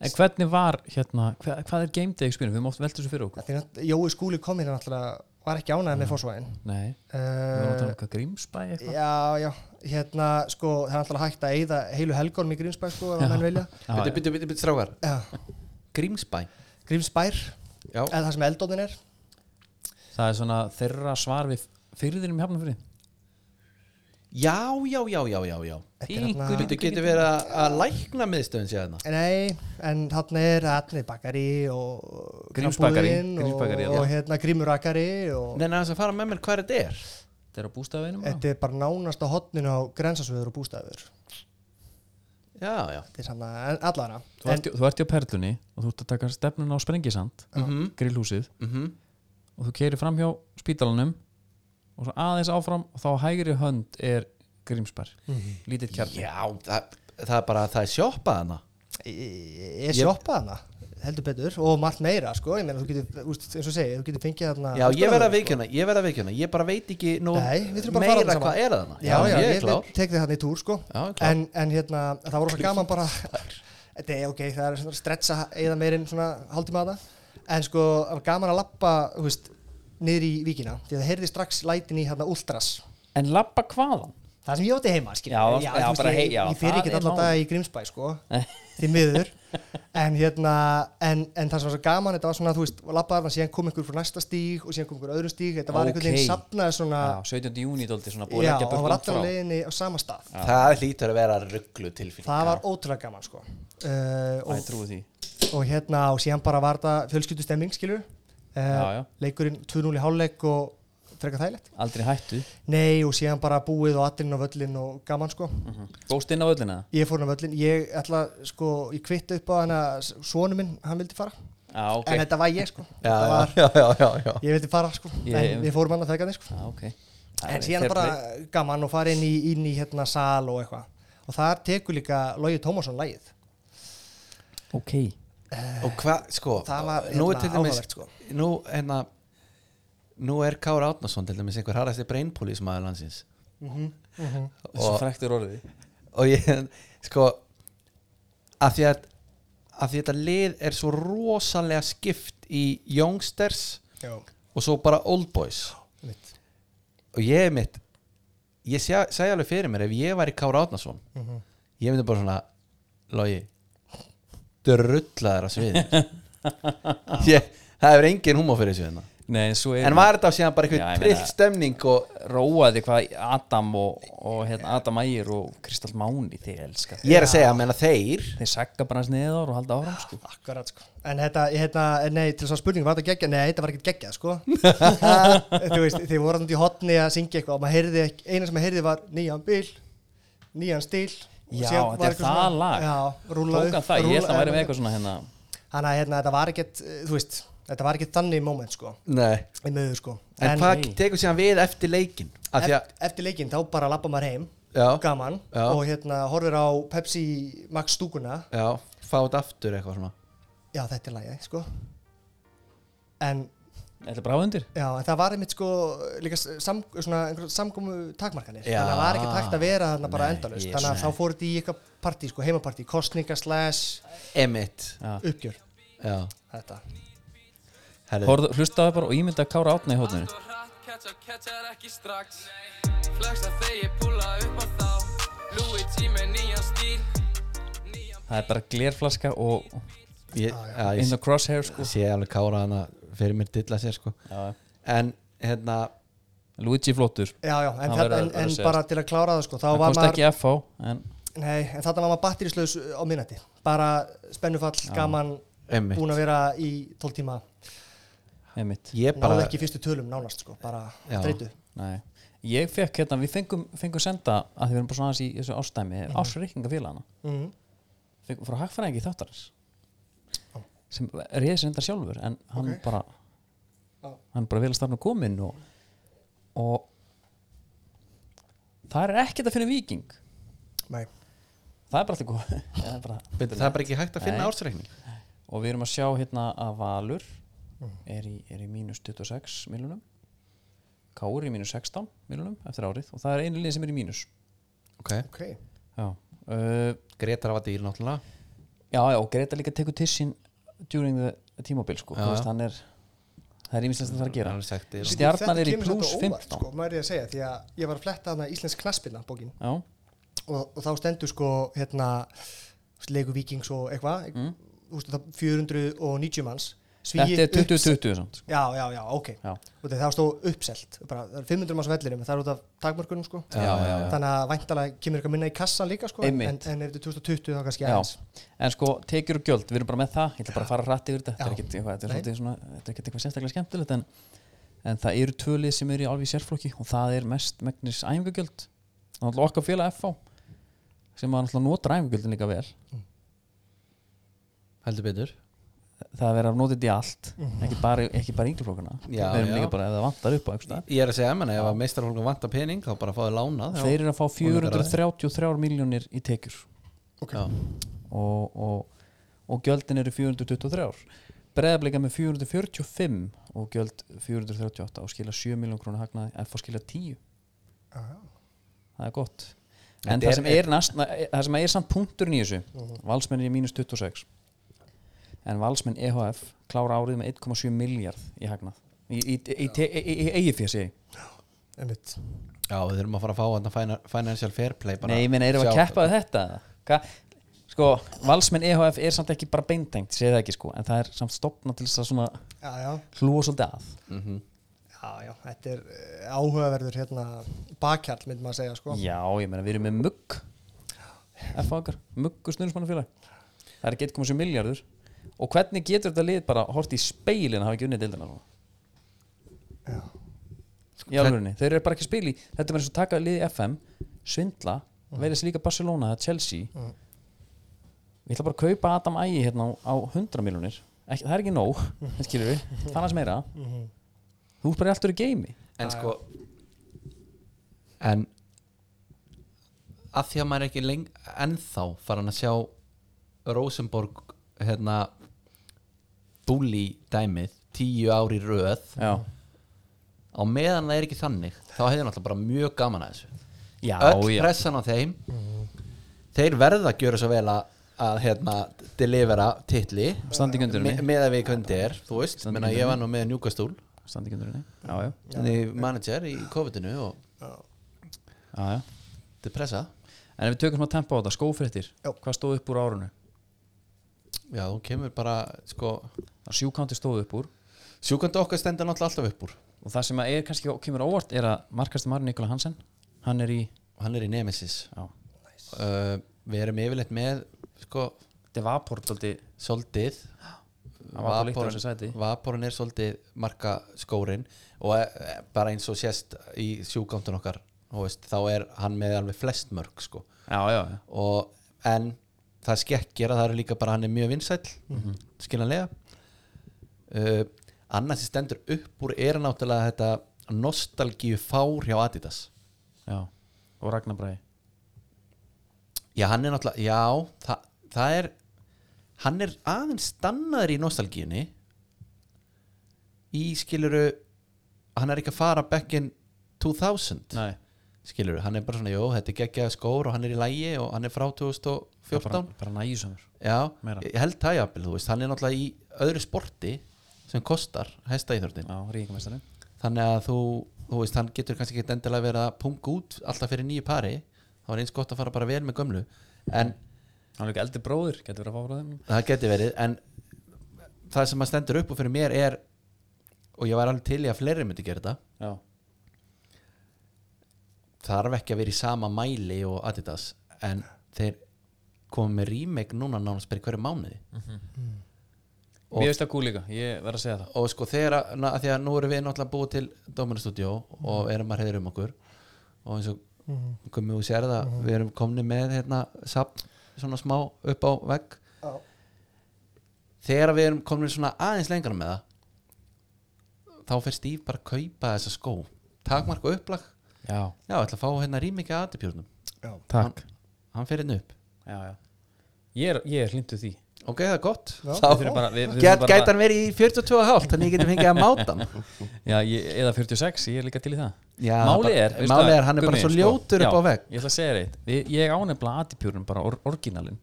A: En hvernig var, hérna, hvað, hvað er game day experience? Við máttum velta þessu fyrir okkur.
C: Þannig að Jói skúli kom hérna alltaf var ekki ánægð með fósvæðin
A: Nei, Mm. við varum að
C: uh,
A: tala um eitthvað grímsbæ eitthvað.
C: Já, já, hérna sko, það er alltaf hægt að eyða heilu helgónum í Grímsbæk sko, ef að menn vilja
A: Já,
B: Byttu, byttu, byttu, byttu, strákar
C: Já,
B: Grímsbæ
C: Grímsbær
B: Já.
C: eða það sem eldóðin er
A: Það er svona þeirra svar við fyrirðinum í hafnafyrir.
B: Já, já, já, já, já, já
C: Þetta er hérna-
B: Þetta getur verið að- að lækna miðstöðin séðna
C: Nei, en þarna er Atni Bakari og
A: Grímsbakari,
C: Knappbúðin og,
A: Grímsbakari, já.
C: og hérna Grímurakari og
B: Nei, en aðeins að fara með mér hvað þetta er
A: Þeirra bústafeinum.
C: þetta er bara nánast á hotninu á grensasöður og bústæður
B: Já, já,
C: þetta er sanna, en allara
A: Þú ert, þú ert í á perlunni og þú ert að taka stefnun á Sprengisand, grillhúsið,
B: Mhm.
A: og þú keirir fram hjá spítalanum og svo aðeins áfram og þá á hægri hönd er grímsbær,
C: Mhm.
A: lítill kjarni.
B: já það, það er bara að það er sjoppað hana
C: ég sjoppa hana heldur betur og margt meira sko, ég meina þú getur, úst, eins og segi, þú getur fengið þarna
B: Já, ég verð að veikjuna, ég verð að veikjuna Ég bara veit ekki nú
C: sko. Nei, við þurfum bara að fara
B: meira
C: þarna
B: hvað
C: saman.
B: er hana
C: Já, já,
B: ég
C: ég,
B: er klár
C: tek þig þarna í túr sko
B: Já, ég er klár.
C: en, en hérna, það var rosa gaman bara Þetta er ok, það er svona að stretsa eða meirinn svona hálftíma að það En sko, það var gaman að lappa, þú veist, niður í víkina Því að það heyrði strax lætin í hérna Ultras
A: En labba hvaðan?
C: Það sem ég átti heima, skilur
A: Já,
C: við.
A: já,
C: þú veist,
A: bara
C: ég-
A: hei- já,
C: Ég fyrir
A: það
C: ekki
A: er
C: allan
A: málið.
C: dag í Grímsbæ, sko Því miður En hérna, en, en það sem var svo gaman Þetta var svona, þú veist, lappaðarna, síðan kom einhver frá næsta stíg Og síðan kom einhver á öðrum stíg Þetta var einhvern
A: Ókei.
C: veginn safnaði svona
A: Já, 17. júni dóldi svona búið að leggja
C: Ah. Já, og það var
A: burt
C: allar á
A: frá.
C: leiðinni á sama stað
B: Það hlýtur að vera rugglu tilfinning
C: Það var ótrúlega gaman sko uh,
A: Það er
C: og,
A: trúið því.
C: og hérna og síðan bara var það fjölskyldu stemming skilur
A: Já, já.
C: uh, Leikurinn 2-0 í hálfleik og frekar þægilegt
A: Aldrei hættu.
C: Nei og síðan bara búið og allirinn á völlin og gaman sko
A: Mhm. Góst inn á öllina?
C: Ég fór hann á völlin, ég ætla sko ég kvitt upp á hann að sonu minn hann vildi fara
A: Já, ok.
C: En þetta var ég sko
B: Já,
C: Þetta var,
B: já, já, já, já.
C: Ég vildi fara sko
A: Ég-
C: En við fórum hann að þekka þig sko
A: Já, ok. Það
C: En
A: er
C: síðan
A: fair
C: bara
A: play.
C: gaman og fara inn í, inn í hérna sal og eitthvað Og þar tekur líka Logi Tómasson lægið
A: Ok.
B: Og hvað, sko
C: Eh, Það var,
B: Nú er
C: hérna,
B: til dæmis
C: áhugavert, sko.
B: Nú, hérna Nú er Kár Átnason til dæmis einhver harrasti brainpólismæður landsins
C: Mhm,
A: Svo frektur orðið.
B: og ég sko að því að, að því að þetta lið er svo rosalega skipt í youngsters
C: Já
B: og svo bara old boys
C: Mitt.
B: og ég er mitt ég seg- segi alveg fyrir mér ef ég var í Kára Átnason
A: Mhm.
B: ég myndi bara svona logi drullaður að sviðin ég, það hefur engin húmá fyrir þessu hérna
A: Nei, en svo er...
B: en var þetta síðan bara
A: Já,
B: eitthvað
A: ég meina-
B: trill stemning og
A: róaði hvað Adam og, og hérna, Adam Ægir og Kristall Máni þeir elska
B: ég er að segja að menna þeir
A: þeir sagga bara hans neðar og halda áfram sko.
C: Akkurat sko En þetta, hérna, nei, til þess að spurning var þetta geggjað Nei, þetta var ekkert geggjað sko Þú veist, þið voru þannig í hotni að syngja eitthvað og maður heyrði, ekki- eina sem maður heyrði var nýjan bíl, nýjan stíl og
A: Já,
C: síðan var
A: þetta er
C: eitthvað
A: það
C: svona-
A: lag.
C: Já, rúla
A: tókan það, ég held að væri með eitthvað svona hérna
C: Þannig að hérna, þetta var ekkert, eh, þú veist, þetta var ekkert þannig moment sko
B: Nei.
C: Í möðu sko
B: en, hvað tekur síðan við eftir leikin að því að
C: eft, Eftir leikinn þá bara lappa maður heim
B: Já.
C: Gaman
B: Já.
C: Og hérna, horfir á Pepsi Max stúkuna
B: Já, fá þetta aftur eitthvað svona
C: Já, þetta er lagið, sko En
A: Þetta er bara á undir
C: Já, en það var einmitt sko líka s- sam, svona einhverjum samkomu takmarkanir
B: Já.
C: þannig að það var ekki takt að vera þarna bara
B: Nei,
C: endalaust
B: ég-
C: þannig að
B: nei.
C: þá fór þetta í eitthvað partí, sko heimapartí kostninga slash
B: Emmett
C: uppgjör
B: Já,
C: þetta
B: herri
A: Horfðu- Hlustaðu bara og ímynda Kára Átna í hótninu
J: Ketchup, ketchup ekki strax Flexa þegar ég púla upp á þá Louis G með nýjan stíl
A: Það er bara glerflaska og
B: ég, já,
A: in
B: ég
A: the crosshair sko
B: sé alveg kára hana fyrir mér dilla sér sko
A: Já.
B: En hérna
A: Luigi flottur
C: Já, já,
A: Það
C: en, það,
A: verður að-
C: en,
A: verður að
C: en
A: segja.
C: bara til að klára það sko þá
A: Það
C: var
A: komst
C: maður,
A: ekki FH en
C: nei, en þarna var maður batterislaus á minnati bara spennufall, gaman
B: Einmitt.
C: búin að vera í 12 tíma
A: einmitt
B: ég
C: náðu
B: bara
C: ekki í fyrstu tölum nánast sko bara
B: Já.
C: dreytu
A: Nei. Ég fekk hérna, við fengum, fengum senda að því við erum bara svona aðeins í þessu ástæmi mm. ársreikningafélagana
C: Mhm.
A: fengum frá hagfræðingi þáttarins sem reyði sér enda sjálfur en hann bara hann bara vel að starna komin og, og það er ekkert að finna viking
C: Nei,
A: það er bara alltaf góð það er bara
B: Bindi, Það er bara ekki hægt að finna
A: Nei.
B: ársreikning
A: og við erum að sjá hérna að Valur er, í, er í mínus 26 miljonum Káur í mínus 16 miljonum eftir árið og það er einu lið sem er í mínus
B: Ok,
C: ok
A: já, uh,
B: Gretar var dýr náttúrulega
A: já, já og Greta líka tekur til sín during the tímabil sko
B: Já,
A: Þú veist,
B: já.
A: hann er, það er ímislega sem það er að gera
B: Hann er sektir og-
A: stjarnan er í
C: Þetta kemur
A: plus
C: svolítið
A: 15
C: á óvart, sko, maður er ég að segja, því að ég var að fletta hana Íslensk knaspinna bókin
A: já,
C: og, og þá stendur sko hérna þú veist, leiku vikings og eitthvað mm. 490 manns Svíi
A: þetta er 2020
C: uppsel-
A: 20, samt, sko.
C: Já, já, já, ok
A: Já.
C: og það þá stóð uppselt bara, það er 500 manns á vellinum, en það er út af takmörkunum sko. já, já, já. þannig að væntalega kemur eitthvað minna í kassan líka sko, en, en
A: Einmitt.
C: ef þetta er 2020 þá kannski
A: Já,
C: aðeins
A: en sko, tekjur og gjöld, við erum bara með það ég ætla bara að fara rætt yfir þetta, þetta er
C: Já.
A: ekkert eitthvað, þetta er
C: Nei.
A: svolítið svona, þetta er ekkert eitthvað sérstaklega skemmtilegt en, en það eru tvölið sem eru í alveg í sérflokki og það er mest megnis æfingugjöld og náttúrulega okkar félag FH sem að náttúrulega notar æfingugjöldin líka vel
B: Heldur betur
A: það er verið að nota þetta í allt ekki bara, ekki bara yngjaflokkuna við
B: Mhm. Já,
A: erum
B: já.
A: líka bara, ef það vantar upp á einhvers staðar.
B: Ég er að segja, menna, ef að meistarfólkum vantar pening þá bara fáið lánað hjá-
A: þeir eru að fá
B: Ólíkar aðeins.
A: 433 miljónir í tekjur
B: Já.
A: og, og, og gjöldin eru 423 breðablika með 445 og gjöld 438 og skila 7 miljón krónu hagnaði en fá skila 10 það er gott en
B: Þetta
A: það
B: er- e-
A: sem er, næst, na- það sem er samt punkturinn í þessu valsmenn er í mínus 26 en valsmenn EHF klára árið með 1,7 miljard í hagnað í, í, í, í, í, í eigifjör segi ég.
C: einmitt
B: Já, við þurfum að fara að fá hérna fina- financial fair play bara
A: Nei, ég meina, erum við að
B: sjá-
A: keppa við þetta? Hva? Sko, valsmenn EHF er samt ekki bara beintengt, segið það ekki sko en það er samt stopna til þess að svona
C: já, já,
A: hlúa svolítið að
C: já, já, þetta er eh, áhugaverður hérna, bakkjarl myndum að segja sko.
A: Já, ég meina, við erum með mugg FH okkar, mugg og snurðismannafélag Það er ekki 1,7 miljardur og hvernig getur þetta lið bara hort í speilin að hafa ekki unnið deildina svona? Já Í alvörinni, þeir eru bara ekki að spila í þetta er bara eins og taka liði FM svindla, mm. verið sér líka Barcelona eða Chelsea Ég ætla bara að kaupa Adam Ægi hérna á- á 100 miljonir ekki, það er ekki nóg, þetta skilur við það er meira Þú ert bara alltaf í geimi
B: En sko En að því að maður er ekki leng ennþá farin að sjá Rosenborg hérna búli dæmið tíu ár í röð
A: Já,
B: á meðan það er ekki þannig þá hefði náttúrulega bara mjög gaman að þessu
A: já,
B: öll
A: já. Mhm.
B: pressan á þeim þeir verða að gjöra svo vel að, að hérna, delivera titli
A: Standa í gundurunni.
B: Me- með að við kundi er, þú veist
A: Standa í
B: Menna, ég var nú með njúkastúl
A: Standi ekki undir henni Já, já,
B: manager í COVID-inu og
A: já, já.
B: þetta er pressa
A: En ef við tökum smá tempo á þetta, skófréttir
C: Já.
A: Hvað stóð upp úr árunu?
B: já, þú kemur bara sko,
A: Það sjúkanti stóð upp úr
B: sjúkandi okkar stendur náttúrulega alltaf upp úr
A: og það sem að er kannski kemur á óvart er að markastum Arn Nikola Hansen hann er í,
B: hann er í Nemesis
A: já,
B: uh, við erum yfirleitt með sko,
A: þetta er vapor tóldi,
B: soldið
A: Hann var bara líktur þessu sæti.
B: Vaporun er soldið marka skórin og e, e, bara eins og sést í sjúkántun okkar þú veist, þá er hann með alveg flest mörg sko.
A: já, já, já,
B: og, en það skekkir að það er líka bara hann er mjög vinsæll skiljanlega uh, annars sem stendur upp úr er náttúrulega þetta nostalgíu fár hjá Adidas
A: já. og Ragnar Bræði
B: já hann er náttúrulega, já það, það er hann er aðeins stannaður í nostalgíunni í skiluru hann er ekki að fara back in 2000
A: Nei.
B: skiluru, hann er bara svona, jó, þetta er geggjað skór og hann er í lægi og hann er frá 2014
A: bara, bara nægjusömmur
B: Já,
A: Meira.
B: ég held það jafnvel, þú veist, hann er náttúrulega í öðru sporti sem kostar hæsta íþjórtin
A: á ríkumestarinn
B: þannig að þú, þú veist, hann getur kannski ekki endilega verið að punga út alltaf fyrir nýju pari þá er eins gott að fara bara vel með gömlu en
A: hann er líka eldi bróðir, getur verið að fá frá þeim
B: það getur verið, en það sem að stendur upp og fyrir mér er og ég var alveg til í að fleiri myndi gera þetta
A: já,
B: þarf ekki að vera í sama mæli og Adidas en þeir komum með remake núna nánast bara í hverju mánuði Og-
A: mér veist það kú líka, ég verð að segja það
B: og sko þegar að, na, að því að nú erum við náttúrulega búið til Dóminastúdjó
A: Mhm.
B: og erum að reyður um okkur og eins og komum við sér það
A: Mhm.
B: við erum komni með hérna sapn svona smá upp á vegg
C: Já.
B: þegar við erum komin svona aðeins lengra með það þá fer Stíf bara að kaupa þessa skó takmark og upplag
A: já,
B: já, ætla að fá hérna rýmikið aðdipjórnum
A: takk
B: hann fer hérna upp
A: já, já. ég er, ég er hlindu því
B: ok, það er gott
C: Já.
B: Þá-
A: Við þurfum bara- við- við
B: Gæt-
A: þurfum bara-
B: gæti hann verið í 42,5 þannig ég getum fengið að máta hann
A: já, ég, eða 46, ég er líka til í það
B: Já,
A: málið
B: bara-
A: er, veistu
B: málið
A: það,
B: er, hann er bara
A: Gummi, sko.
B: svo ljótur upp
A: já,
B: á vegg.
A: ég ætla að segja reitt, ég, ég ánefnilega aðipjúrun bara or, orginalinn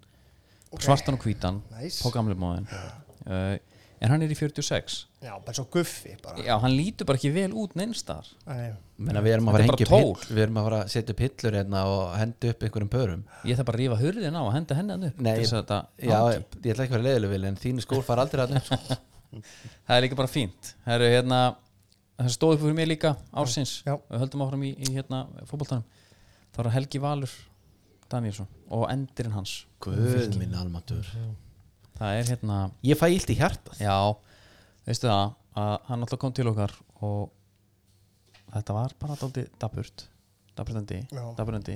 A: svartan og hvítan,
C: Nice.
A: på gamlu móðin uh, en hann er í 46
C: Já, bara svo guffi bara.
A: já, hann lítur bara ekki vel út neinstar
C: Æ,
B: Menna, við, erum að
A: Þetta
B: fara
A: er
B: að hengja
A: bara
B: upp hill- við erum að fara að setja upp hillur hérna og henda upp einhverjum pörum
A: ég ætla bara að rífa hurðin á og henda henni hann upp
B: Nei,
A: til þess að
B: ég,
A: þetta,
B: já, ég, ég ætla ekki að vera leiðileg vil en þínu skór fara aldrei allir sko.
A: það er líka bara fínt það eru hérna það stóð upp fyrir mig líka ársins
C: Já.
A: við höldum áfram í, í hérna fótboltanum það eru Helgi Valur Danielsson og endirinn hans
B: Guð minn almatur
A: það er hérna
B: Ég fæ illt í hjartað
A: já, veistu það að hann alltaf kom til okkar og þetta var bara dálítið daburt daburandi,
C: Já.
A: daburandi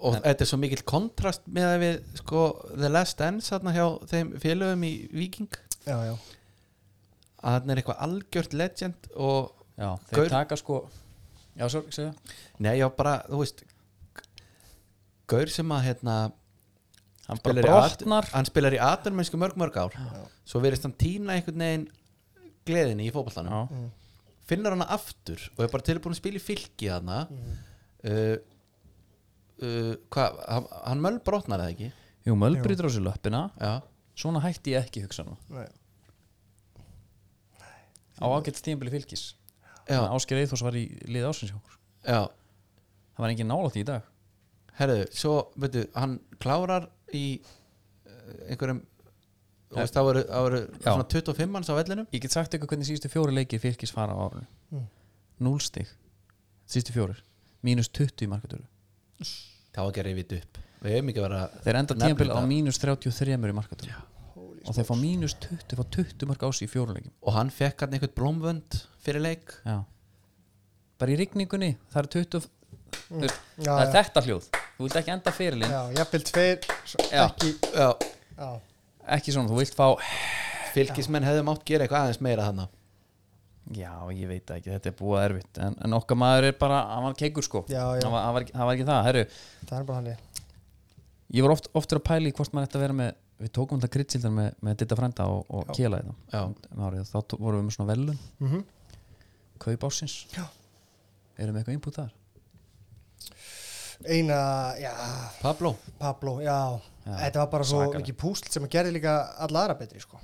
B: og þetta er svo mikill kontrast með að við sko, The Last Dance hérna hjá þeim félögum í Viking
C: já, já,
B: að hann er eitthvað algjört legend og
A: já, þeir
B: Gaur-
A: taka sko já, svo, segja
B: nei, já, bara, þú veist Gaur sem að hérna,
A: hann bara
B: spilar í at-
A: brotnar
B: hann spilar í aturmennsku mörg mörg ár svo verðist hann týna einhvern veginn gleðinni í fótbollanum
A: já,
B: finnur hana aftur og er bara tilbúin að spila í fylki hana uh, uh, hvað, hann, hann möll brotnar eða ekki
A: jú, mölbrytur á sér löppina
B: já,
A: svona hætti ég ekki hugsa nú
C: Nei.
A: á ágætt tíðanbili fylgis
B: já,
A: Ásker Eithors var í liði ásins hjá okkur
B: já
A: það var engin nálátt í dag
B: herðu, svo, veitu, hann klárar í uh, einhverjum þú veist, þá eru, þá eru
A: Já.
B: svona 25 manns á vellinum
A: ég get sagt ykkur hvernig síðustu fjóri leikir fylgis fara á árunni
C: Hmm.
A: mm. 0 stig síðustu fjórir mínus 20 í markatölu
B: þá að gera yfir upp við hefum ekki að vera
A: þeir enda
B: nefna
A: tíðanbili á
B: þetta.
A: mínus 33 í markatölu og þeir fá mínus 20 fá 20 marka á sig í fjóruleikim
B: og hann fekk hann einhvern blómvönd fyrir leik
A: já bara í rigningunni það er 20 mm.
C: Hmm. já,
A: það er
C: já,
A: þetta hljóð þú vilt ekki enda fyrirlin
C: já jafnvel tveir svo
A: Já.
C: ekki
B: já,
C: já,
A: ekki svona þú vilt fá
B: fylkismenn hefðu mátt gera eitthvað aðeins meira hann
A: Já, ég veit það ekki, þetta er búið erfitt en, en okkar maður er bara, hann var keikur sko
C: Já, já.
A: Hann var, hann var, ekki- hann var ekki það, herru
C: það er bara hannig
A: Ég var oft, oftur að pæla í hvort maður ætti að vera með Við tókum alltaf grittsildar með, með Ditta Frænda og, og Kela í
B: Já.
A: það Þá tó- vorum við með svona velun mm -hmm. Kaup ársins
C: Já.
A: Erum við eitthvað input þar?
C: eina, já,
B: Pablo,
C: Pablo, já, þetta var bara svo
A: svakalegt.
C: mikið púsl sem að gerði líka alla aðra betri sko.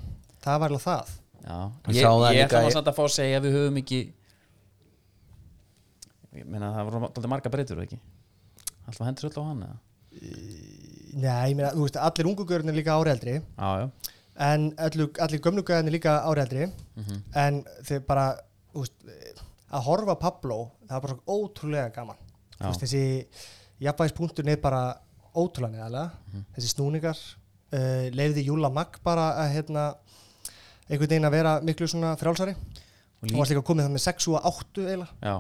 C: það var alveg það
A: Já,
B: Ég
A: ég,
B: sá það
A: ég
B: líka,
A: ætla
B: ég-
A: maður samt að fá að segja að við höfum ekki Ég meina það voru alltaf marga breytur ekki Alltaf hendur öll á hann eða?
C: Nei, ég meina, þú veist, allir ungu görðin er líka árealdri
A: Já, já,
C: en allu, allir gömlugöðin er líka árealdri en þeir bara þú veist, að horfa á Pablo það var bara svo ótrúlega gaman Þú
A: Já.
C: veist, þessi jafnvægispunkturinn er bara ótrúlega neðalega þessi snúningar uh, leiði Júla Magg bara að hérna, einhvern veginn að vera miklu svona frjálsari
A: Og
C: hún varst líka komið það með 6 og 8 eiginlega
A: Já,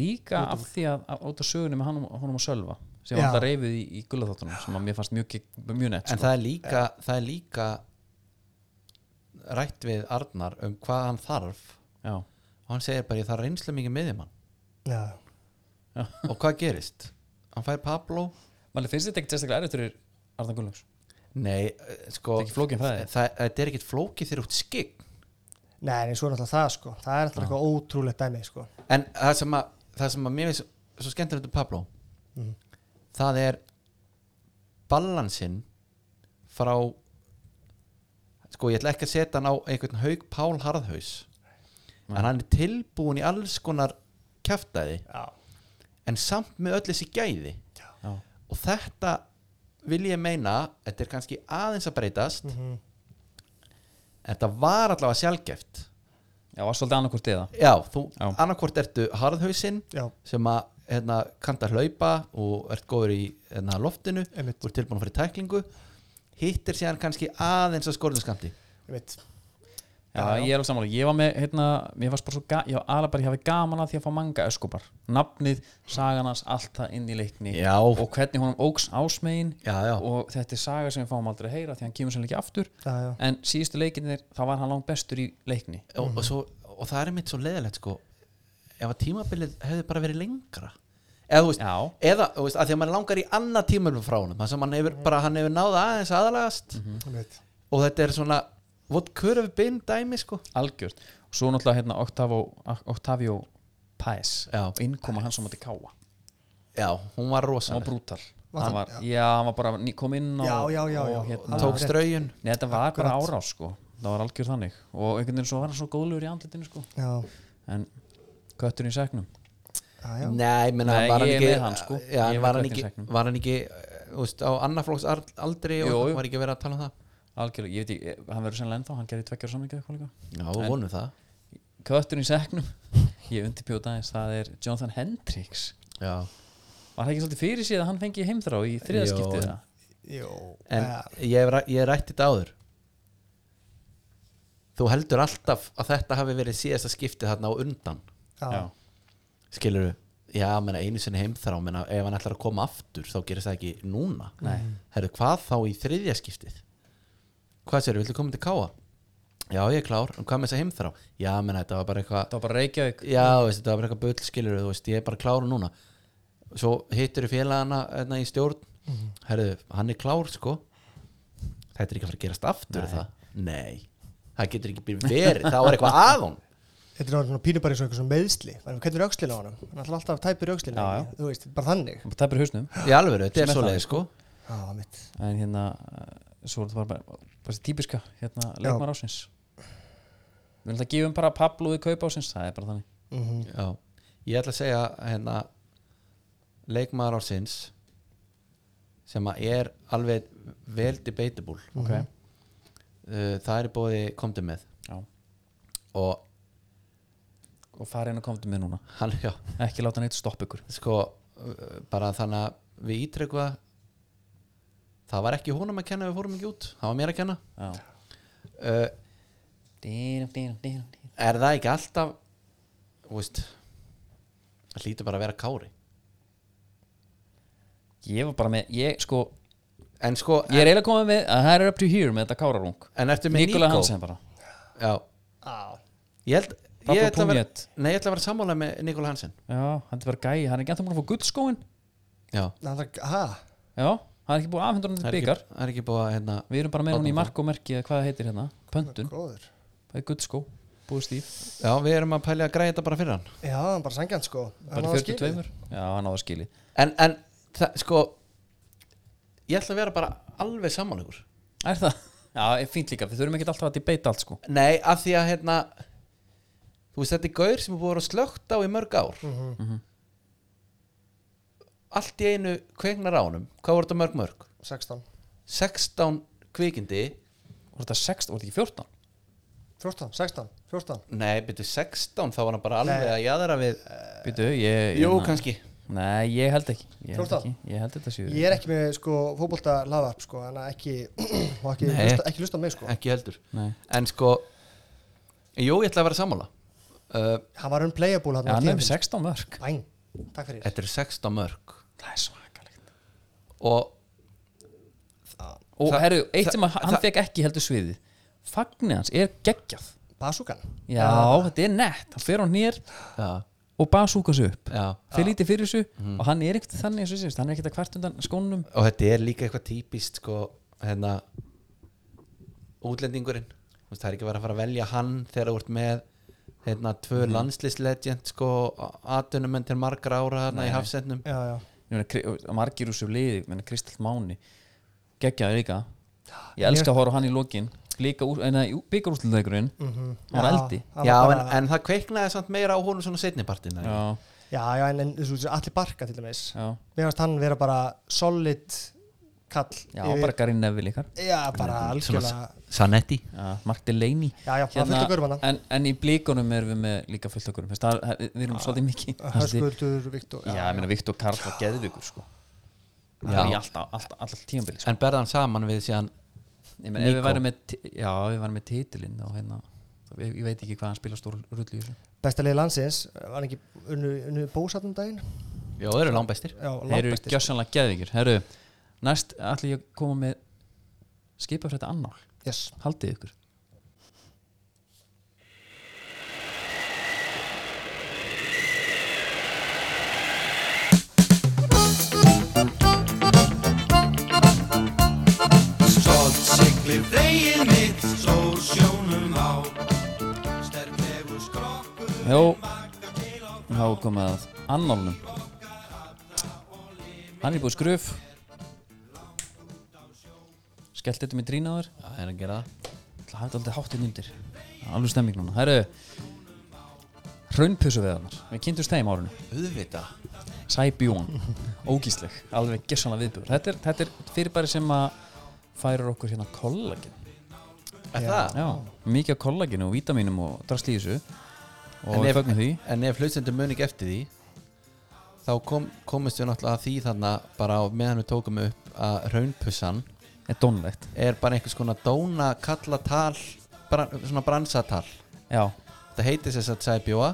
A: líka af því að að- út af sögunni með hann, honum og Sölva sem
C: Já.
A: var alltaf reyfið í, í gullaþáttunum sem að mér fannst mjög, gegn- mjög nett
B: en
A: sko.
B: það er líka það er líka rætt við Arnar um hvað hann þarf
A: Já,
B: og hann segir bara ég þarf reynslu mikið miðjumann
C: Já.
B: og hvað gerist? Hann fær Pablo
A: maður finnst þetta ekki testaklega erfitt fyrir Arna Gullungs
B: Nei, eh, sko
A: Það er ekki flókin fræði.
B: það- Þetta er ekkit flókið þegar út skik
C: Nei, en svo er náttúrulega það sko Það er náttúrulega eitthvað ótrúlegt dæmi sko
B: En það sem að, það sem að mér finnst svo skemmtilegt um Pablo
C: Mhm.
B: það er balansinn frá sko ég ætla ekki að setja hann á einhvern haug Pál Harðhaus
C: Mhm.
B: en hann er tilbúin í alls konar kjaftaði
C: Já.
B: en samt með öll þessi gæði
A: Já.
B: og þetta vil ég meina þetta er kannski aðeins að breytast
C: Mhm.
B: en þetta var allavega sjálfgeft
A: Já, var svolítið annarkvort eða
B: Já, þú,
A: Já.
B: annarkvort ertu harðhausinn
C: Já.
B: sem að hérna, kanta hlaupa og ert góður í hérna, loftinu
C: Einmitt.
B: og ert tilbúin að fara í tæklingu hittir síðan kannski aðeins að skorðum skamti
C: Ég veit
A: Já, ég er á sammála, ég var með, hérna, mér varst bara svo ga- ég var alveg bara, ég hafi gaman að því að fá manga öskupar, nafnið, saganans allt það inn í leikni
B: Já.
A: og hvernig honum óks ásmegin
B: Já, já.
A: og þetta er saga sem við fáum aldrei að heyra því hann kemur sem ekki aftur
C: Já, já.
A: en síðustu leikinir, þá var hann langt bestur í leikni
B: og, og, svo, og það er mitt svo leðilegt sko, ef að tímabilið hefði bara verið lengra eða þú veist,
A: Já.
B: eða, þú veist að því að mann langar í annað tímabilið frá honum þannig sem hann hefur, bara, hann hefur náða aðeins aðalagast
A: Mhm.
C: Ég veit
B: og þetta er svona what could have been dæmi sko
A: algjört og svo náttúrulega hérna Octavio, Octavio Paes
B: Já.
A: og innkoma hans á móti káa
B: Já, hún var
A: sem var
B: rosaleg
A: brútal
C: Var
A: hann
C: það?
A: var, já, hann var bara ný- kom inn og,
C: Já, já, já, já.
A: og hérna
B: tók strauðun
A: Nei, þetta var bara
C: Akkurat.
A: árás sko það var algjör þannig og einhvern veginn svo var hann svo góðlegur í andlitinu sko
C: Já,
A: en kötturinn í segnum
C: já, já
B: Nei, menna,
A: Nei,
B: var hann
A: ég er
B: ekki,
A: með hann, sko.
B: já,
A: Ég er
B: var,
A: með
B: hann
A: Klettinn
B: ekki
A: segnum.
B: var hann ekki uh, úst, á annarflóks aldri
A: Jú,
B: og
A: jú.
B: var ekki verið að tala um það
A: algjörlega, ég veit ekki, eh, hann verður sennilega ennþá hann gerði tveggjara samlinga eitthvað líka
B: Já, við vonum það
A: kötturinn í segnum, ég undirbjóta aðeins það er Jonathan Hendricks
B: já.
A: var það ekki svolítið fyrir síðan að hann fengi heimþrá í
B: Jó,
A: þriðaskiptið
B: en-
A: það
C: Jó
B: En
C: Já.
B: ég, hef ræ- ég rætti þetta áður Þú heldur alltaf að þetta hafi verið síðasta skiptið þarna á undan
C: Já,
B: Skilurðu? Já, menna, einu sinni heimþrá menna, ef hann ætlar að koma aftur þá gerist það ekki núna
A: Nei.
B: Herru, hvað þá í þriðja skiptið? Hvað sér, viltu koma til káa? Já, ég er klár, en hvað með þess að heimþrá? Já, menna, þetta var bara eitthvað
A: það var bara Reykjavík
B: já, veist, þetta var bara eitthvað bull skilur þú veist, ég er bara klár núna svo hittur félagana hérna, í stjórn
A: Mhm.
B: herðu, hann er klár sko þetta er ekki að fara að gerast aftur nei. það nei, það getur ekki byrjum verið það var eitthvað aðum
C: Þetta er náttúrulega pínu bara eins og eitthvað sem meðsli Þannig hvernig er öxlina á honum Hann ætlar alltaf að tæpir öxlina
A: Já, já.
C: Þú veist, bara þannig
A: það er bara hausnum
B: í alveg, þetta er
A: Sem er
B: svo
A: það,
B: leið sko
C: Já, mitt
A: en hérna eh, svo er það bara, bara, bara þessi típiska hérna leikmar ásins við ætlum að gefum bara Pablo í kaup ásins það er bara þannig
B: já. ég ætla að segja hérna, leikmaður ársins sem að er alveg vel debatable
C: Mhm.
A: okay.
B: uh, það er bóði komdu með
A: já.
B: og
A: og farið inn og komdu með núna
B: hann, já,
A: ekki láta neitt stoppa ykkur
B: sko uh, bara þannig að við ítrekva það var ekki honum að kenna við fórum ekki út, það var mér að kenna
A: já.
B: uh,
A: Dýrum, dýrum, dýrum, dýrum.
B: er það ekki alltaf þú veist það hlýtur bara að vera kári
A: ég var bara með ég, sko,
B: en sko,
A: ég er eiginlega komið með að það er up to here með þetta kárarung
B: en eftir með
A: Nikola
B: Nico
A: Hansen bara
B: já, ég held
A: Pablo
B: ég ætla, að vera,
A: Punjet.
B: nei, ég ætla að vera sammála með Nikola Hansen
A: já, hann er bara gæi, hann er ekki ennþá búin að fá guldskóin
B: já,
C: Ná, það, ha,
A: já, hann er ekki búin aðhendur hann
B: það
A: til
B: er ekki,
A: byggar
B: það er ekki búið að hérna,
A: við erum bara með hann í markomerki eða hvað það heitir hérna pöntun,
C: góður
A: það er guldskó búið stíf,
B: já, við erum að pælja að græja þetta bara fyrir hann
C: Já, hann bara sangjant sko Hann á
A: bara
C: það
A: 42
C: skilið.
A: já, hann á það skilið
B: en, en það, sko ég ætla að vera bara alveg sammálegur
A: Er það? Já, er fínt líka, við þurfum ekki alltaf að debata allt sko
B: Nei, af því að hérna Þú veist, þetta er gaur sem er búið að vera slögt á í mörg ár Mhm. Allt í einu kveiknar á honum Hvað voru þetta mörg mörg?
C: 16
B: 16 kvikindi
A: Voru þetta 16, voru þetta ekki 14?
C: 14, 16, 14
B: Nei, byrju 16, þá var hann bara alveg að jaðra við
A: Býtu, ég
B: Jú,
A: hérna-
B: kannski
A: Nei, ég held ekki Ég held,
C: 14?
A: ekki. Ég held þetta séu
C: Ég er ekki með sko fótbolta lavarp sko Þannig að ekki, má ekki,
B: Nei.
C: hlusta, ekki hlusta á mig sko
B: Ekki heldur
A: Nei.
B: En sko Jú, ég ætla að vera sammála uh,
C: Hann var unplayable hann
A: Já, hann er með 16 mörg
C: Bæn, takk fyrir
B: Þetta eru 16 mörg
A: Það er svakalegt
B: Og
A: Og
B: Það-
A: herru, eitt
B: það-
A: sem að hann
B: það-
A: fekk ekki heldur sviðið Fagnir hans er geggjað
C: Basúkan
A: Já, þetta er nett Hann fer á nýr
B: Já,
A: og basúka sig upp
B: já
A: Fer lítið fyrir þessu
C: Mhm.
A: og hann er ekkert þannig eins og sérst Hann er ekkert að hvert undan skónum
B: og þetta er líka eitthvað típist sko, hérna útlendingurinn Þú veist, það er ekki verið að fara að velja hann þegar þú ert með hérna, tvö mm. landslíslegend sko, aðtunumenn til margra ára þarna
A: Nei.
B: í hafsendnum
C: já, já.
A: Ég meina, Kri- og margir úr sér liði, menna Kristall Máni geggjaði líka ég
C: Ég-
A: elska að horfa á hann í lokin líka úr, en það byggur úrslutleikurinn
C: Mhm.
A: hann var eldi
C: hann
B: Já,
C: var
B: en,
C: bara-
B: en það kveiknaði samt meira á honum svona setnipartin
A: já,
C: já, já, en, en þessu, allir barka til dæmis
A: já,
C: mér fannst hann vera bara solid kall
A: já bara Garin Neville líka
C: já, bara algjörlega
B: Sanetti
A: já, Mark Delaney
C: já, já, hérna, fullt að görma hann
A: en, en í blíkunum erum við með líka fullt okkur við erum svolítið mikið
C: Höskuldur, Viktor
A: já, ég meina Viktor Karl var geðvikur sko. það
B: Já.
A: var í alltaf, alltaf, alltaf tímabili sko.
B: En berðan saman við síðan
A: ég meina, ef við
B: Nico.
A: værum með ti- já, ef við værum með titilinn þá hérna, þá- ég, ég veit ekki hvað hann spila stór rullu í þessu
C: besta liði landsins, var hann ekki unnu, unnu bósatnum daginn
B: Já, þau eru langbæstir
C: já,
A: Þeir eru
C: langbestir.
A: gjössanlega geðvíkir Herru, næst ætlum ég að koma með skipafrætta annál
C: yes.
A: Haldið ykkur Jó, þá er komið að annálnum Hann er búið skröf Skellt þetta með drínaður
B: Það er að gera það
A: Það er aldrei háttið undir Alveg stemming núna Það eru Hraunpjössu veðarnar Við kynntumst þeim árinu
B: Auðvita
A: Sæbjón Ógísleg Alveg gessanlega viðbjör þetta er, þetta er fyrirbæri sem að færir okkur hérna kollagen
B: Er það?
A: Já, mikið af kollagenu og vítaminum og drasli í þessu
B: En
A: og við
B: ef-
A: fögnum því
B: En ef hlustendum mun ekki eftir því þá kom, komist við náttúrulega að því þarna bara á meðan við tókum upp að raunpussan
A: er dónlegt
B: er bara einhvers konar dóna kallatal bran, svona bransatal
A: Já,
B: þetta heitir þess að sæbjóa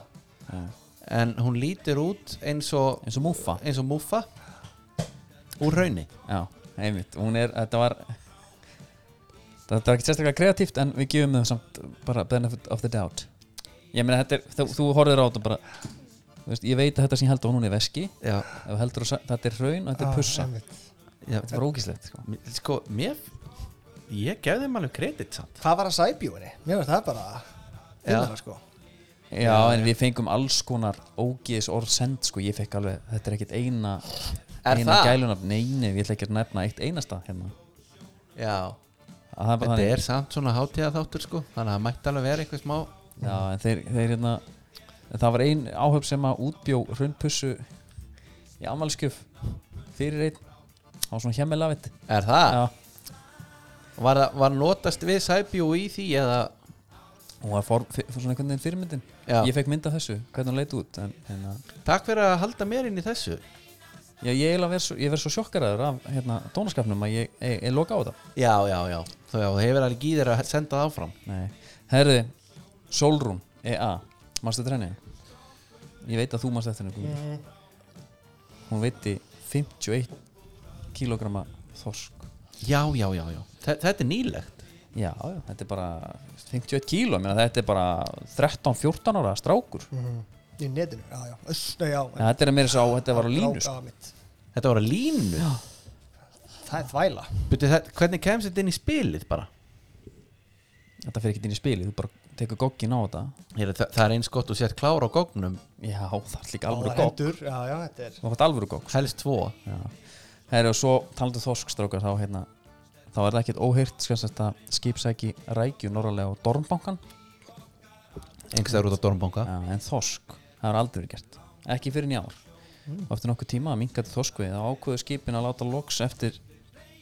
B: en hún lítur út eins og
A: eins og múfa
B: eins og múfa úr raunni
A: Já, einmitt Hún er, þetta var Þetta var ekki sérstaklega kreatíft en við gefum þeim samt bara benefit of the doubt Ég meina þetta er, þú, þú horfir á þetta bara þú veist, Ég veit að þetta sem ég held á hún er veski
B: já,
A: ef þú heldur að sa- þetta er hraun og þetta er pussa
B: já.
A: Þetta var ógíslegt sko.
B: Mér- sko, mér ég gef þeim alveg kredit samt
C: hvað var að sæbjúinni? mér finnst það bara innara, sko.
A: Já, en við fengum alls konar ógís orð send sko, ég fekk alveg, þetta er ekkert eina
B: Er
A: eina
B: það?
A: gælunafn, nei, nei, ég ætla ekki að nefna eitt einasta hérna,
B: já.
A: að það er bara
B: þetta
A: þannig
B: er samt svona hátíða þáttur sko þannig að það mætti alveg vera eitthvað smá
A: Já, en þeir, þeir hérna en það var ein áhöf sem að útbjó hrundpussu í amalskjöf fyrir einn á svona hjemmelafið
B: er það?
A: Já,
B: Var, það- var notast við sæbjó í því eða
A: hún var for, fyr, svona einhvern veginn fyrirmyndin
B: Já.
A: ég fekk mynd af þessu, hvernig hún leit út en, hérna,
B: takk fyrir að halda mér inn í þessu
A: já, ég eiginlega verð svo, ég verð svo sjokkaraður af hérna, tónaskapnum að ég, ég, ég loka á þetta
B: já, já, já þú já, þú hefur alveg gíðir að senda það áfram
A: Nei, herði Solrún, EA, manstu trenni Ég veit að þú manst eftir henni Guðmundur. Hún veitti 51 kilogramma þorsk
B: já, já, já, já Þe- þetta er nýlegt
A: Já, já, þetta er bara 51 kíló, menna þetta er bara 13-14 ára strákur mm.
C: í netinu, já, já, Öss, nei, já, já
A: Þetta er meira sá, þetta var á línu sko.
C: já, mitt.
B: þetta var að línu
C: það er þvæla
B: Byrju, þetta, hvernig kemst þetta inn í spilið bara
A: Þetta fer ekki inn í spili, þú bara tekur goggin á þetta
B: Heyrðu, það, það er eins gott og sett klára á góknum
A: Já, það er líka
C: Báðar
A: alvöru gogg
C: hendur, já, já, þetta er
A: Það var alvöru gogg
B: helst tvo
A: Herri og svo talandu þorskstrákar þá hérna þá er það ekkert óheyrt skanst að skipsæki rækju norralega á Dormbankan
B: einhvers það út á Dormbonga
A: ja, en þorsk, það er aldrei verið gert ekki fyrir njáður mm. og eftir nokkuð tíma að minkaði þorskvið þá ákveðu skipin að láta loks eftir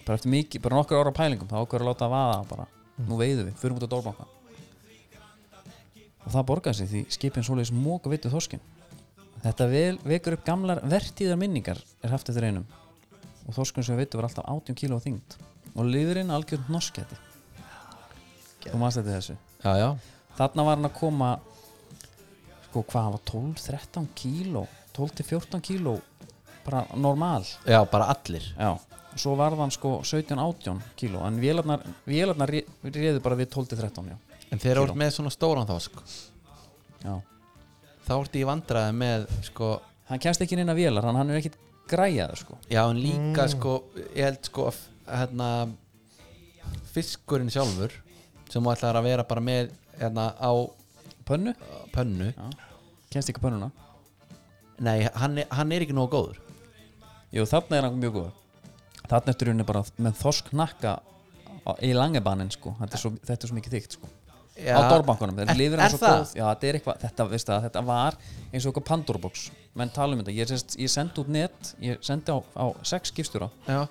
A: bara eftir mikið, bara nokkur ára pælingum þá ákveður að láta að vaða bara nú veiðum við, fyrir út á Dormbankan og það borgaði sig því skipin svoleiðis móka vittu þorskin þetta vel, vekur upp gamlar vertíðar minningar er haft eftir einum og þorskun sem við veitum var alltaf 18 kíló þyngd og liðurinn algjörn norskæti þú maður þetta þessu
B: já, já,
A: þarna var hann að koma sko hvað hann var 12-13 kíló 12-14 kíló bara normal
B: já, bara allir
A: já og svo varð hann sko 17-18 kíló en vélarnar, vélarnar ré- réðu bara við 12-13 já.
B: en þegar þú
A: Kíló.
B: ert með svona stóran þosk
A: já
B: þá ertu í vandræði með sko,
A: hann kemst ekki inn að vélar hann, hann er ekkit græjaður sko
B: já, en líka sko, ég held sko að f- hérna, fiskurinn sjálfur sem þú ætlar að vera bara með hérna, á
A: pönnu,
B: pönnu.
A: kennst ekki pönnuna
B: Nei, hann, er- hann er ekki nógu góður
A: Jú, þarna er hann mjög góð Þarna ertu í rauninni bara með þorsknakka á- í langebanin sko Þetta er svo, þetta er svo mikið þygt sko
B: Já.
A: Á dórbankunum,
B: Er-
A: þetta lifir
B: er
A: hann svo
B: það?
A: góð Já, þetta er eitthvað, þetta, veist það, þetta var eins og eitthvað pandorbox Menn tala um þetta, ég, sest, ég sendi út net Ég sendi á, á sex skipstjóra
B: Já.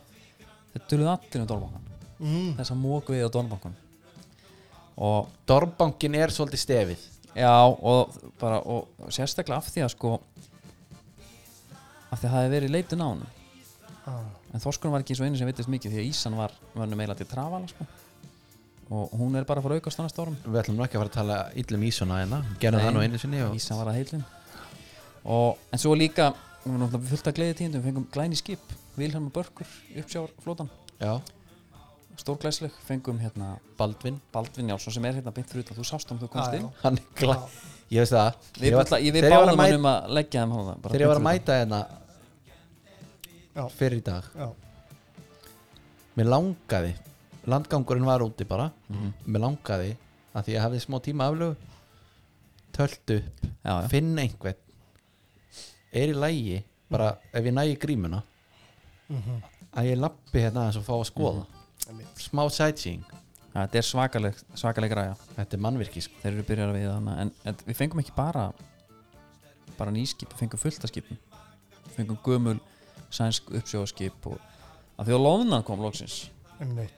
A: Þetta töluðu allir um dórbankan mm. Þessa mók við á dórbankunum Og
B: Dorbankin er svolítið stefið
A: Já, og bara og, og sérstaklega af því að sko af því að það hefði verið leitun á hann
C: Ah.
A: en þorskunum var ekki eins og einu sem vitist mikið því að Ísan var mönnum meila til trafala sko. og hún er bara að fara að aukast á næsta árum
B: Við ætlum nú ekki að fara að tala illum ísuna hérna Gerðum
A: Nei,
B: það nú einu sinni og...
A: Ísan var að heilin og, en svo líka, við erum náttúrulega fullt að gleði tíndum við fengum glæni skip, Vilhelm og Börkur uppsjávar flótan,
B: Já,
A: stórglæsleg fengum hérna
B: Baldvin
A: Baldvin Jálsson sem er hérna beint fyrir utan, þú sást hann þú komst
C: Já,
A: inn
B: Hann er glæ... Ég veist það
A: við,
B: Ég var-
A: var, ég, við
B: þegar ég var að
A: báðum hann
B: mæta-
A: um að leggja þeim hann
B: Þegar ég var að mæta hérna
C: Já.
B: Fyrir í dag
C: Já.
B: Mér langaði Landgangurinn var úti bara
A: Mhm.
B: Mér langaði að því ég hafði smá tíma aflögu Töldu upp
A: já, já.
B: Finn einhvern Er í lægi Bara ef ég nægi grímuna Að ég lappi hérna aðeins og fá að skoða
A: Mhm.
B: Smá sightseeing
A: Ja, þetta er svakaleg, svakaleg græja
B: Þetta er mannvirki sko.
A: þeir eru byrjar að veiða hana en, en við fengum ekki bara bara nýskip, við fengum fullt af skipum Við fengum gömul sænsk uppsjóðskip og að því að loðunan kom loksins
C: einmitt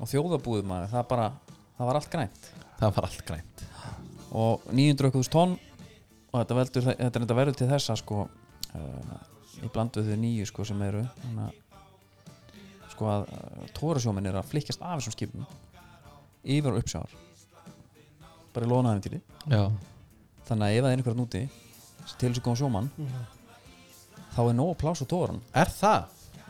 A: og þjóðabúðum maður, það bara það var allt grænt
B: Það var allt grænt
A: og 900.000 tonn og þetta, veldur, þetta er þetta verður til þessa sko uh, í blandu þau nýju sko sem eru þannig að sko að uh, tórasjóminn eru að flikkjast af þessum skipum yfir á uppsjáðar bara í loðnaðum til því
B: Já.
A: þannig að ef það er einhverjum úti sem til þess að koma sjómann þá er nóg plás á tóran
B: Er það?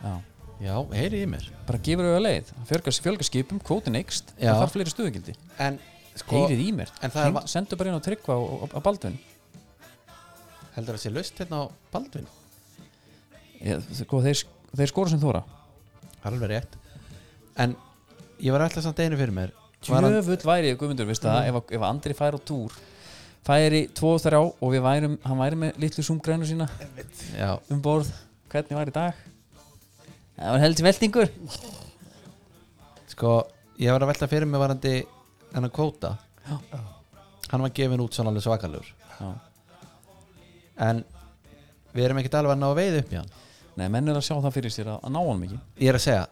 A: Já.
B: Já, heyrið í mér
A: bara gefur auðvitað leið, fjölgar, fjölgar skipum kvótin eikst,
B: Já.
A: það þarf fleiri stuðugildi
B: En sko,
A: heyrið í mér,
B: en það er va-
A: sendu bara inn á tryggva og, og, og baldvin
B: heldur það sé laust hérna á Baldvin
A: ég, sko, þeir, sk- þeir skora sem þóra
B: Það er alveg rétt En ég var alltaf samt einu fyrir mér Var hann-
A: tjöfull væri ég guðmundur, veist það ef, að- ef að Andri færi á túr færi tvo og þrjá og við værum, hann væri með litlu sumgrænu sína
B: Já,
A: um borð, hvernig var í dag það var heldur veltingur
B: sko, ég var að velta fyrir mér varandi hennar kvóta
A: Já.
B: Hann var gefin út svona alveg svakalur
A: Já.
B: En við erum ekkert alveg að ná að veiða upp í hann
A: nei, menn er að sjá það fyrir sér að, að ná hann mikið
B: Ég er að segja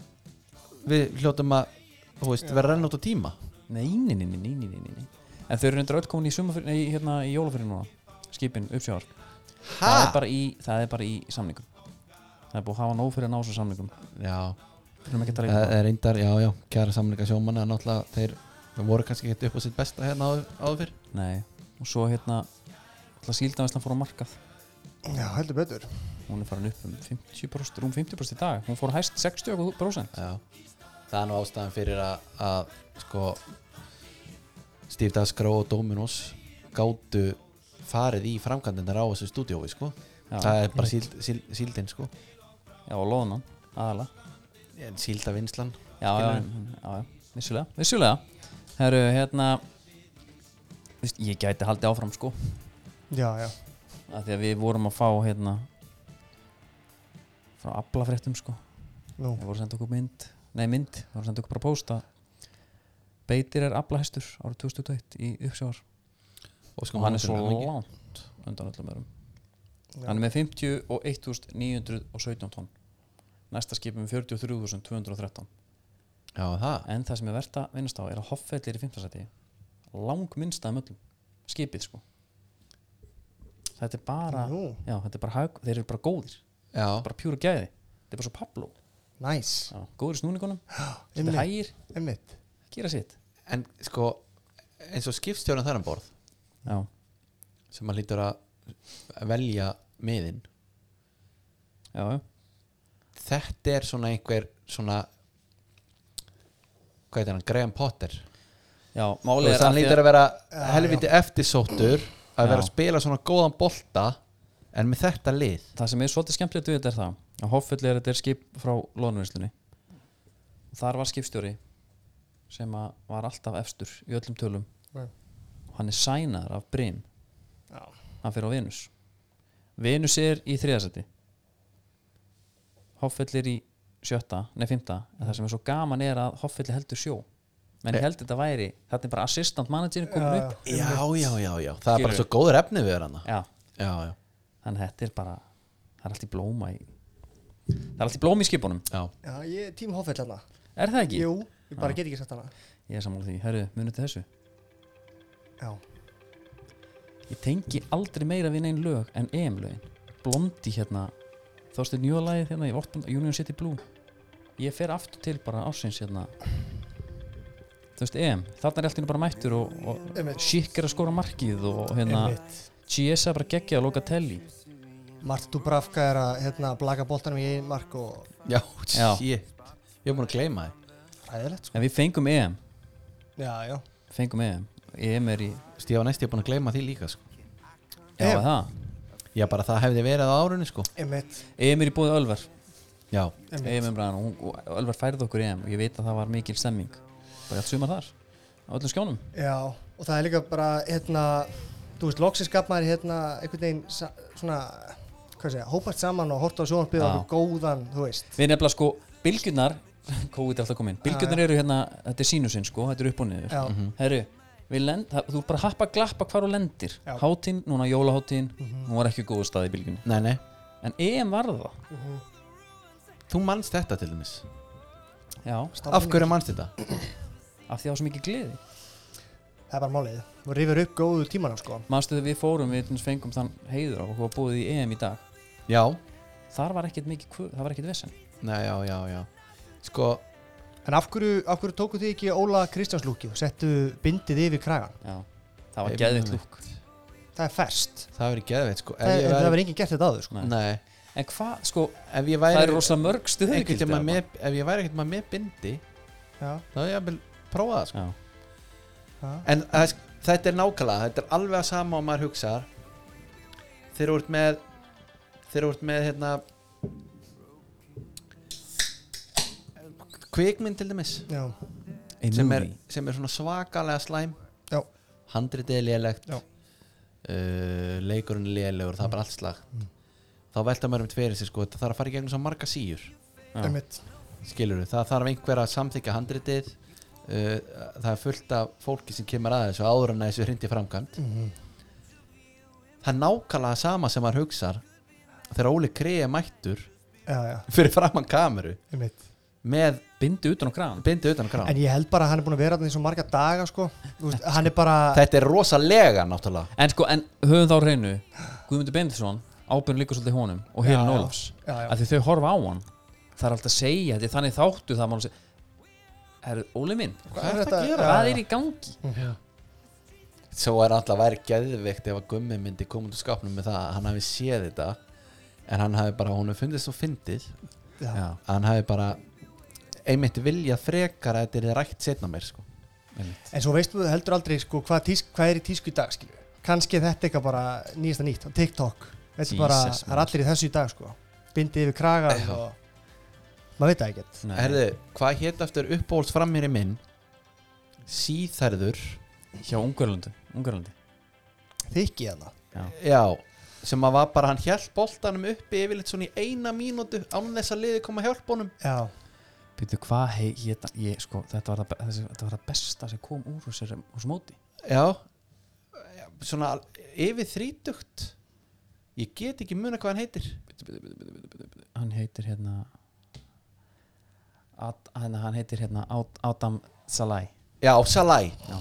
B: Við hljótum að, þú veist, vera að renna út á tíma
A: Nei, nei, nei, nei, nei, nei, nei, nei. En þau eru reyndar öll komin í, sumafyr, nei, hérna, í jólafyrir núna Skipin, uppsjáðar það er, bara í, það er bara í samningum Það er búið að hafa nóg fyrir að ná þessum samningum
B: Já,
A: Við erum ekki að um reyna
B: það er Eh, reyndar, já, já, kæra samlinga sjómanna Náttúrulega þeir voru kannski ekkert upp á sitt besta hérna áður, áður fyrr
A: það Nei, og svo hérna Það síldanvæslan fór á markað
C: já, heldur betur
A: Hún er farin upp um 50%, rúm 50% í dag Hún fór hæst 60%
B: Já, það er nú ástæðan fyrir að, að sko Steve Dasgró og Dominos gátu farið í framkvæmdindar á þessu stúdíói sko
A: Já.
B: það er bara síld, síld, síldin sko
A: Já, og loðunan, aðalega
B: En síldavinnslan
A: já, já,
B: Skilurðu?
A: en- já, já, vissulega Vissulega, herru, hérna þú veist, Ég gæti haldið áfram sko
C: já, já,
A: að því að við vorum að fá hérna frá aflafréttum sko
C: nú
A: við vorum að senda okkur mynd, nei mynd við vorum að senda okkur bara posta beitir er aflahestur árið 2021 í uppsjávar
B: og
A: og sko hann er svo
B: mikið.
A: langt undan öllum örum hann er með 51.917 tonn næsta skipum 43.213
B: Já, það,
A: en það sem er verðt að vinnast á er að hoffvellir í 15. seti lang minnstaðum öllum skipið sko þetta er bara
C: nú,
A: já, þetta er bara hag, þeir eru bara góðir
B: já,
A: bara pjúra gæði þetta er bara svo Pablo
C: næs
A: já. góður í snúningunum, þetta er
C: einmitt,
A: hægir
C: einmitt
A: gera sitt
B: en sko eins og skipstjóran þar um borð
A: já,
B: sem hann lítur að velja miðin
A: já, já,
B: þetta er svona einhver svona hvað heitir hann, Graham Potter
A: já málið
B: Þannig
A: er
B: að hann
A: af því
B: lítur að vera helviti eftirsóttur að vera
A: Já.
B: að spila svona góðan bolta en með þetta lið
A: það sem er svolítið skemmtilegt við þetta er það að hoffull er þetta er skip frá lónvinnslunni þar var skipstjóri sem að var alltaf efstur í öllum tölum
C: Nei.
A: og hann er sænar af Brim
C: Já.
A: hann fyrir á Venus Venus er í þriðasæti Hoffell er í sjötta, nei fymta en það sem er svo gaman er að Hoffell heldur sjó menn ég held þetta væri, þetta er bara assistant managerin komin upp
B: já, já, já, já, það er bara
A: Skilurðu?
B: svo góður efni við hana
A: já,
B: já, já,
A: þannig að þetta er bara það er allt í blóma í það er allt í blóma í skipunum
B: já,
C: Já, ég er tím hófell hérna
A: er það ekki?
C: Jú, ég bara get ekki sett hana
A: ég er sammála því, herru, munið til þessu
C: Já,
A: ég tengi aldrei meira við neinn lög en EM lögin Blondi hérna Þorsteinn Njóðalagið hérna í Vortland Union City Blue ég fer aftur til bara ásins hérna þú veist EM þarna er alltaf bara mættur og, og
C: Einmitt.
A: Schick er að skora markið og hérna Chiesa bara geggja að loka telli
C: Mart Dubravka er að hérna, blaka boltanum í einn mark og
B: já,
A: Já.
B: shit ég er búin að gleyma þið
C: ræðilegt sko
A: en við fengum EM
C: Já, já
A: fengum EM EM er í
B: Stífa næst, ég er búin að gleyma því líka sko.
A: já
C: EM.
A: er það
B: já, bara það hefði verið á árunni sko.
C: Einmitt
A: EM er í búið Ölver
B: já,
A: EM er bara og hún- og Ölver færði okkur EM og ég veit að það var mikil stemming bara allt sumar þar á öllum skjónum
C: Já, og það er líka bara hérna Þú veist, loksins gaf maður hérna einhvern veginn sa- svona hvað segja, hópast saman og horta á sjónarbyggð
A: Já.
C: og góðan, þú veist
A: Við nefnilega sko, bylgjurnar COVID er alltaf komin, bylgjurnar eru hérna þetta er sínusinn sko, þetta er upp og niður
B: Mhm.
C: Já. Mhm.
A: Herru, við lend, það, þú bara happa glappa hvar þú lendir,
C: Já. Mhm.
A: hátín, núna jólaháttín hún var ekki góðu stað í bylgjunni
B: nei, nei
A: en EM var það,
B: þú manst þetta til dæmis
A: já,
B: af hverju manst þetta?
A: af því það var svo mikið gleði
C: Það er bara málið Þú rifir upp góðu tímanum sko
A: Manstu þegar við fórum, við til dæmis fengum þann heiður á okkur að búið í EM í dag
B: já,
A: þar var ekkert mikið, kvö- það var ekkert vesen
B: nei, já, já, já sko,
C: En af hverju, af hverju tóku þið ekki Óla Kristjáns lúki og settu bindið yfir kragan?
A: já, það var
B: Ég
A: geðvitt
B: meina-
A: lúk
C: Það er fest
B: það hefur geðveit sko. Ef
C: En
B: ég
C: það
B: væri-
C: verður enginn gert þetta áður sko
B: nei,
A: en hvað, sko,
B: ef ég
A: það
B: væri
A: er rosa mörg
B: einhvern
A: stuðugildi
B: tímann með- ef ég væri ekkert maður með bindi
C: Já,
B: þá hefði ég að prófa það sko.
A: já,
C: já
B: en það er- þetta er nákvæmlega þetta er alveg að sama og maður hugsaðar þegar þú ert með þegar þú ert með hérna kvikmynd til dæmis
C: Já,
B: sem er, sem er svona svakalega slæm
C: já,
B: handritið er lélegt
C: Já.
B: uh, leikurinn er lélegur, það er bara allt slag
C: Mm.
B: þá velta maður um tverið sér sko þetta þarf að fara í gegnum svo marga síur
A: Já.
C: einmitt
B: skilur það þarf einhver að samþykja handritið uh, það er fullt af fólki sem kemur að þessu áður en að þessu hrindi framkvæmt
C: Mhm.
B: það er nákvæmlega sama sem maður hugsar þegar Óli Kreið mættur
C: Já, já,
B: fyrir framann kameru
C: einmitt
B: með
A: bindi utan á kran
B: bindi utan á
C: En
B: krán
C: ég held bara að hann er búin að vera þarna í svo marga daga sko Þú veist, hann er bara
B: þetta er rosalega náttúrulega
A: En sko, en höfum þá á hreinu Guðmundur Bendisson, ábyrn líka svolítið honum og Helen
C: já.
A: Ólafs,
C: Já, já.
A: að því þau horfa á hann það er alltaf að segja, þetta er þannig þáttu það má alveg segja, herru, Óli minn
C: Hvað er þetta að gera?
A: hvað er í gangi?
B: svo er alltaf væri geðveikt ef að gummi myndi koma út úr skápnum með það að hann hafi séð þetta en hann hafi bara, hún hefur fundið svo fyndið
C: Já.
B: að hann hafi bara einmitt vilja frekar að þetta er rætt setna mér sko.
C: En svo veistu þú heldur aldrei sko hvað, tísk, hvað er í tísku í dag skilju Kanski er þetta eitthvað bara nýjasta nýtt á TikTok Þetta er bara,
A: Jesus,
C: það er allir í þessu í dag sko Bindið yfir kragan og Maður veit það ekkert
A: Nei,
B: Herðu, hvað hétt eftir uppbóls framhér minn síþærður
A: hjá Ungarlandi, Ungarlandi.
C: Þykki hérna
B: já, sem að var bara hann hjælt boltanum uppi yfirleitt svona í eina mínútu án þess að liði koma hjálp honum
C: Já,
A: Býtu, hvað hei, ég, ég, sko, þetta var, það, be- þessi, þetta var það besta sem kom úr þessu, þessu móti
B: já svona al- yfir þrítugt ég get ekki muna hvað hann heitir
A: hann heitir hérna Ad, hann, hann heitir hérna Ad- Adam Salai
B: Já, Salai
A: Já.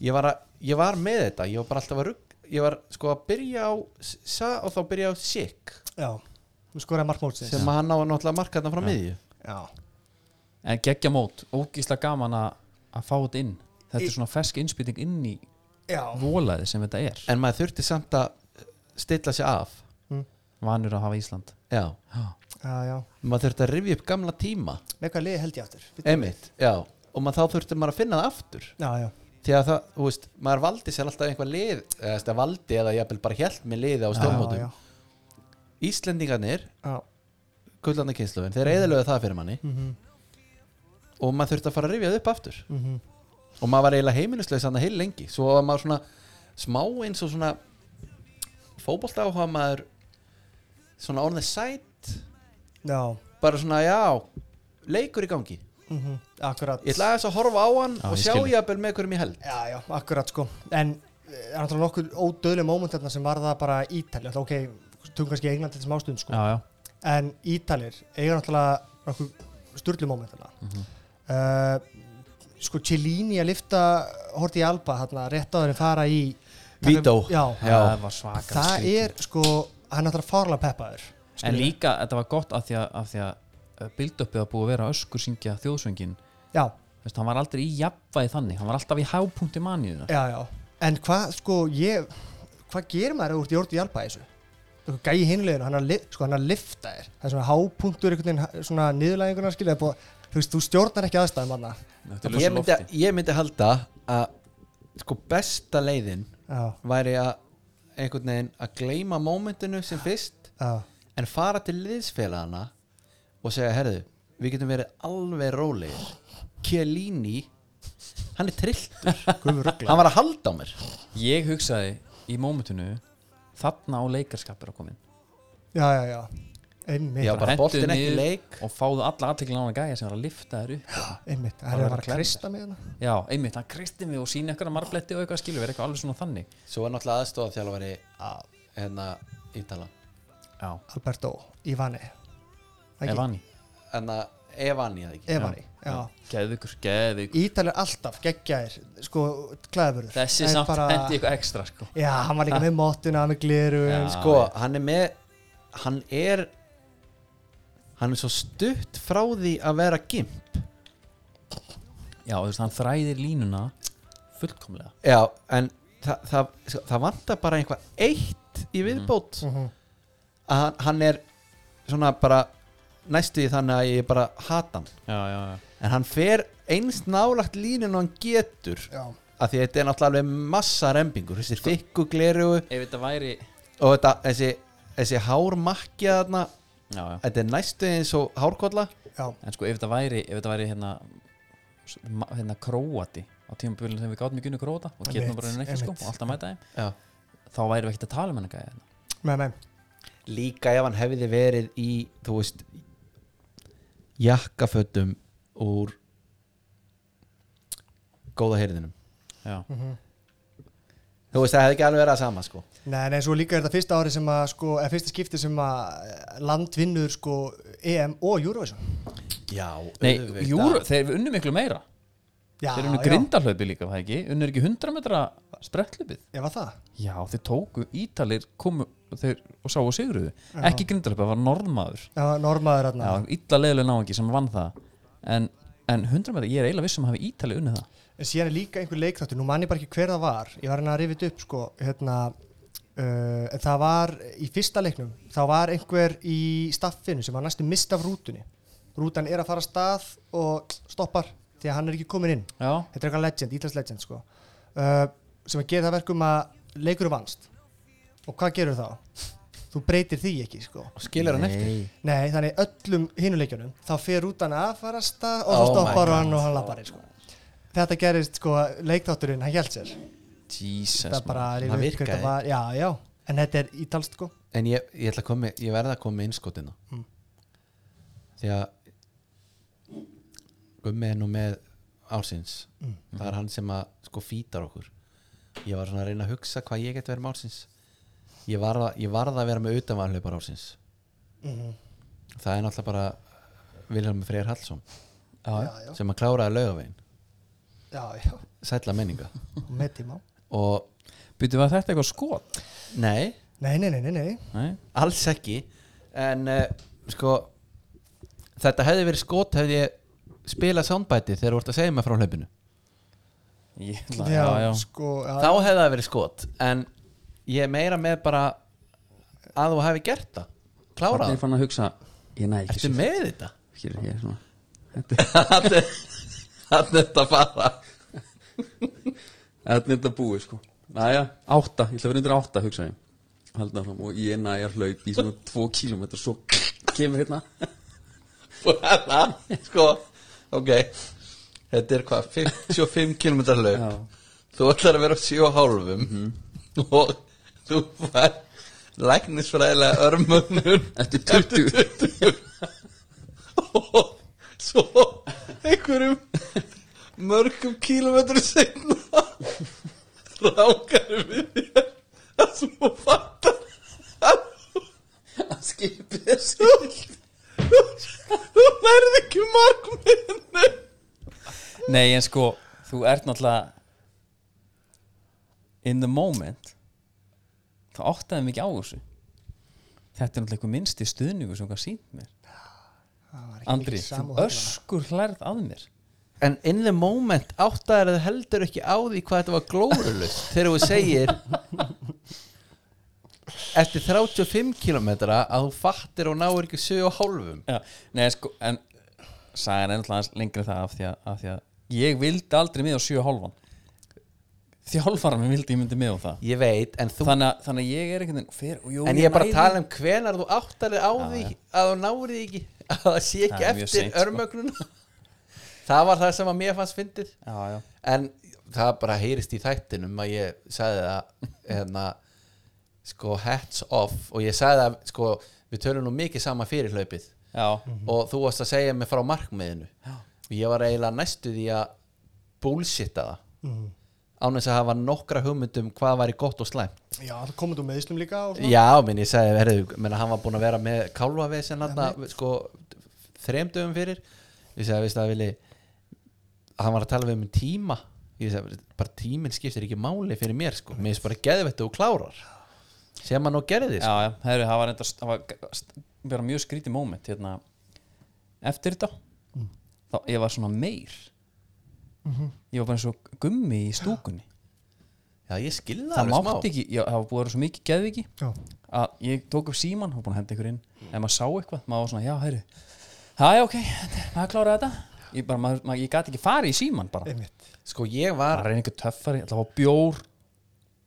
B: Ég, var að, ég var með þetta, ég var bara alltaf að rugg Ég var sko að byrja á S- Sa og þá byrja á Sik
C: já Þú skoraði markmótsins
B: sem hann á náttúrulega marka þarna frá miðju
C: Já,
A: en geggja mót, ógísla gaman að að fá þetta inn þetta er
C: Í-
A: svona fersk innspýting inn í
C: já
A: volaði sem þetta er
B: En maður þurfti samt að stilla sig af
A: vanur að hafa Ísland
B: Já,
C: Já, já
B: maður þurfti að rifja upp gamla tíma
C: Með hvað liði held ég aftur Bíddu.
B: Einmitt, já Og maður þá þurfti maður að finna það aftur
C: Já, já
B: Því að það, þú veist, maður valdi sér alltaf einhver lið eða þess að valdi eða jafnvel bara hjælt með liði á
C: Já, já.
B: stjórnmótum Íslendingarnir
C: Já, Mhm.
B: gullandakynslufin, þeir eðalöðu það fyrir manni og maður þurfti að fara að rifja það upp aftur
C: mhm.
B: og maður var eiginlega heimilislega sann að heil lengi svo var maður svona smá eins og svona fótbolta áhuga maður svona on the side
C: já,
B: bara svona já, leikur í gangi
C: mm akkurat
B: ég ætla aðeins að horfa á hann
C: Já,
B: og
C: ég
B: sjá
C: skil.
B: ég að með hverjum ég held
C: Já, já, akkurat sko En eh, það er náttúrulega nokkur ódöðlega móment þarna sem var það bara Ítalja Það ok, tungum kannski England til þessum ástund sko
A: Já, já.
C: En Ítalir eiga náttúrulega nokkur sturlu móment þarna
A: Mhm.
C: uh, Sko Cellini að lifta Horti Alba þarna rétt á þeirri fara í
B: Vító.
C: Já,
A: Já. Það var svakalega
C: Það
A: skrítið.
C: er sko, hann er náttúrulega farlega peppaður
A: En
C: skilurðu.
A: líka, þetta var gott af því að, af því að bildöppið að búið að vera öskur syngja þjóðsöngin
C: Já.
A: Veist, hann var aldrei í jafnvæði þannig hann var alltaf í hápunkti manniðuna
C: Já, já, en hvað sko ég, hvað gerir maður úr Jórdi Alba í þessu? Þú Gæi hinuleginu, hann er að, lif- sko, hann er að lifta þér það er svona hápunktur, einhvern veginn svona niðurlæðinguna skilja, þú veist, þú stjórnar ekki aðstæðum hann
A: þetta er
B: ég
A: lausu
B: myndi, ég myndi halda að sko besta leiðin
C: Já.
B: væri að einhvern veginn að gleyma mómentinu sem fyrst
C: Já.
B: en fara til liðsfélagana og segja, herðu, við getum verið alveg rólegir Kjellini hann er trilltur
C: Guð, ruglaður.
B: hann var að halda á mér
A: ég hugsaði í mómentinu þarna á leikarskapir að komin
C: Já, já, já, einmitt
B: Já, bara
A: Hentu
B: boltinn ekki í
A: niður
B: leik.
A: og fáðu alla aðteklina á hann gæja sem var að lifta þér upp
C: einmitt,
A: Bara
C: hann er
A: vera
C: bara að
A: klemmir.
C: krista með hérna. hann
A: já, einmitt, hann kristi mig og sína eitthvað marbletti og eitthvað skilur, verið eitthvað alveg svona þannig
B: svo var náttúrulega aðstofað þjálfari hérna Ítala
A: já,
C: Alberto Ivani Ekki?
A: Evani
B: hérna Evani eða ekki
C: Evani, já,
A: geðvikur, geðvikur
C: Ítal er alltaf geggjaðir, sko, klæðabörður
A: þessi
C: Það er
A: samt
C: bara-
A: hendi eitthvað ekstra sko.
C: Já, hann var líka með móttuna, með gliru
B: sko, hann er með hann er hann er svo stutt frá því að vera gimp
A: já, þú veist, hann þræðir línuna fullkomlega
B: já, en það, það, sko, það vantar bara einhvað eitt í viðbót að hann, hann er svona bara næstu í þannig að ég bara hata hann
A: já, já, já
B: en hann fer eins nálagt línun og hann getur
C: Já.
B: að því þetta er náttúrulega alveg massa rembingur þessi þykku gleru og
A: ef þetta væri
B: þetta, þessi, þessi hármakja þarna
A: já, já.
B: þetta er næstu eins og hárkolla
C: Já,
A: en sko ef þetta væri, ef þetta væri hérna, s- ma- hérna króati á tímabölinu þegar við gátum ekki unni króta og getum
C: Einmitt,
A: bara unni ekki sko
C: einmitt.
A: og alltaf mæta þeim
B: já
A: þá væri við ekkert að tala um hennar gæja hérna.
C: með með
B: líka ef hann hefði verið í þú veist jakkafötum úr góða heyrðinum
A: já,
B: þú veist það hefði ekki alveg verið að sama sko
C: Nei, nei, svo líka er þetta fyrsta ári sem að sko, eða fyrsta skipti sem að eh, land vinnur sko EM og Eurovision
B: já,
A: nei, júru, þeir unnu miklu meira
C: Já,
A: þeir unnu
C: já.
A: grindahlaupi líka, var það ekki unnu ekki 100 metra sprettlaupið
C: Já, var það?
A: já, þeir tóku ítalir komu þeir, og sáu og sigruðu ekki grindahlaupið, það var norðmaður
C: Já, normaður
A: já,
C: hérna
A: illa leiðilega náðingi sem vann það en, en 100 metra, ég er eiginlega vissum að hafi ítali unnið það
C: En síðan er líka einhver leikþáttur, nú mann ég bara ekki hver það var Ég var hérna að rifið upp sko, hérna uh, En það var í fyrsta leiknum Þá var einhver í staffinu sem var næstu mist af rútunni Rútan er að fara af stað og stoppar Því að hann er ekki komin inn
A: já,
C: þetta er eitthvað legend, Ítals legend sko. uh, sem að gera það verkum að leikur vannst og hvað gerur þá? þú breytir því ekki sko.
B: skilur hann eftir
C: nei, þannig öllum hinuleikjunum þá fer út hann aðfarasta og
B: Oh
C: þá stoppar
B: my
C: hann og hann lappar inn, sko. þetta gerist sko, leikþátturinn, hann held sér
A: Jesus
C: það bara
A: maður.
C: er
B: það
C: yfir-
B: virkaði.
C: var, já, já, en þetta er ítalst sko.
B: en ég, ég, ætla að komi, ég verða að koma með innskotina því að Gummi er nú með ársins það er hann sem að sko fítar okkur ég var svona að reyna að hugsa hvað ég get verið með ársins ég varð að, ég varð að vera með utanvarleipar ársins það er náttúrulega bara Vilhelm Freyr Hallsson
A: já,
C: já, já,
B: sem að kláraði laugavegin
C: já, já.
B: sætla menninga
C: og með tíma
B: og
A: Býtu var þetta eitthvað skot?
B: nei,
C: nei, nei, nei, nei, nei.
A: Nei,
B: alls ekki en uh, sko þetta hefði verið skot hefði ég spilað soundbæti þegar þú ert að segja mér frá hlaupinu
A: ég ætla, já, já,
C: Sko, já,
B: þá hefði það verið skot en ég er meira með bara að þú hefði gert það klárað
F: Þannig er
B: það,
F: fann að hugsa Ég næ ekki
B: ertu með þetta
F: Hér, hér, svona
B: Þarna er- þarna er þetta að fara
F: Þetta er þetta búið sko Næja, átta, ég ætla að vera undir átta hugsa ég Halda fram og ég næja hlaup í svona tvo kílómetra Svo kemur hérna
B: og það sko ok þetta er hvað, 55 km lög þú ætlar að vera á 7 hálfum og þú var læknisfræðilega örmögnur eftir 20, og svo einhverjum mörgum kílometrum seinna rákar við þér að þú fattar að að skipið er skilt þú verð ekki markmiðinu
A: Nei, en sko, þú ert náttúrulega in the moment þá áttaði mikið á þessu Þetta er náttúrulega eitthvað minnsti stuðningu sem hvað sínt mér
C: ekki
A: Andri,
C: mikil
A: þú
C: samúð
A: öskur hlærð að mér
B: en in the moment áttaðar þið heldur ekki á því hvað þetta var glórulust þegar þú segir eftir 35 kilometra að þú fattir og náir ekki 7 og hálfum
A: Já, nei, sko, en sagan er náttúrulega aðeins lengri en það af því, að, af því að ég vildi aldrei með á sjö og hálfan Þjálfara mér vildi ég myndi með á það
B: ég veit, en þú
A: þannig, að, þannig að ég er einhvern veginn fer, og jú,
B: en ég er bara
A: næ
B: að
A: því.
B: tala um hvenar þú áttar þér á því að þú náir því ekki að það sé ekki
A: Það er mjög
B: eftir
A: seint, sko.
B: örmögnuna það var það sem að mér fannst fyndið
A: Já, já,
B: en það bara heyrist í þættinum að ég sagði það hérna, sko hats off og ég sagði það sko við tölum nú mikið sama fyrir hlaupið
A: já,
B: og þú varst að segja mig frá markmiðinu já. og ég var eiginlega næstu því að bullshitta það án þess að hafa nokkra hugmyndum hvað væri gott og slæmt
C: Já, það komið þú með Íslum líka og svona
B: Já, minn ég sagði, herðu, menn að hann var búinn að vera með kálfavesen hann sko þrem dögum fyrir ég sagði, veist það, Vili hann var að tala við um tíma ég sagði, bara tíminn skiptir ekki máli fyrir mér sko, mér finnst bara geðvett og klárar sem hann og gerði sko.
A: já, já, það, er, það var enda það var, st- bara mjög skrítið moment hérna. eftir þetta þá ég var svona meir ég var bara eins og gummi í stúkunni
B: Já, ég skilði það
A: það
B: alveg smá
A: mátti ekki, já, það var búið að vera svo mikið geðviki
C: Já.
A: að ég tók upp síman og búin að henda ykkur inn ef maður sá eitthvað, maður var svona, já, heyrðu það er ok, maður kláraði þetta ég, bara, maður, maður, ég gati ekki farið í síman bara
C: Einmitt.
B: Sko, ég
A: það
B: var,
A: er einhver töffari, það var bjór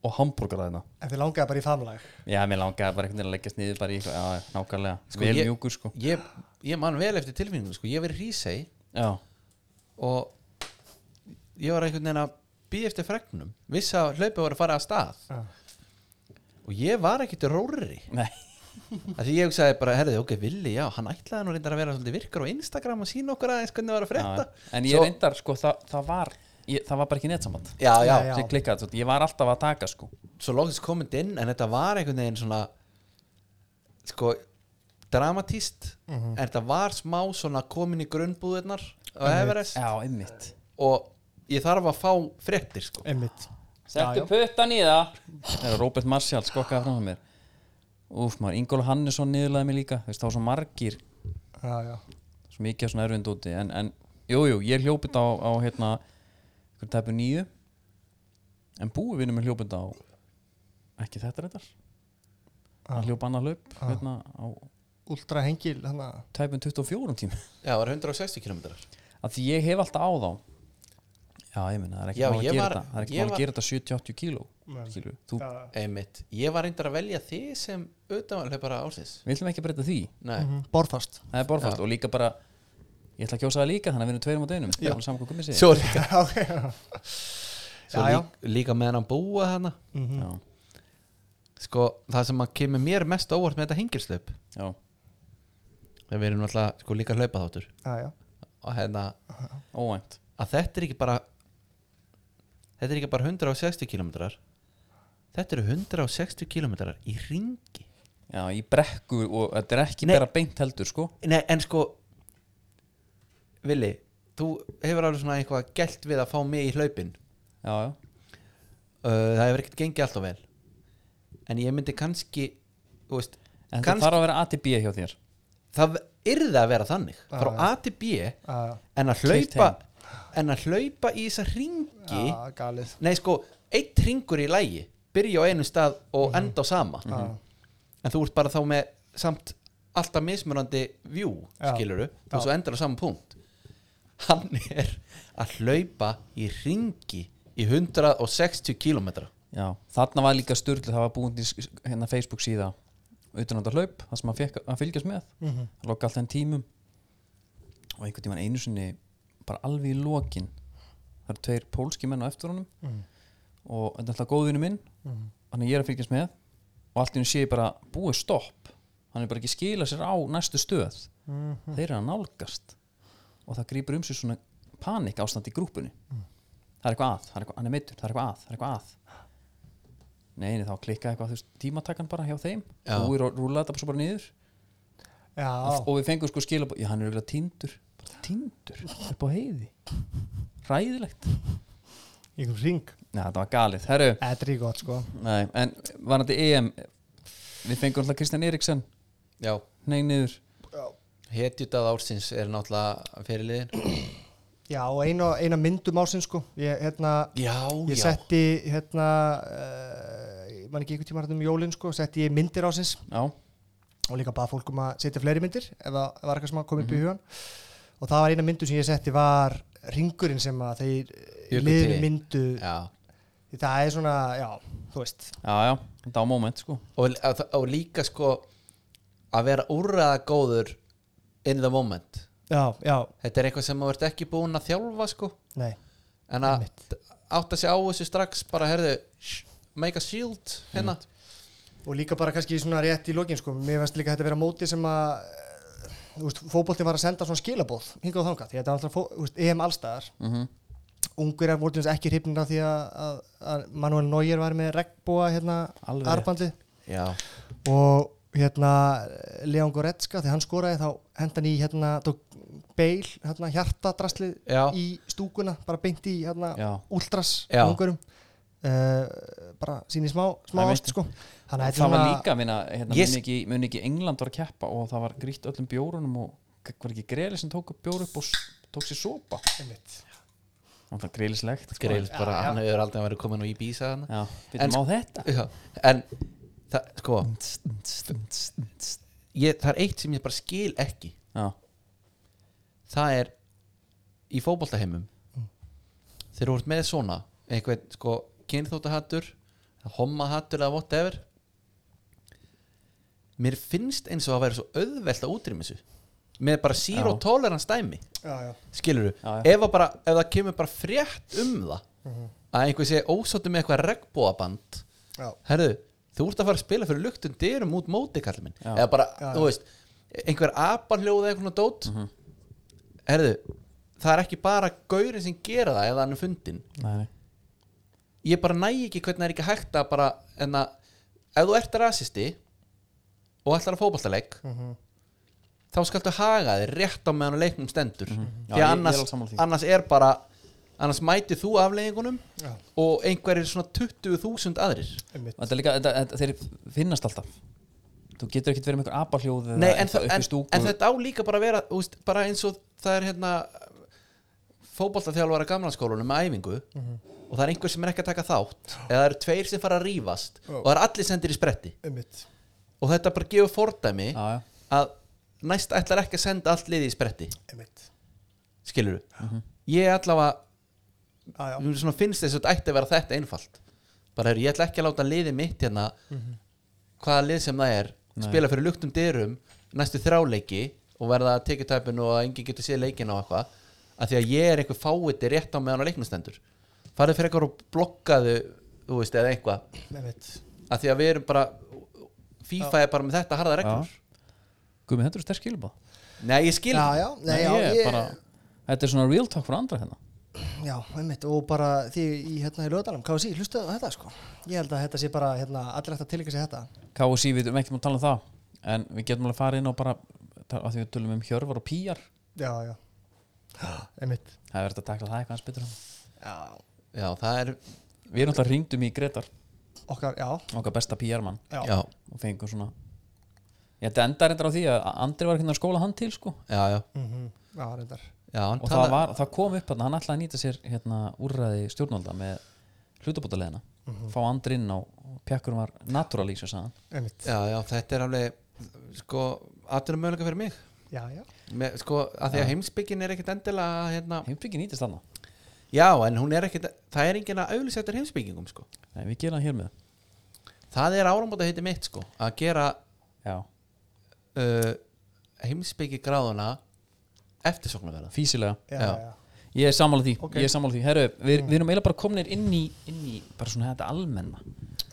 A: og hambúrgar hérna. þarna
C: En þið langaði bara í famlag
A: já, mér langaði bara einhvern veginn að leggjast niður bara í eitthvað, já, já, nákvæmlega,
B: Sko,
A: vel
B: ég-
A: mjúkur sko
B: ég, ég man vel eftir tilfinningum sko, ég hef verið hrísei
A: já,
B: og ég var einhvern veginn að býða eftir fregnum, vissi að hlaupið var að fara að stað
C: Já.
B: og ég var ekkert rórri
A: nei
B: að því ég hugsaði bara, herði, ok, Willi, já, hann ætlaði nú reyndar að vera svolítið virkar á Instagram og sína okkur aðeins hvernig var að frétta
A: Já, já. en ég reyndar sko það, það var ég, það var bara ekki netsamband
B: já, já,
C: Já, já.
A: ég klikkaði þetta, ég var alltaf að taka sko
B: svo lóksins komið inn en þetta var einhvern veginn svona sko, dramatíst en þetta var smá svona komin í grunnbúðirnar á Everest
A: já, einmitt
B: og ég þarf að fá fréttir, sko
C: Einmitt
A: settu puttan í það eða Robert Marshall skokkaði fram að mér úf maður, Ingóla Hannesson niðurlaði mig líka Þú veist, það var svo margir,
C: Já, já
A: svo mikið af svona erfind úti en, en jú, jú, ég hljópið á, á hérna, hvernig tæpu nýju en búið vinnum er hljópið á ekki þetta reyndar
B: Ah.
A: hann hljópa annað hlaup hérna á
C: Últra hengil, hann að
A: tæpum 24 tíma
B: já, það var 160 km
A: að því ég hef alltaf á þá já ég minna, það er ekki
B: Já,
A: mál að
B: ég
A: gera
B: var-
A: þetta það er ekki
B: ég
A: mál að
B: var-
A: gera þetta 70-80 kíló
C: Nei.
A: skilur, þú,
B: einmitt, ég var reyndar að velja þig sem utanleipara ársins
A: við ætlum ekki að breyta því
B: Nei.
C: Mhm. Borfast
A: það er borfast og líka bara ég ætla að kjósa það líka, þannig að við erum tveir á deinum það er samkvæm komið sér
B: svo líka
C: Já, ok, já.
B: svo
C: Já, já.
B: lík, líka með hann búa hana
A: já,
B: sko, það sem að kemur mér mest á óvart með þetta hengilslaup
A: já,
B: þegar við erum alltaf sko, líka hlaupa þáttur
C: Já, já
B: og hérna,
A: óvænt
B: að þetta er ekki bara þetta er ekki bara 160 kilometrar þetta eru 160 kilometrar í ringi
A: já, í brekku og þetta er ekki
B: Nei.
A: bara beint heldur sko
B: Nei, en sko Vili, þú hefur alveg svona eitthvað gælt við að fá mig í hlaupin
A: já, já,
B: uh, það hefur ekkert gengið alltaf vel en ég myndi kannski þú veist,
A: en það
B: kannski,
A: þarf að vera ATB hjá þér
B: það yrði að vera þannig frá A til B
C: Já,
B: en að
A: Keyrt
B: hlaupa en að hlaupa í þessa ringi
C: já, galið
B: nei sko, eitt ringur í lægi byrja á einum stað og enda á sama Mhm. en þú ert bara þá með samt alltaf mismunandi vjú,
C: Já.
B: skiluru
C: Já.
B: og svo endar á sama punkt hann er að hlaupa í ringi í 160 kilometra
A: já, þarna var líka sturglu það var búin í s- hérna Facebook síða utanandar hlaup, það sem
C: Mhm.
A: maður fekk að fylgjast með mm -hmm. allt þeim tímum og einhvern tímann einu sinni bara alveg í lokin það eru tveir pólski menn á eftir honum
C: Mhm.
A: og þetta er alltaf góðinu minn
C: Mhm.
A: þannig að ég er að fylgjast með og allt í hennu sé ég bara búið stopp hann er bara ekki að skila sér á næstu stöð
C: Mhm.
A: þeir eru að nálgast og það grýpur um sig svona panik ástand í grúpunni
C: Mhm.
A: það er eitthvað að, það er eitthvað, hann er meittur það er eitthvað að, það er eitthvað að neini þá klikka eitthvað þú veist, tímatakan bara hjá þeim
B: Já.
A: og við rúla þetta bara svo bara niður
C: Já,
A: og við fengum sko skilabóð já hann er auðvitað tindur bara tindur upp á heiði ræðilegt
C: í einhverjum ring
A: já þetta var galið herru
C: Þetta er í gott sko
A: nei, en varandi EM við fengum alltaf Kristján Eriksen
B: Já,
A: nei niður
B: hetjutað ársins er náttúrulega fyrirliðin
C: Já, og eina, eina myndum ásinn sko Ég, hérna,
B: Já,
C: ég setti hérna uh, ég man ekki einhvern tíma hérna um jólin sko setti ég myndir ásins
A: já
C: og líka bara fólk um að setja fleiri myndir ef það var eitthvað sem að kom upp
B: Mhm.
C: í hugan og það var eina myndu sem ég setti var ringurinn sem að þeir
B: Bjuggu
C: liðinu
B: til.
C: myndu
B: Já,
C: það er svona, já, þú veist
A: já já þetta á moment sko
B: og, og, og líka sko að vera úrraða góður in the moment
C: já, já,
B: þetta er eitthvað sem maður ert ekki búin að þjálfa sko
C: nei,
B: en að átta sig á þessu strax bara herðu, sh- make a shield hérna
C: og líka bara kannski svona rétt í lokin sko, mér finnst líka þetta vera móti sem að eh, þú veist, fótbolti var að senda svona skilabóð hingað og þangað, því að þetta er alltaf fó, þú veist, EM allstaðar
A: mm
C: ungur er voru til dæmis ekki hrifnir af því að, að, að Manuel Neuer var með regnbúa hérna
A: Alveg.
C: arbandi
B: já,
C: og hérna Leon Goretzka þegar hann skoraði þá hendan í hérna tók beil, hérna hjartadrasli
B: Já.
C: í stúkuna, bara beint í hérna
A: já
C: úldras
B: Já.
C: ungurum uh, bara síni smá, smá
A: Það er
C: ást sko þannig að þetta er
A: það var
C: svona-
A: líka minna hérna,
B: Ég-
A: yes. muni, ekki, muni ekki England var að keppa og það var grýtt öllum bjórunum og g- var ekki Greli sem tók upp bjór upp og s- tók sér sopa
C: Einmitt.
A: og það Grelislegt sko.
B: greil bara,
C: já.
B: hann hefur aldrei verið komin á Ibiza þarna.
A: já
B: En
A: býtum
C: sko-
A: á þetta
B: já, en það, sko ég, það er eitt sem ég bara skil ekki
A: já
B: það er í fótboltaheimum
A: Mm.
B: þegar þú ert með svona einhvern sko kynþóttahattur hommahattur eða whatever mér finnst eins og að vera svo auðvelt að útrýma þessu með bara zero
A: Já.
B: tolerance dæmi
C: já, já.
B: skilur
A: Já,
B: þú,
A: Mhm. já.
B: ef, að bara, ef það kemur bara frétt um það að einhver sé ósóttu með eitthvað regnbóaband
C: Já.
B: herðu, þú ert að fara að spila fyrir luktum dyrum út móti kallið minn
A: Já.
B: eða bara,
C: Já,
B: þú veist, einhver apanljóð eða eitthvað dót
A: Mhm.
B: herðu, það er ekki bara gaurin sem gera það eða hann er fundin
A: Nei.
B: ég bara næ ekki hvernig það er ekki hægt að bara en að, ef þú ert rasisti og ætlar að fótballtaleik
C: Mhm.
B: þá skaltu haga þér rétt á meðan á leiknum stendur
A: Mhm. Já,
B: því
A: ég- ég
B: að
A: er
B: annars,
A: alveg sammála því.
B: annars er bara annars mæti þú afleiðingunum
C: Já.
B: og einhverjir svona 20.000 aðrir
C: einmitt.
A: Þetta er líka, þetta, þetta, þeir finnast alltaf þú getur ekkert verið með einhver apahljóð eða
B: Nei, en,
A: eitthvað
B: það,
A: upp í
B: en,
A: stúku.
B: en þetta á líka bara að vera úst, bara eins og það er hérna fótboltaþjálfara gamlanskólanum með æfingu
A: Mhm.
B: og það er einhver sem er ekki að taka þátt eða það eru tveir sem fara að rífast og það er allir sendir í spretti
C: Einmitt.
B: og þetta bara gefur fordæmi
A: Já, já.
B: að næst ætlar ekki að senda allt liði í spretti
C: Einmitt.
B: skilur du
A: Mhm.
B: ég allavega,
C: Já, já.
B: mér svona finnst þess að þetta ætti að vera þetta einfalt bara er, ég ætla ekki að láta liði mitt hérna
A: Mhm.
B: hvaða lið sem það er spila fyrir luktum dyrum næstu þráleiki og verða tekjutæpin og að enginn getur séð leikin og eitthvað að því að ég er einhver fáiði rétt á meðan á leiknustendur farið fyrir eitthvað og blokkaðu þú veist, eða eitthvað
C: Einmitt.
B: að því að við erum bara FIFA er bara með þetta harða reglur
A: Gumi, þetta eru sterk skilbað
B: Nei, ég skil
C: já, já, nei, já,
A: ég,
C: ég,
A: bara, Þetta er svona real talk fyrir andra hérna
C: já, einmitt og bara því í, hérna, í lögadalum, KSI, hlustaðu á þetta sko ég held að þetta sé bara, hérna, allir ætti að tilika sér þetta
A: KSI, við erum ekki múið að tala um það en við getum alveg að fara inn og bara að því við tölum um hjörvar og pýjar
C: já, já, einmitt
A: það er verið að takla það eitthvað hans betur hérna.
C: já,
B: Já, það er
A: Við erum alltaf ringdum í Gretar
C: okkar, já,
A: okkar besta PR-mann
C: já,
B: Já,
A: og fengum svona ég þetta endar reyndar á því að Andri var hérna að skóla hann til sko
B: já, já,
C: Mhm. já, reyndar
B: já hann
A: og það,
B: tala-
A: var, það kom upp hann, hann ætlaði að nýta sér hérna úrræði stjórnvalda með hlutabótaleðina
B: Mhm.
A: fá Andri inn á og pjakkurum var naturally sem sagðan
C: einmitt,
B: Já, já, þetta er alveg sko, atvinnum möguleika fyrir mig
C: já, já,
B: Með, sko, að því að heimsbyggin er ekkit endilega hérna,
A: heimfriki nýtist þarna
B: já, en hún er ekkit það er enginn að auðlýsa eftir heimsbyggingum sko.
A: Nei, við gerum það hér með
B: það er árambóta heiti mitt sko, að gera
A: já,
B: uh, heimsbyggi gráðuna eftirsóknarverða
A: físilega
C: já,
B: Já.
C: já,
A: Ég er sammála því,
C: Ok.
A: ég er sammála því Herru, við,
B: Mhm.
C: Mm.
A: við erum eiginlega bara komnir inn í, inn í bara svona þetta almenna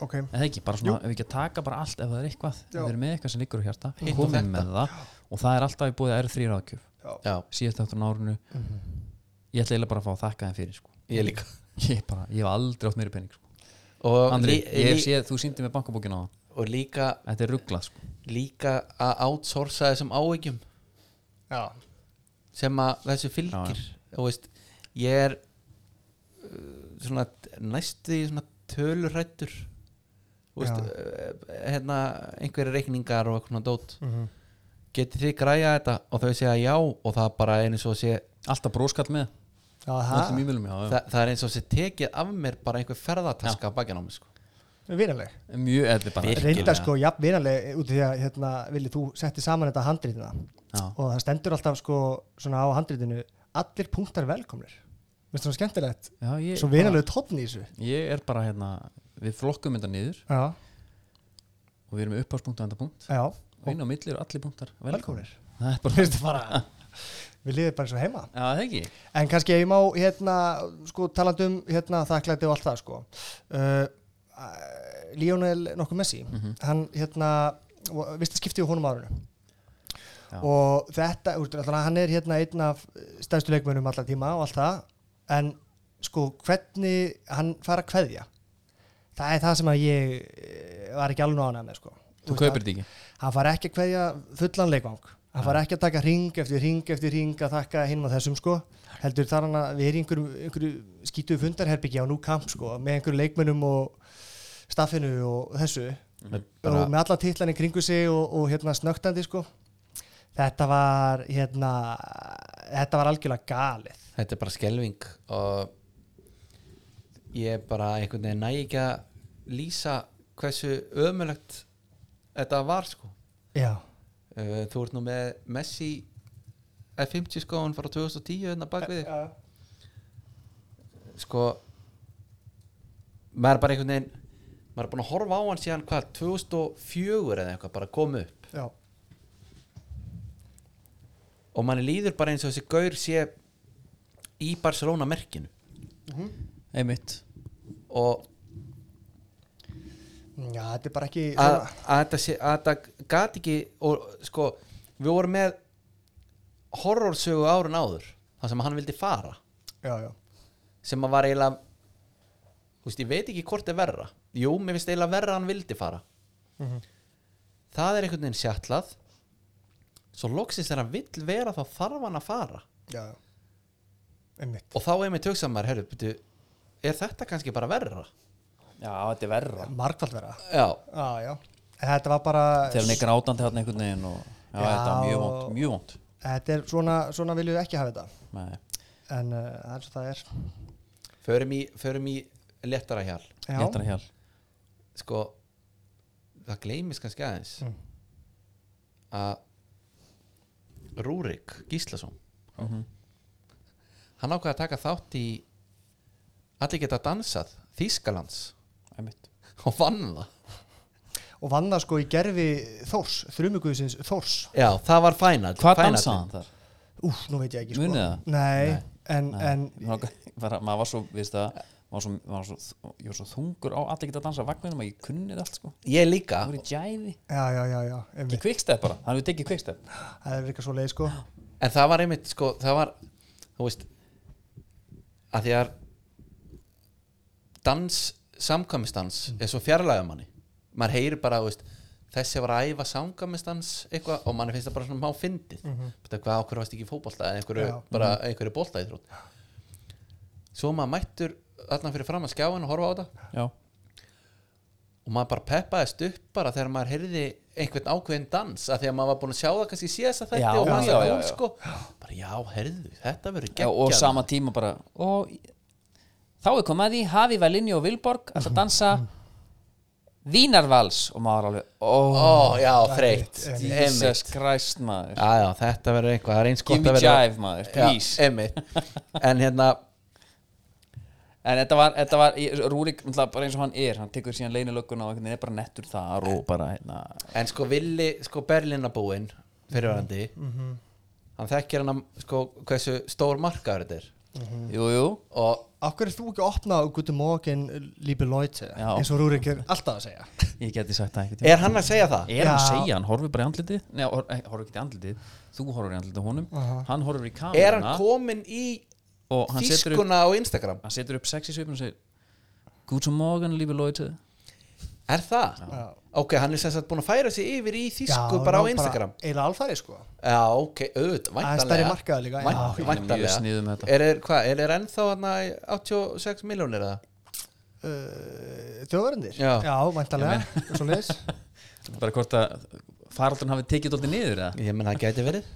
C: Ok.
A: eða ekki, bara svona, ef við ekki að taka bara allt ef það er eitthvað, ef
C: Já.
A: við erum með eitthvað sem liggur á hjarta
B: Hitt og
A: komum
B: þetta.
A: með það og það er alltaf í búið að eru þrý ráðkjöf
B: Já.
A: síðast eftir árinu ég ætla eiginlega bara að fá að þakka þeim fyrir sko.
B: Mhm. Ég líka.
A: ég, bara, ég hef aldrei átt meiri pening sko.
B: Og
A: Andri,
B: lí-
A: ég hef
B: lí-
A: séð, þú síndi með bankabókina á það
B: og líka
A: þetta er rugglað sko.
B: líka að outsourca þessum áhyggjum
C: Já.
B: sem að þessu fylgir og veist, ég er uh, svona næstu í svona tölurættur og veist, uh, hérna einhverja reikningar og eitthvað svona dót
C: Mhm.
B: getið þið græja þetta og þau segja já og það bara er eins og sé
A: alltaf bróskall með
C: Já,
A: öllum
C: það
A: ímjölum, já, já.
B: það, það er eins og sé tekið af mér bara einhver ferðataska bakið á mig sko.
C: er vinaleg.
A: mjög, þetta er bara
B: Virkilega.
C: Reyndar sko, jafn vinaleg út af því að hérna, Vili, þú setti saman þetta handritina
A: Já.
C: og það stendur alltaf sko svona á handritinu allir punktar velkomnir. Veist það skemmtilegt?
A: já, ég,
C: Svo
A: bara,
C: vinalegu tónn í þessu.
A: ég er bara hérna, við flokkum þetta niður
C: Já.
A: og við erum með uppháspunkt og endapunkt
C: Já.
A: og inn á milli eru allir punktar velkomnir
C: Velkomnir.
A: það er bara,
C: Veistu bara, við lifum bara svo heima.
A: já, það ekki
C: En kannski ef ég má hérna, sko, talandi um hérna, þakklæti og allt það sko. uh, uh, Lionel nokkuð Messi
A: Mhm.
C: hann hérna vist að skipti á honum árinu
A: Já.
C: og þetta, úr, allan, hann er hérna einn af stæðstu leikmönnum allar tíma og allt það en sko hvernig hann fara að kveðja það er það sem að ég eh, var ekki alveg ánægð með sko.
A: þú
C: veist,
A: kaupir þetta ekki
C: hann far ekki að kveðja fullan leikvang hann far ekki að taka ring eftir ring eftir ring að taka hinn og þessum sko heldur þar hann að vera í einhverju, einhverju skítu fundarherbyggi á nú kamp sko með einhverju leikmönnum og staffinu og þessu
B: bara-
C: og með alla titlan í kringu sig og, og hérna snögtandi sko þetta var hérna þetta var algjörlega galið
B: þetta er bara skelving og ég bara einhvern veginn næ ekki að lýsa hversu ömulegt þetta var sko
C: já,
B: Uh, Þú ert nú með Messi F50 skóðan frá 2010 hérna bak við þig. sko maður er bara einhvern veginn maður er búin að horfa á hann síðan hvað 2004 eða eitthvað bara kom upp
C: já,
B: og manni líður bara eins og þessi gaur sé í Barcelona merkinu
A: einmitt
B: og
C: já þetta er bara ekki
B: að,
C: svona,
B: að þetta sé- að þetta gat ekki og sko við vorum með horrorsögu árun áður þar sem hann vildi fara
C: já, já,
B: sem að var eiginlega þú veist, ég veit ekki hvort er verra jú, mér finnst eiginlega verra að hann vildi fara það er einhvern veginn sjætlað svo loksins þegar hann vill vera þá þarf hann að fara
C: já, já einmitt
B: og þá er mér töksamar, herru, byrju er þetta kannski bara verra?
A: já, þetta er verra
C: margfald vera
B: Já,
C: já, já En þetta var bara
A: þegar hann er grátandi hann einhvern veginn og já,
C: Já.
A: þetta er mjög vond, mjög vond
C: þetta er svona, svona viljum við ekki hafa þetta
A: Nei.
C: en uh, það er svo það er
B: förum í, förum í lettara hjal
C: já,
A: léttara hjal
B: sko, það gleymis kannski aðeins að Rúrik Gíslason hann ákvað að taka þátt í allir geta dansað Þýskalands
A: einmitt
B: og vann það
C: og vann það sko í gerfi Þórs þrjumuguðsins Þórs
B: já, það var fænall
A: hvað dansaði hann þar?
C: úf, nú veit ég ekki sko
A: Munið það?
C: nei, en, en
A: Nei, bara, maður var svo, viðst það maður var svo, maður var svo, ég var svo þungur á allir geta að dansa vagninum að ég kunni þetta allt sko
B: ég líka
A: það voru í gæði
C: já, já, já, já
A: ekki
C: einmitt.
A: kvikstæð bara, hann hefur tekið kvikstæð
C: það er eitthvað svo leið sko
B: en það var einmitt sko, það var þú veist að því að dans, samkvæmistans er svo fjarlægum manni maður heyri bara, þú veist þessi var að æfa samkvæmistans eitthvað og manni finnst það bara svona má fyndið mm -hmm. hvað okkur varst ekki í fótbolta eða einhverju,
C: Já.
B: bara einhverju bolta í þrótt svo maður mættur þarna fyrir fram að skjáin og horfa á þetta
A: já,
B: og maður bara peppaðist upp bara þegar maður heyrði einhvern ákveðin dans að því að maður var búin að sjá það kannski síðast að þetta
A: Já,
B: og maður
A: já,
B: sagði
A: já,
B: hún
A: já.
B: sko bara já, heyrðu, þetta verður
A: já
B: geggjað
A: og sama tíma bara og þá er komið að því Hafi Valinni og Vilborg ætla að dansa Vínarvals og maður alveg oh,
B: ó, já, þreytt
A: Jesus
B: emitt,
A: Christ maður
B: já, já, þetta verður eitthvað það er eins
A: Give
B: gott
A: me
B: að verður
A: jive maður, please
B: emitt, en hérna
A: En þetta var, þetta var ég- Rúrik, náttúrulega bara eins og hann er hann tekur síðan leinilögguna og einhvern veginn er bara nettur þar og bara hérna
B: en sko villi, sko Berlinabúinn fyrirvarandi hann þekkir hann sko hversu stór markaður þetta er
A: Jú, jú
B: og
C: Af hverju ert þú ekki að opna á Guten Morgen, liebe Leute
A: Já.
C: eins og Rúrik er alltaf að segja
A: Ég geti sagt það einhvern tímann.
B: er hann að segja það?
A: Er hann að
C: Já.
A: segja, hann horfir bara í andlitið Nei, hor- eh, horfir ekki í andlitið Þú horfir í andlitið á honum Hann horfir í
B: Er hann
A: kameruna
B: komin í
A: og hann setur, upp,
B: þýskuna á Instagram?
A: hann setur upp sex í svipinu og segir Guten Morgen, liebe Leute
B: Er það?
C: Já.
B: Ok, hann er sem sagt búin að færa sig yfir í þýsku
C: Já,
B: bara á
C: ná,
B: Instagram
C: Eila alfæri sko
B: Já, ok, auðvitað,
C: Það er
B: væntanlega
C: stærri markaður líka já.
B: Vænt-
A: Hann er mjög sniðum með þetta
B: Er, er, hva, er, er ennþá hana, 86 miljónir eða?
C: uh, Þjóðverðindir
B: Já.
C: já væntalega Svo leis
A: Bara hvort að faraldurinn hafi tekið dólti niður eða?
B: Ég menna, það gæti verið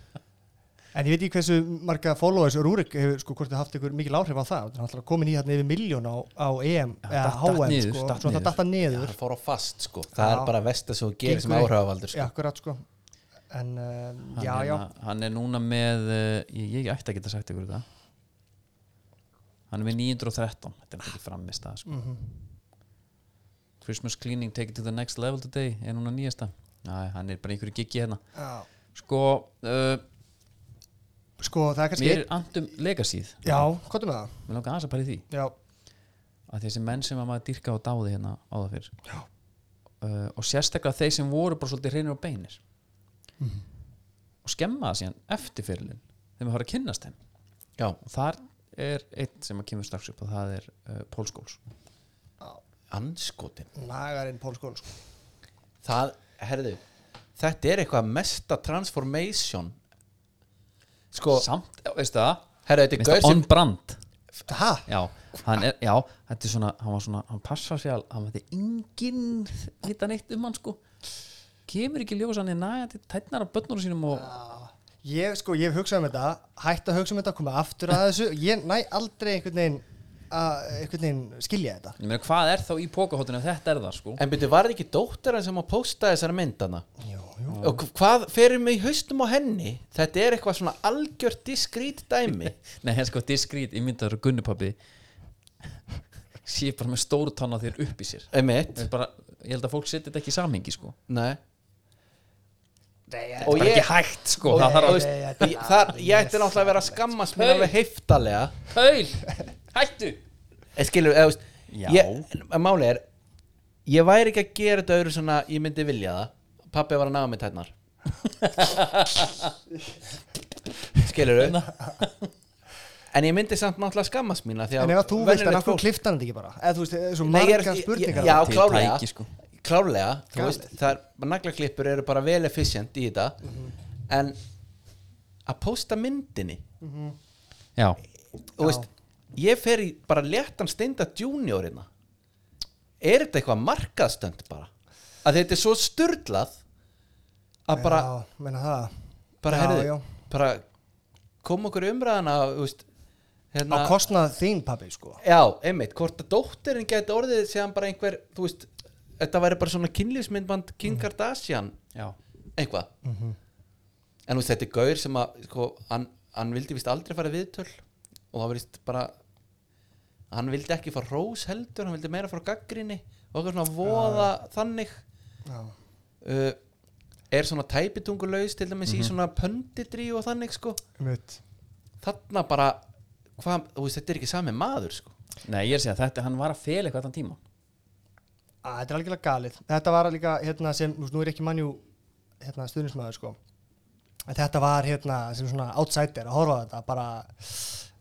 C: En ég veit ekki hversu marga followers Rúrik hefur sko hvort þið haft ykkur mikil áhrif á það Þannig að komin í hérna yfir miljón á, á EM eða
A: datt- datt
C: HM
A: niður,
C: sko
A: datt
C: Svo
A: niður.
C: það datta niður
B: Það fór á fast, sko Það er
C: Já.
B: bara vest að svo gerir sem
C: Gengur í-
B: áhrifavaldur,
C: Já,
B: sko
C: akkurat sko En um,
A: Hann
C: já,
A: er
C: já
A: na- Hann er núna með eh, Ég, ég ætti að geta sagt ykkur þetta Hann er með 913 Þetta er ekki framist það sko.
C: Mhm.
A: Christmas cleaning take it to the next level today Er núna nýjasta Æ, Hann er bara í einhverju giggi hérna
C: Já.
A: Sko, uh,
C: Sko það er kannski
A: mér er andum legasíð
C: Já, hvað er með það?
A: Mér langar aðeins að pæla í því
C: Já,
A: að þessi menn sem að maður dyrka og dáði hérna áða fyrr uh, og sérstaklega þeir sem voru bara svolítið hreinir og beinir og skemma það síðan eftir fyrirlin þegar maður har að kynnast þeim
B: Já,
A: og þar er eitt sem að kemur strax upp og það er uh, Paul Scholes
B: anskotin
C: lagarinn Pól Skól sko.
B: Það, herðu, þetta er eitthvað mesta transformation Sko,
A: samt, já, veistu það
B: herðu, þetta er
A: Minnst
B: gaur
A: það on
B: sem
A: brand
C: Ha?
A: já, hann er, já, þetta er svona hann var svona, hann passar sér al, hann var þetta engin vita neitt um hann sko kemur ekki í ljós að hann er nægandi tætnar af börnunum sínum og
C: Ég, sko, ég hef hugsað um þetta, hætt að hugsa um þetta, koma aftur að þessu, ég næ aldrei einhvern veginn að einhvern veginn skilja þetta.
A: ég meina, hvað er þá í pókahóttinu ef þetta er það sko
B: En byrju, var það ekki dóttir hann sem að posta þessar myndana?
C: Jú, jú.
B: Og hv- hvað ferir mig í haustum á henni? Þetta er eitthvað svona algjört diskrít dæmi
A: Nei, en sko diskrít ímyndaður og gunnupabbi sé bara með stóru tanna þér upp í sér
B: Emitt
A: Ég, bara, ég held að fólk setja þetta ekki í samhengi sko
B: Nei
C: Nei,
B: Og
A: Bara
B: ég,
A: ekki hægt sko
B: og,
A: Það
B: og,
A: þarf
B: veist,
C: Nei, nei,
B: ég, þar, ég ætti náttúrulega að vera að skammast mér
A: Hey.
B: alveg heiftalega
A: að Haul, hættu
B: En skilur, Eh, eða, veist,
A: Já.
B: ég, en máli er Ég væri ekki að gera þetta öðru svona Ég myndi vilja það Pappi var að náða mig tætnar Skilur En ég myndi samt náttúrulega skammast mína því að
C: En ef að þú veist
B: venjulegt
C: að
B: fólk-
C: hvernig kliftar hann þetta ekki bara? Eða þú veist, það er svo
B: Nei, ég er-
C: marga
B: ég-
C: spurningar.
B: Já,
A: Til
B: klárlega
A: tæki, sko.
B: Klárlega, þú
C: Galið.
B: veist það er, Naglaklippur eru bara vel efficient í þetta
C: Mhm.
B: En Að posta myndinni
A: Já,
B: Þú veist, ég fer í bara léttan steinda juniorina Er þetta eitthvað markaðstönd bara? Að þetta er svo sturlað Að bara,
C: Já, meina það.
B: bara,
C: já,
B: herðu
C: já.
B: Bara, kom okkur í umræðana Þú veist, hérna-
C: Á kostnað þín, pabbi, sko.
B: Já, einmitt, hvort að dóttirin geti orðið séðan bara einhver, þú veist þetta væri bara svona kynlífsmyndband
C: Mhm.
B: Kim Kardashian,
A: já
B: eitthvað en þú veist, þetta er gaur sem að sko, hann, hann vildi vist aldrei fara í viðtöl og það verðist bara hann vildi ekki fara rós heldur hann vildi meira fara gaggrinni og eitthvað svona voða þannig
C: Já.
B: uh, er svona tæpitungulaus til dæmis
C: Mhm.
B: í svona pöndidri og þannig sko,
C: Mitt.
B: þarna bara hvað, þú veist, þetta er ekki sami maður sko
A: Nei, ég er að segja þetta, hann var að fela eitthvað þann tíma
C: Æ, þetta er algjörlega galið. Þetta var líka, hérna, sem, þú veist, nú er ekki mannjú, hérna, stuðnismæður, sko. En þetta var, hérna, sem svona outsider að horfa á þetta, bara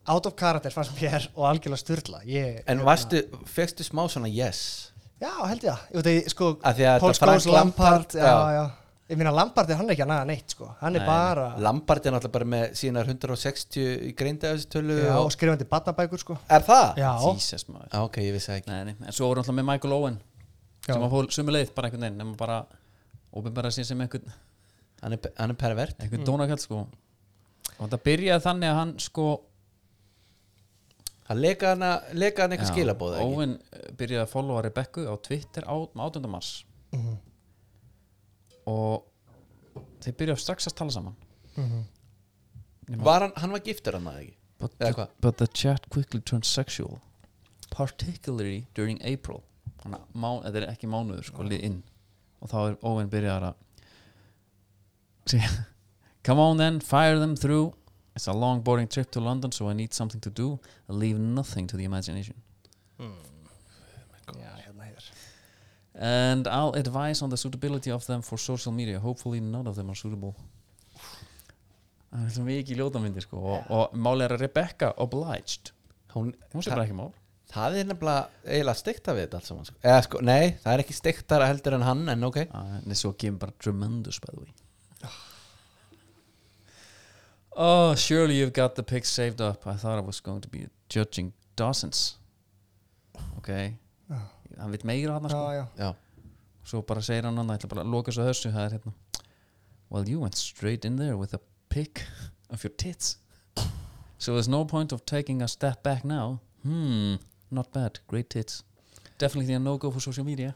C: out of character fannst mér og algjörlega styrla. Ég,
B: En varstu, fegstu smá svona yes
C: Já, held ég það. Ég veit að, ég, sko,
B: Af því að
C: Paul
B: þetta Frank
C: Scholes, Lampard,
B: Lampard,
C: já,
B: já.
C: já. Ég meina, Lampard, er hann er ekki að naga neitt, sko. Hann er bara,
B: Lampard er náttúrulega bara með sínar 160 í greindaðastölu
C: já, og
B: og...
C: skrifandi barnabækur, sko.
B: Er það?
C: Já.
A: Jesus maður
B: Já, ok, ég vissi það ekki
A: Nei, nei, en svo voru alltaf með Michael Owen
C: Já.
A: sem að fór sömu leið bara einhvern veginn nema bara ofinbæra sín sem einhvern
B: Hann er, hann er pervert
A: einhvern mm. dónakall sko og þetta byrjaði þannig að hann sko
B: Hann leka hana, leka hana eitthvað
A: Já,
B: skilabóð ekki?
A: Owen eh, byrjaði að followa Rebekku á Twitter á 18. mars og þeir byrjaði strax að tala saman
B: Var hann, hann var giftur hann að ekki?
A: but
B: Eða
A: the,
B: hvað?
A: but the chat quickly turned sexual particularly during April þannig að má- þetta er ekki mánuður sko lið inn og þá er Owen byrjaði að segja come on then, fire them through It's a long boring trip to London so I need something to do I leave nothing to the imagination
C: Já, hérna hér
A: and I'll advise on the suitability of them for social media hopefully none of them are suitable það er svo mikið ljótamyndir sko og, og máli er að Rebecca obliged
B: hún,
A: hún sé
B: það-
A: bara ekki mál
B: það er nefnilega eiginlega stekta við þetta allt saman sko. Eða, sko, nei, það er ekki stektara heldur en hann en ok,
A: uh, en svo kemur bara tremendous by the way oh surely you've got the pics saved up I thought I was going to be judging dozens ok hann veit meira hann sko
C: Já, já
B: já,
A: svo bara segir hann annað, ætla bara að loka svo þessu það er hérna well you went straight in there with a pick of your tits so there's no point of taking a step back now hmm, not bad, great tits definitely a no-go for social media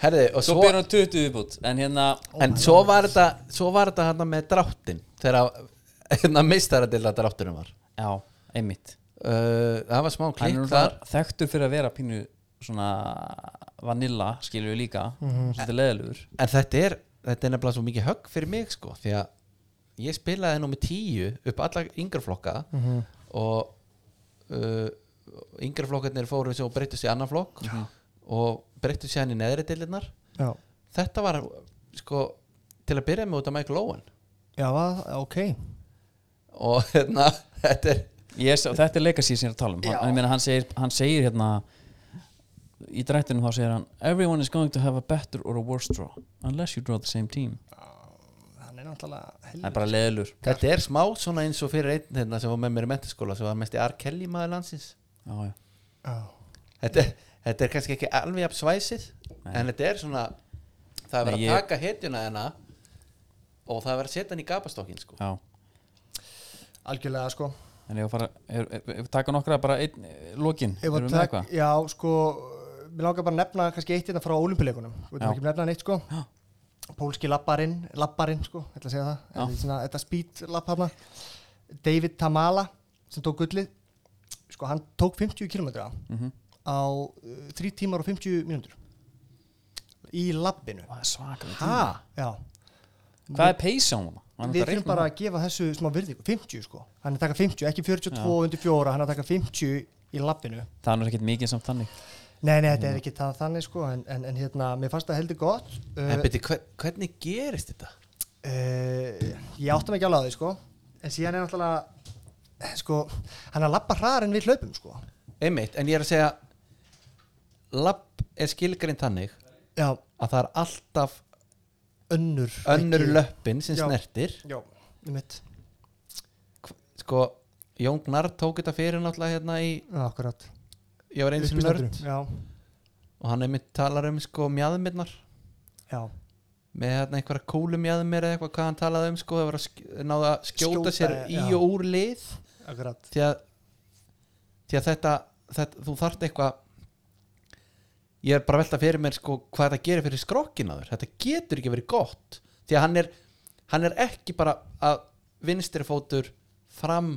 B: herði og
A: svo
B: svo,
A: byrjar hann 20 viðbútt en hérna,
B: en svo var þetta svo var þetta hann með dráttin þegar hérna meistaradilla dráttunum var
A: já, einmitt
B: uh, það var smá
A: hann
B: klikk
A: er
B: þar
A: þar, þekktur fyrir að vera pínu svona vanilla skilur við líka,
C: Mhm.
A: svolítið leðilegur
B: en þetta er, þetta er nefnilega svo mikið högg fyrir mig sko, því að ég spilaði nú með tíu upp alla yngra flokka og uh, yngra flokkarnir fóru svo og breyttu sér annan flokk Já. og breyttu sér hann í neðri dillinnar
C: Já,
B: þetta var sko til að byrja með út af Michael Owen
C: já va- ok
B: og hérna, þetta er
A: yes, og þetta er legacy sem ég er að tala um hann, ég meina, hann, segir, hann segir hérna í drættinum þá segir hann everyone is going to have a better or a worse draw unless you draw the same team
C: Hann er náttúrulega
A: það
C: helvítið
A: er bara leðilur
B: Þetta er smá svona eins og fyrir einn hérna, sem var með mér í mentaskóla sem var mest í R. Kelly maður landsins
A: já, já.
B: þetta, er- þetta er kannski ekki alveg jafn svæsið en þetta er svona það er verið
A: Nei,
B: að
A: ég-
B: taka hetjuna hérna og það er verið að setja hann í gapastokkin sko.
A: Já.
C: Algjörlega sko
A: en ég var fara ef ef- ef við taka nokkra bara einn eh, lokin
C: Ef
A: erum
C: að
A: við með
C: tek,
A: eitthvað
C: já, sko Mér langar bara að nefna kannski eitt hérna frá ólimpileikunum Við veitum
A: Já.
C: ekki að nefna neitt, sko Pólski labbarinn, labbarinn, sko Ég ætla að segja það, þetta, er svona, þetta speed labb hana David Tamala sem tók gullið Sko, hann tók 50 km
A: Mhm.
C: á uh, 3 tímar og 50 mínútur í labbinu
A: það er svakar
B: ha,
C: Já,
A: hvað er pace á hann? Hann
C: við
A: ætlar að
C: þurfum
A: reikna
C: bara
A: það.
C: að gefa þessu smá virðingu, 50 sko Hann er að taka 50, ekki 42 undir 4 Hann er að taka 50 í labbinu
A: það er nú ekkert mikið samt þannig
C: Nei, nei, þetta er ekki það þannig sko en, en, en hérna, mér fannst það heldur gott uh,
B: en beti, hver, hvernig gerist þetta?
C: uh, Ég átti mig ekki alveg á því sko En síðan er náttúrulega sko, hann er að labba hraðar en við hlaupum sko
B: einmitt, en ég er að segja lapp er skilgrind þannig
C: Já,
B: að það er alltaf
C: önnur
B: önnur
C: ekki-
B: löppin sem
C: Já.
B: snertir
C: Já, um mitt,
B: sko, Jón Gnarr tók þetta fyrir náttúrulega hérna í,
C: akkurat
B: ég var eins og nörd
C: Já,
B: og hann einmitt talar um sko mjadmirnar
C: já,
B: með hérna einhverja kúlumjadmir eða eitthvað hvað hann talaði um sko, það var að sk- náða að skjóta
C: Skjóta,
B: sér í
C: já.
B: og úr lið
C: akkurat
B: því að, því að þetta, þetta þú þarft eitthvað ég er bara að velta fyrir mér sko hvað þetta gerir fyrir skrokkinaður þetta getur ekki verið gott því að hann er, hann er ekki bara að vinstri fótur fram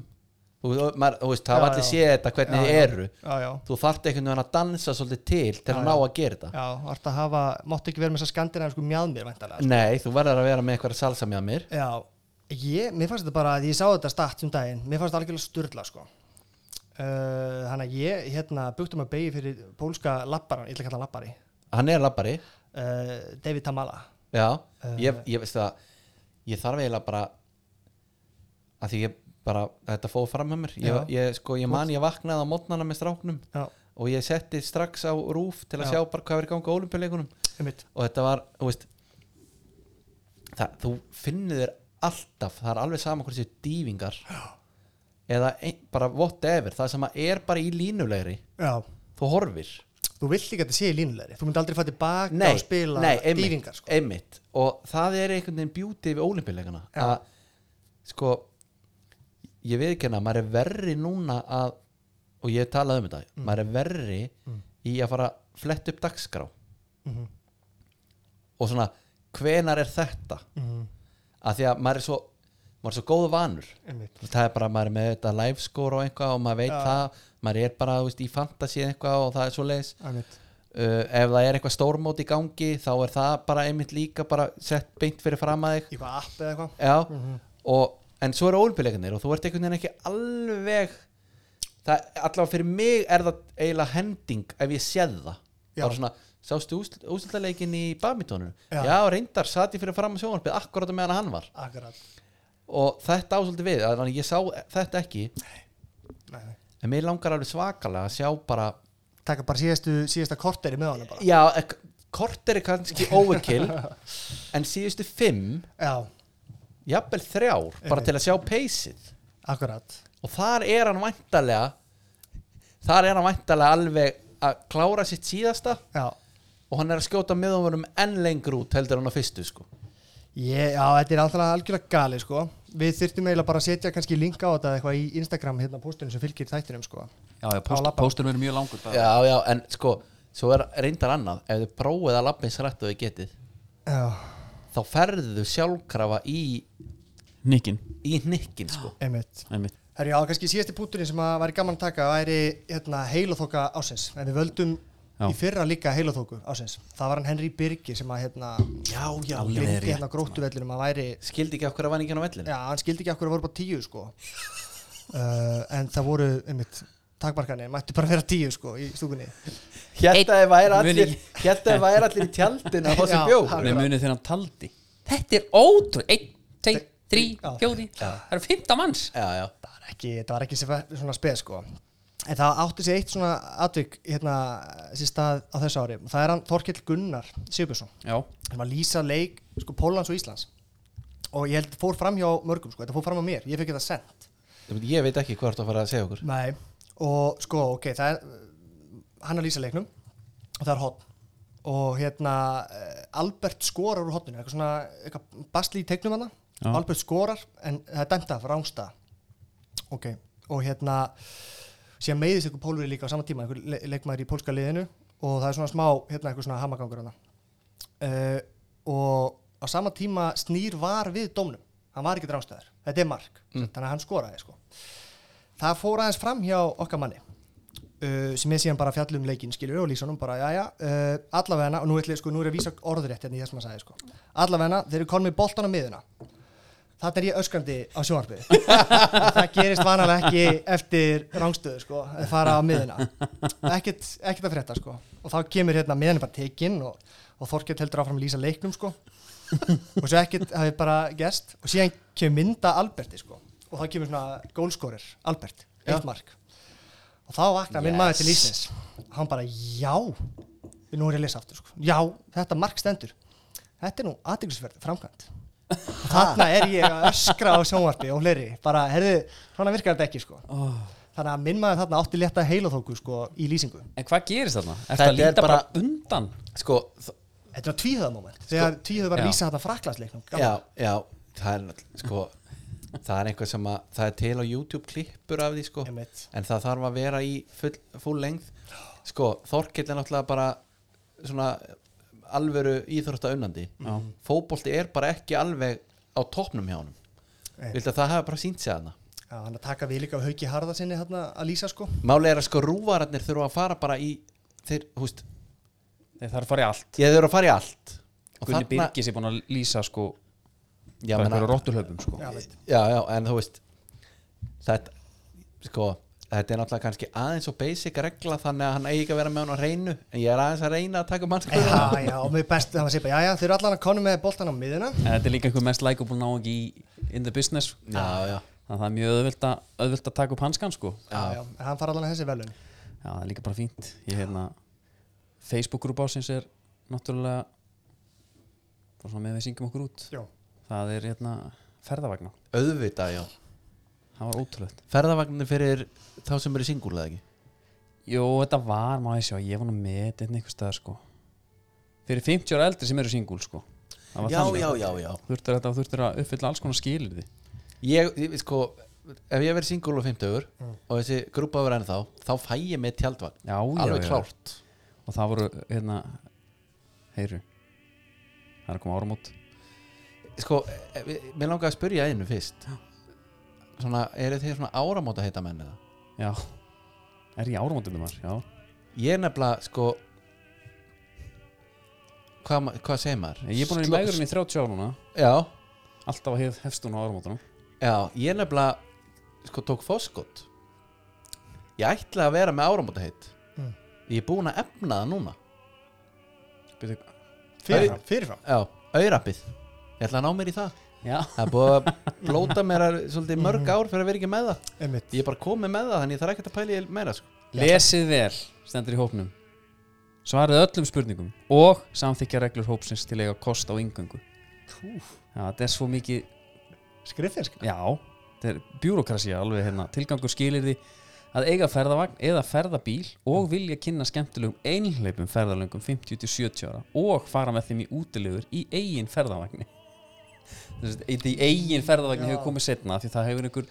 B: þú, veist, og maður, þú veist, það
C: Já,
B: var allir
C: já.
B: séð þetta hvernig
C: Já,
B: þið
C: já.
B: eru
C: Já, já,
B: þú þarft einhvern veginn að dansa svolítið til til
C: Já,
B: að
C: já.
B: ná að gera þetta
C: já, vart að hafa Máttu ekki vera með þess að skandina sko mjadmir væntanlega sko.
B: nei, þú verður að vera með eitthvað salsa með mér
C: Já, ég, mér fannst þetta bara að ég sá þetta statt um daginn, mér fannst þetta algjörlega sturla sko Uh, þannig að ég hérna bukti um að beigja fyrir pólska labbaran, ég ætla að kalla hann labbari
B: hann er labbari
C: uh, David Tamala
B: Já,
C: Eh.
B: ég, ég veist það ég þarf eiginlega bara að því ég bara, þetta fóð fram með mér
C: Já.
B: ég, ég, sko, ég man ég vaknaði á mótnana með stráknum
C: Já,
B: og ég setti strax á rúf til að
C: Já.
B: sjá bara hvað er í gangi á olimpíuleikunum
C: um mitt
B: og þetta var, þú veist það, þú finnir þér alltaf, það er alveg sama hvort þessi dývingar eða ein, bara whatever, það sem að er bara í línulegri
C: Já,
B: þú horfir
C: þú vilt líka að þetta sé í línulegri þú myndi aldrei fara tilbaka
B: nei,
C: og spila
B: nei, einmitt,
C: dýringar sko
B: einmitt og það er einhvern veginn beauty við ólimpileikana
C: Já.
B: að sko ég veit ekki hana, maður er verri núna að, og ég hef talað um þetta
C: Mm.
B: maður er verri í að fara að fletta upp dagskrá
C: Mhm.
B: og svona hvenar er þetta
C: Mhm.
B: að því að maður er svo maður er svo góð vanur
C: Einmitt.
B: Þú veist, það er bara maður er með þetta live score og eitthvað og maður veit það, maður er bara þú veist, í fantasy eitthvað og það er svo leis
C: Einmitt.
B: uh, ef það er eitthvað stórmót í gangi þá er það bara einmitt líka bara sett beint fyrir fram að þig
C: Í hvað app eða eitthvað
B: já, og, en svo eru ólimpileikarnir og þú ert einhvern veginn ekki alveg það, allavega fyrir mig er það eiginlega hending ef ég séð það
C: Já.
B: það er svona, sástu úsildaleikinn í badmintoninu,
C: Já.
B: já. reyndar satt ég fyrir fram á sjónvarpið akkurat á meðan hann var
C: Akkurat
B: og þetta ásöldi við, þannig að ég sá þetta ekki
C: Nei, nei.
B: en mér langar alveg svakalega að sjá bara
C: Taka bara síðastu, síðasta korteri með honum bara
B: já, ek- korter er kannski overkill en síðustu fimm
C: Já,
B: jafnvel þrjár, bara
C: Einmitt.
B: til að sjá peysið
C: akkurat
B: og þar er hann væntalega þar er hann væntalega alveg að klára sitt síðasta
C: Já,
B: og hann er að skjóta miðumunum enn lengur út heldur hann á fyrstu sko
C: Ég, já þetta er alltaf algjörlega gali sko Við þyrftum eiginlega bara að setja kannski linka á þetta eitthvað í Instagram hérna póstinu sem fylgir þættinum sko
A: já, já, post,
C: labba.
A: póstur verður mjög langur bara.
B: já, já, en sko, svo er reyndar annað ef þið prófið að labbins rætt og þið getið
C: Já,
B: þá ferðu þau sjálfkrafa í
A: Nikkin,
B: í nikkin sko
C: einmitt
A: einmitt
C: Herri, já, kannski síðasti punkturinn sem að væri gaman að taka væri hérna heilaþóka ásins en við völdum
A: Já.
C: í fyrra líka heilaþóku ásins það var hann Henry Birgir sem að hérna já, já,
A: rétt,
C: hérna á gróttuvellinum að væri
B: skildi ekki okkur að vann ekki hann á vellinu
C: já, hann skildi ekki okkur að voru bara tíu sko uh, en það voru einmitt takmarkanir, mættu bara vera tíu sko í stúkunni
B: hérna ef væri
A: Muni
B: allir
A: ekki.
B: hérna ef væri allir í tjaldinu á
C: Já,
B: þessum bjó
C: hann-
A: Nei, munið þegar hann taldi
K: Þetta er ótrú Einn, tvei, þrý,
C: Já.
K: fjóri Það eru 15 manns
B: já, já,
C: það var ekki, það var ekki sem- svona speð sko en það átti sér eitt svona atvik hérna sér stað á þessu ári það er hann Þorkill Gunnar Sigurbjörnsson
A: Já,
C: hann var að lýsa leik sko Pólans og Íslands og ég held fór fram hjá mörgum sko, þetta fór fram á mér, ég fekk þetta sent
B: ég veit ekki hvað þú ert að fara að segja okkur
C: Nei. og sko, ok, það er hann er að lýsa leiknum og það er hotn og hérna eh, Albert skorar úr hotninu, eitthvað svona eitthvað basli í teiknum hana
A: Já.
C: Albert skorar en það er dæmt af rángsta ok, og hérna síðan meiðist ykkur pólveri líka á sama tíma einhver le leikmaður í pólska liðinu og það er svona smá, hérna eitthvað svona hamagangur hana uh, og á sama tíma snýr var við dómnum hann var ekki drástaður, þetta er mark þannig að hann skoraði sko það fór aðeins fram hjá okkar manni uh, sem er síðan bara fjallum leikinn skilur og lýsunum bara, já já, uh, allavegna og nú, ætli, sko, nú er ég að vísa orðrétt hérna í þess maður sagði sko. allavegna, þeir eru konum með boltan á miðuna Þarna er ég öskrandi á sjónvarpið það gerist vanalega ekki eftir rangstöðu sko, að fara á miðuna ekkert, ekkert að frétta sko og þá kemur hérna miðan er bara tekinn og, og Þorkett heldur áfram að lýsa leiknum sko og svo ekkert hafi bara gerst og síðan kemur mynda Alberti sko og þá kemur svona gólskorir Albert, eitt mark og þá vakna minn maður til Íslands og hann bara já nú er ég að lesa aftur sko, já þetta mark stendur þetta er nú aðdeglisverð framkvæmt þarna er ég að öskra á sjónvarpi og fleiri, bara herðu svona virkar þetta ekki sko þannig að minn maður þarna átti létta heilaþóku sko í lýsingu
A: en hvað gerist þarna? Er
B: Þetta
A: það líta
B: er bara-
A: bara undan?
B: sko, þ-
C: Þetta er tvíhöðamoment Þegar tvíhöð var
A: Já.
C: að lýsa þetta fraklasleiknum
B: já, já, það er náttúrulega sko, það er eitthvað sem að það er til á YouTube klippur af því sko
C: Einmitt.
B: en það þarf að vera í full, full lengð sko, Þorkill er náttúrulega bara svona alvöru íþrótta unnandi
A: Já.
B: fótbolti er bara ekki alveg á toppnum hjá honum
C: Nei.
B: viltu að það hafa bara sínt sig hana
C: Já, hann að taka við líka af Hauki Harðarsinni hérna að lýsa sko
B: máli er að sko rúvararnir þurfa að fara bara í þeir, húst,
A: Nei, það er farið allt
B: ég þurfa að fara í allt Og
A: Gunni
B: þarna-
A: Birgis er búin að lýsa sko
B: Já,
A: bara
B: menna-
A: hverju rottuhlaupum sko
C: Já, veit.
B: já, já, en þú veist þetta, sko þetta er náttúrulega kannski aðeins og basic regla þannig að hann eigi ekki að vera með hann á reynu en ég er aðeins að reyna að taka mannskjöld
C: Já, já, og mér best það var að segja bara, Já, já, þeir eru allan að konu með boltan á miðuna
A: En þetta er líka einhver mest læk og búin að ná ekki í in the business
B: já, já,
A: Þannig að það er mjög auðvelt að, auðvelt að taka upp hanskan sko Já,
C: Já, já, en hann fara allan að þessi velun
A: það er líka bara fínt Ég hérna Facebook-grúpa ásins er náttúrulega bara svona með við syngjum okkur út
C: Já,
A: Það er hérna ferðavagna
B: auðvitað, já
A: Það var ótrúlegt
B: ferðavagnir fyrir þá sem eru singul eða ekki
A: Jó, þetta var, má ég sjá, ég var nú með þetta einhver stað sko Fyrir 50 ára eldri sem eru singul sko Það var
B: já,
A: þannig.
B: já, já, já
A: Þurftir þetta og þurftir að uppfylla alls konar skilir því
B: ég, ég, sko, ef ég verið singul á 50
A: Mm.
B: og þessi grúpa verið ennþá þá fæ ég með tjaldvagn,
A: Já,
B: alveg klárt
A: Og það voru, hérna, heyru Það er að koma áramót
B: sko, eh, eh, mér langar að spyrja einu fyrst svona, eru þeir svona áramóta heita menn eða?
A: Já Er ég áramótum þar, já
B: Ég er nefnilega sko Hvað, ma- hvað segir maður?
A: Ég er búin að vera í
B: Sló-
A: legurinn í 30 ára núna
B: Já,
A: Alltaf að hef, hefst hún á áramótunum
B: Já, ég nefnilega sko tók fóskot Ég ætla að vera með áramóta
C: Mm.
B: Ég er búin að efna það núna
A: Byrju,
C: Fyrirfram, fyrirfram?
B: Já, auðrappið Ég ætla að ná mér í það
A: Já.
B: Það er búið að blóta mér að- svolítið mörg ár fyrir að vera ekki með það
C: Einmitt.
B: Ég er bara komið með það þannig ég þarf ekkert að pæla í meira sko.
A: Lesið vel, stendur í hópnum Svarið öllum spurningum og samþykja reglur hópsins til að eiga kost á yngöngu
C: Úf.
A: Já, þetta er svo mikið
C: Skriffinsk?
A: Já, þetta er bjúrokrasía alveg hérna Tilgangur skilir því að eiga ferðavagn eða ferðabíl og vilja kynna skemmtilegum einhleipum ferðalöngum 50-70 ára og fara með þeim í útilegur í eigin ferðavagni Þessi, Í eigin ferðavagni
B: Já.
A: hefur komið setna því það hefur einhver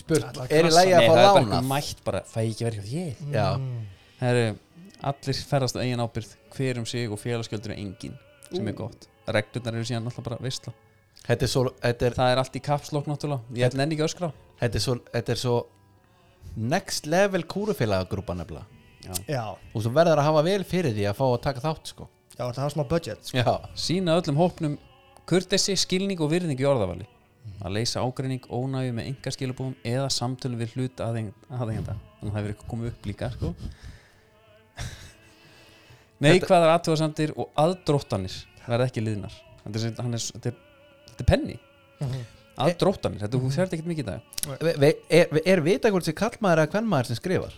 B: Spurt, er í lagi
A: Nei,
B: að fá
A: það er bara
B: lánað?
A: einhver mætt bara, fæ ég ekki verið hjá þér
B: Já.
A: Það eru allir ferðast á eigin ábyrð hver um sig og félagsgjöldur er engin sem er
B: Ú.
A: gott reglurnar eru síðan alltaf bara veistla
B: þetta er svo, þetta er,
A: Það er allt í kapslokk náttúrulega Ég nenni ekki öskra
B: þetta er svo, þetta er svo next level kúrufélagagrúpa nefnilega
C: Já.
B: og svo verður að hafa vel fyrir því að fá að taka þátt sko.
C: Já, þetta hafa smá budget
B: sko. Já.
A: Sýna öllum hópnum kurtesi, skilning og virðingu í orðavali
B: Mhm.
A: að leysa ágreining, ónægju með enga skilabúum eða samtölu við hluta aðeigenda þannig að það hefur eitthvað komið upp líka sko. neikvæðar aðtúasamtir og aðdróttanir verða ekki liðnar þetta er, sem- hann er, þetta er, þetta er penni
B: Mhm.
A: aðdróttanir, þetta þú sért ekkert mikið í dag
B: Ve- ve- Er, er vita hvort þessi kallmaður eða kvennmaður sem skrifar?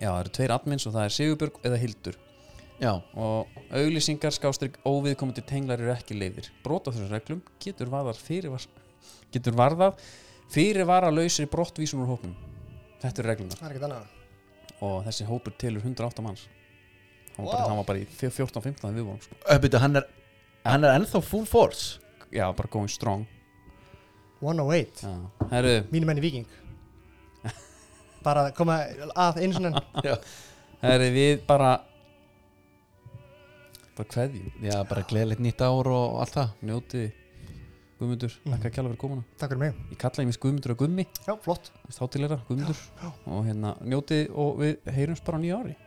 A: Já, það eru tveir admins og það er Sigurbjörg eða Hildur
B: Já.
A: Og auglýsingar skástrík óviðkomandi tenglar eru ekki leiðir Brot á þessum reglum getur varðar fyrirvar Getur varðað fyrirvara lausir brottvísun úr hópnum Þetta eru
C: Það
A: reglunar
C: er ekkert annað.
A: Og þessi hópur telur 108 manns Hann var, bara,
C: Vá.
A: hann var bara í 14-15 en við vorum sko.
B: Öpbyttu, hann er hann er ennþá full force
A: Já, bara going strong
C: 108
A: Já. Herru,
C: Mínu menni viking Bara koma að einu sinni
A: herru, við bara Bara kveðjum
B: Já, bara gleðilegt nýtt ár og allt það
A: Njótið Guðmundur,
C: Mhm.
A: þakka að kjalla fyrir komuna
C: Takk fyrir mig
A: Ég kallaði mér Guðmundur að Gummi
C: Já, flott
A: þáttilegra, Guðmundur og hérna njótið og við heyrums bara á nýja ári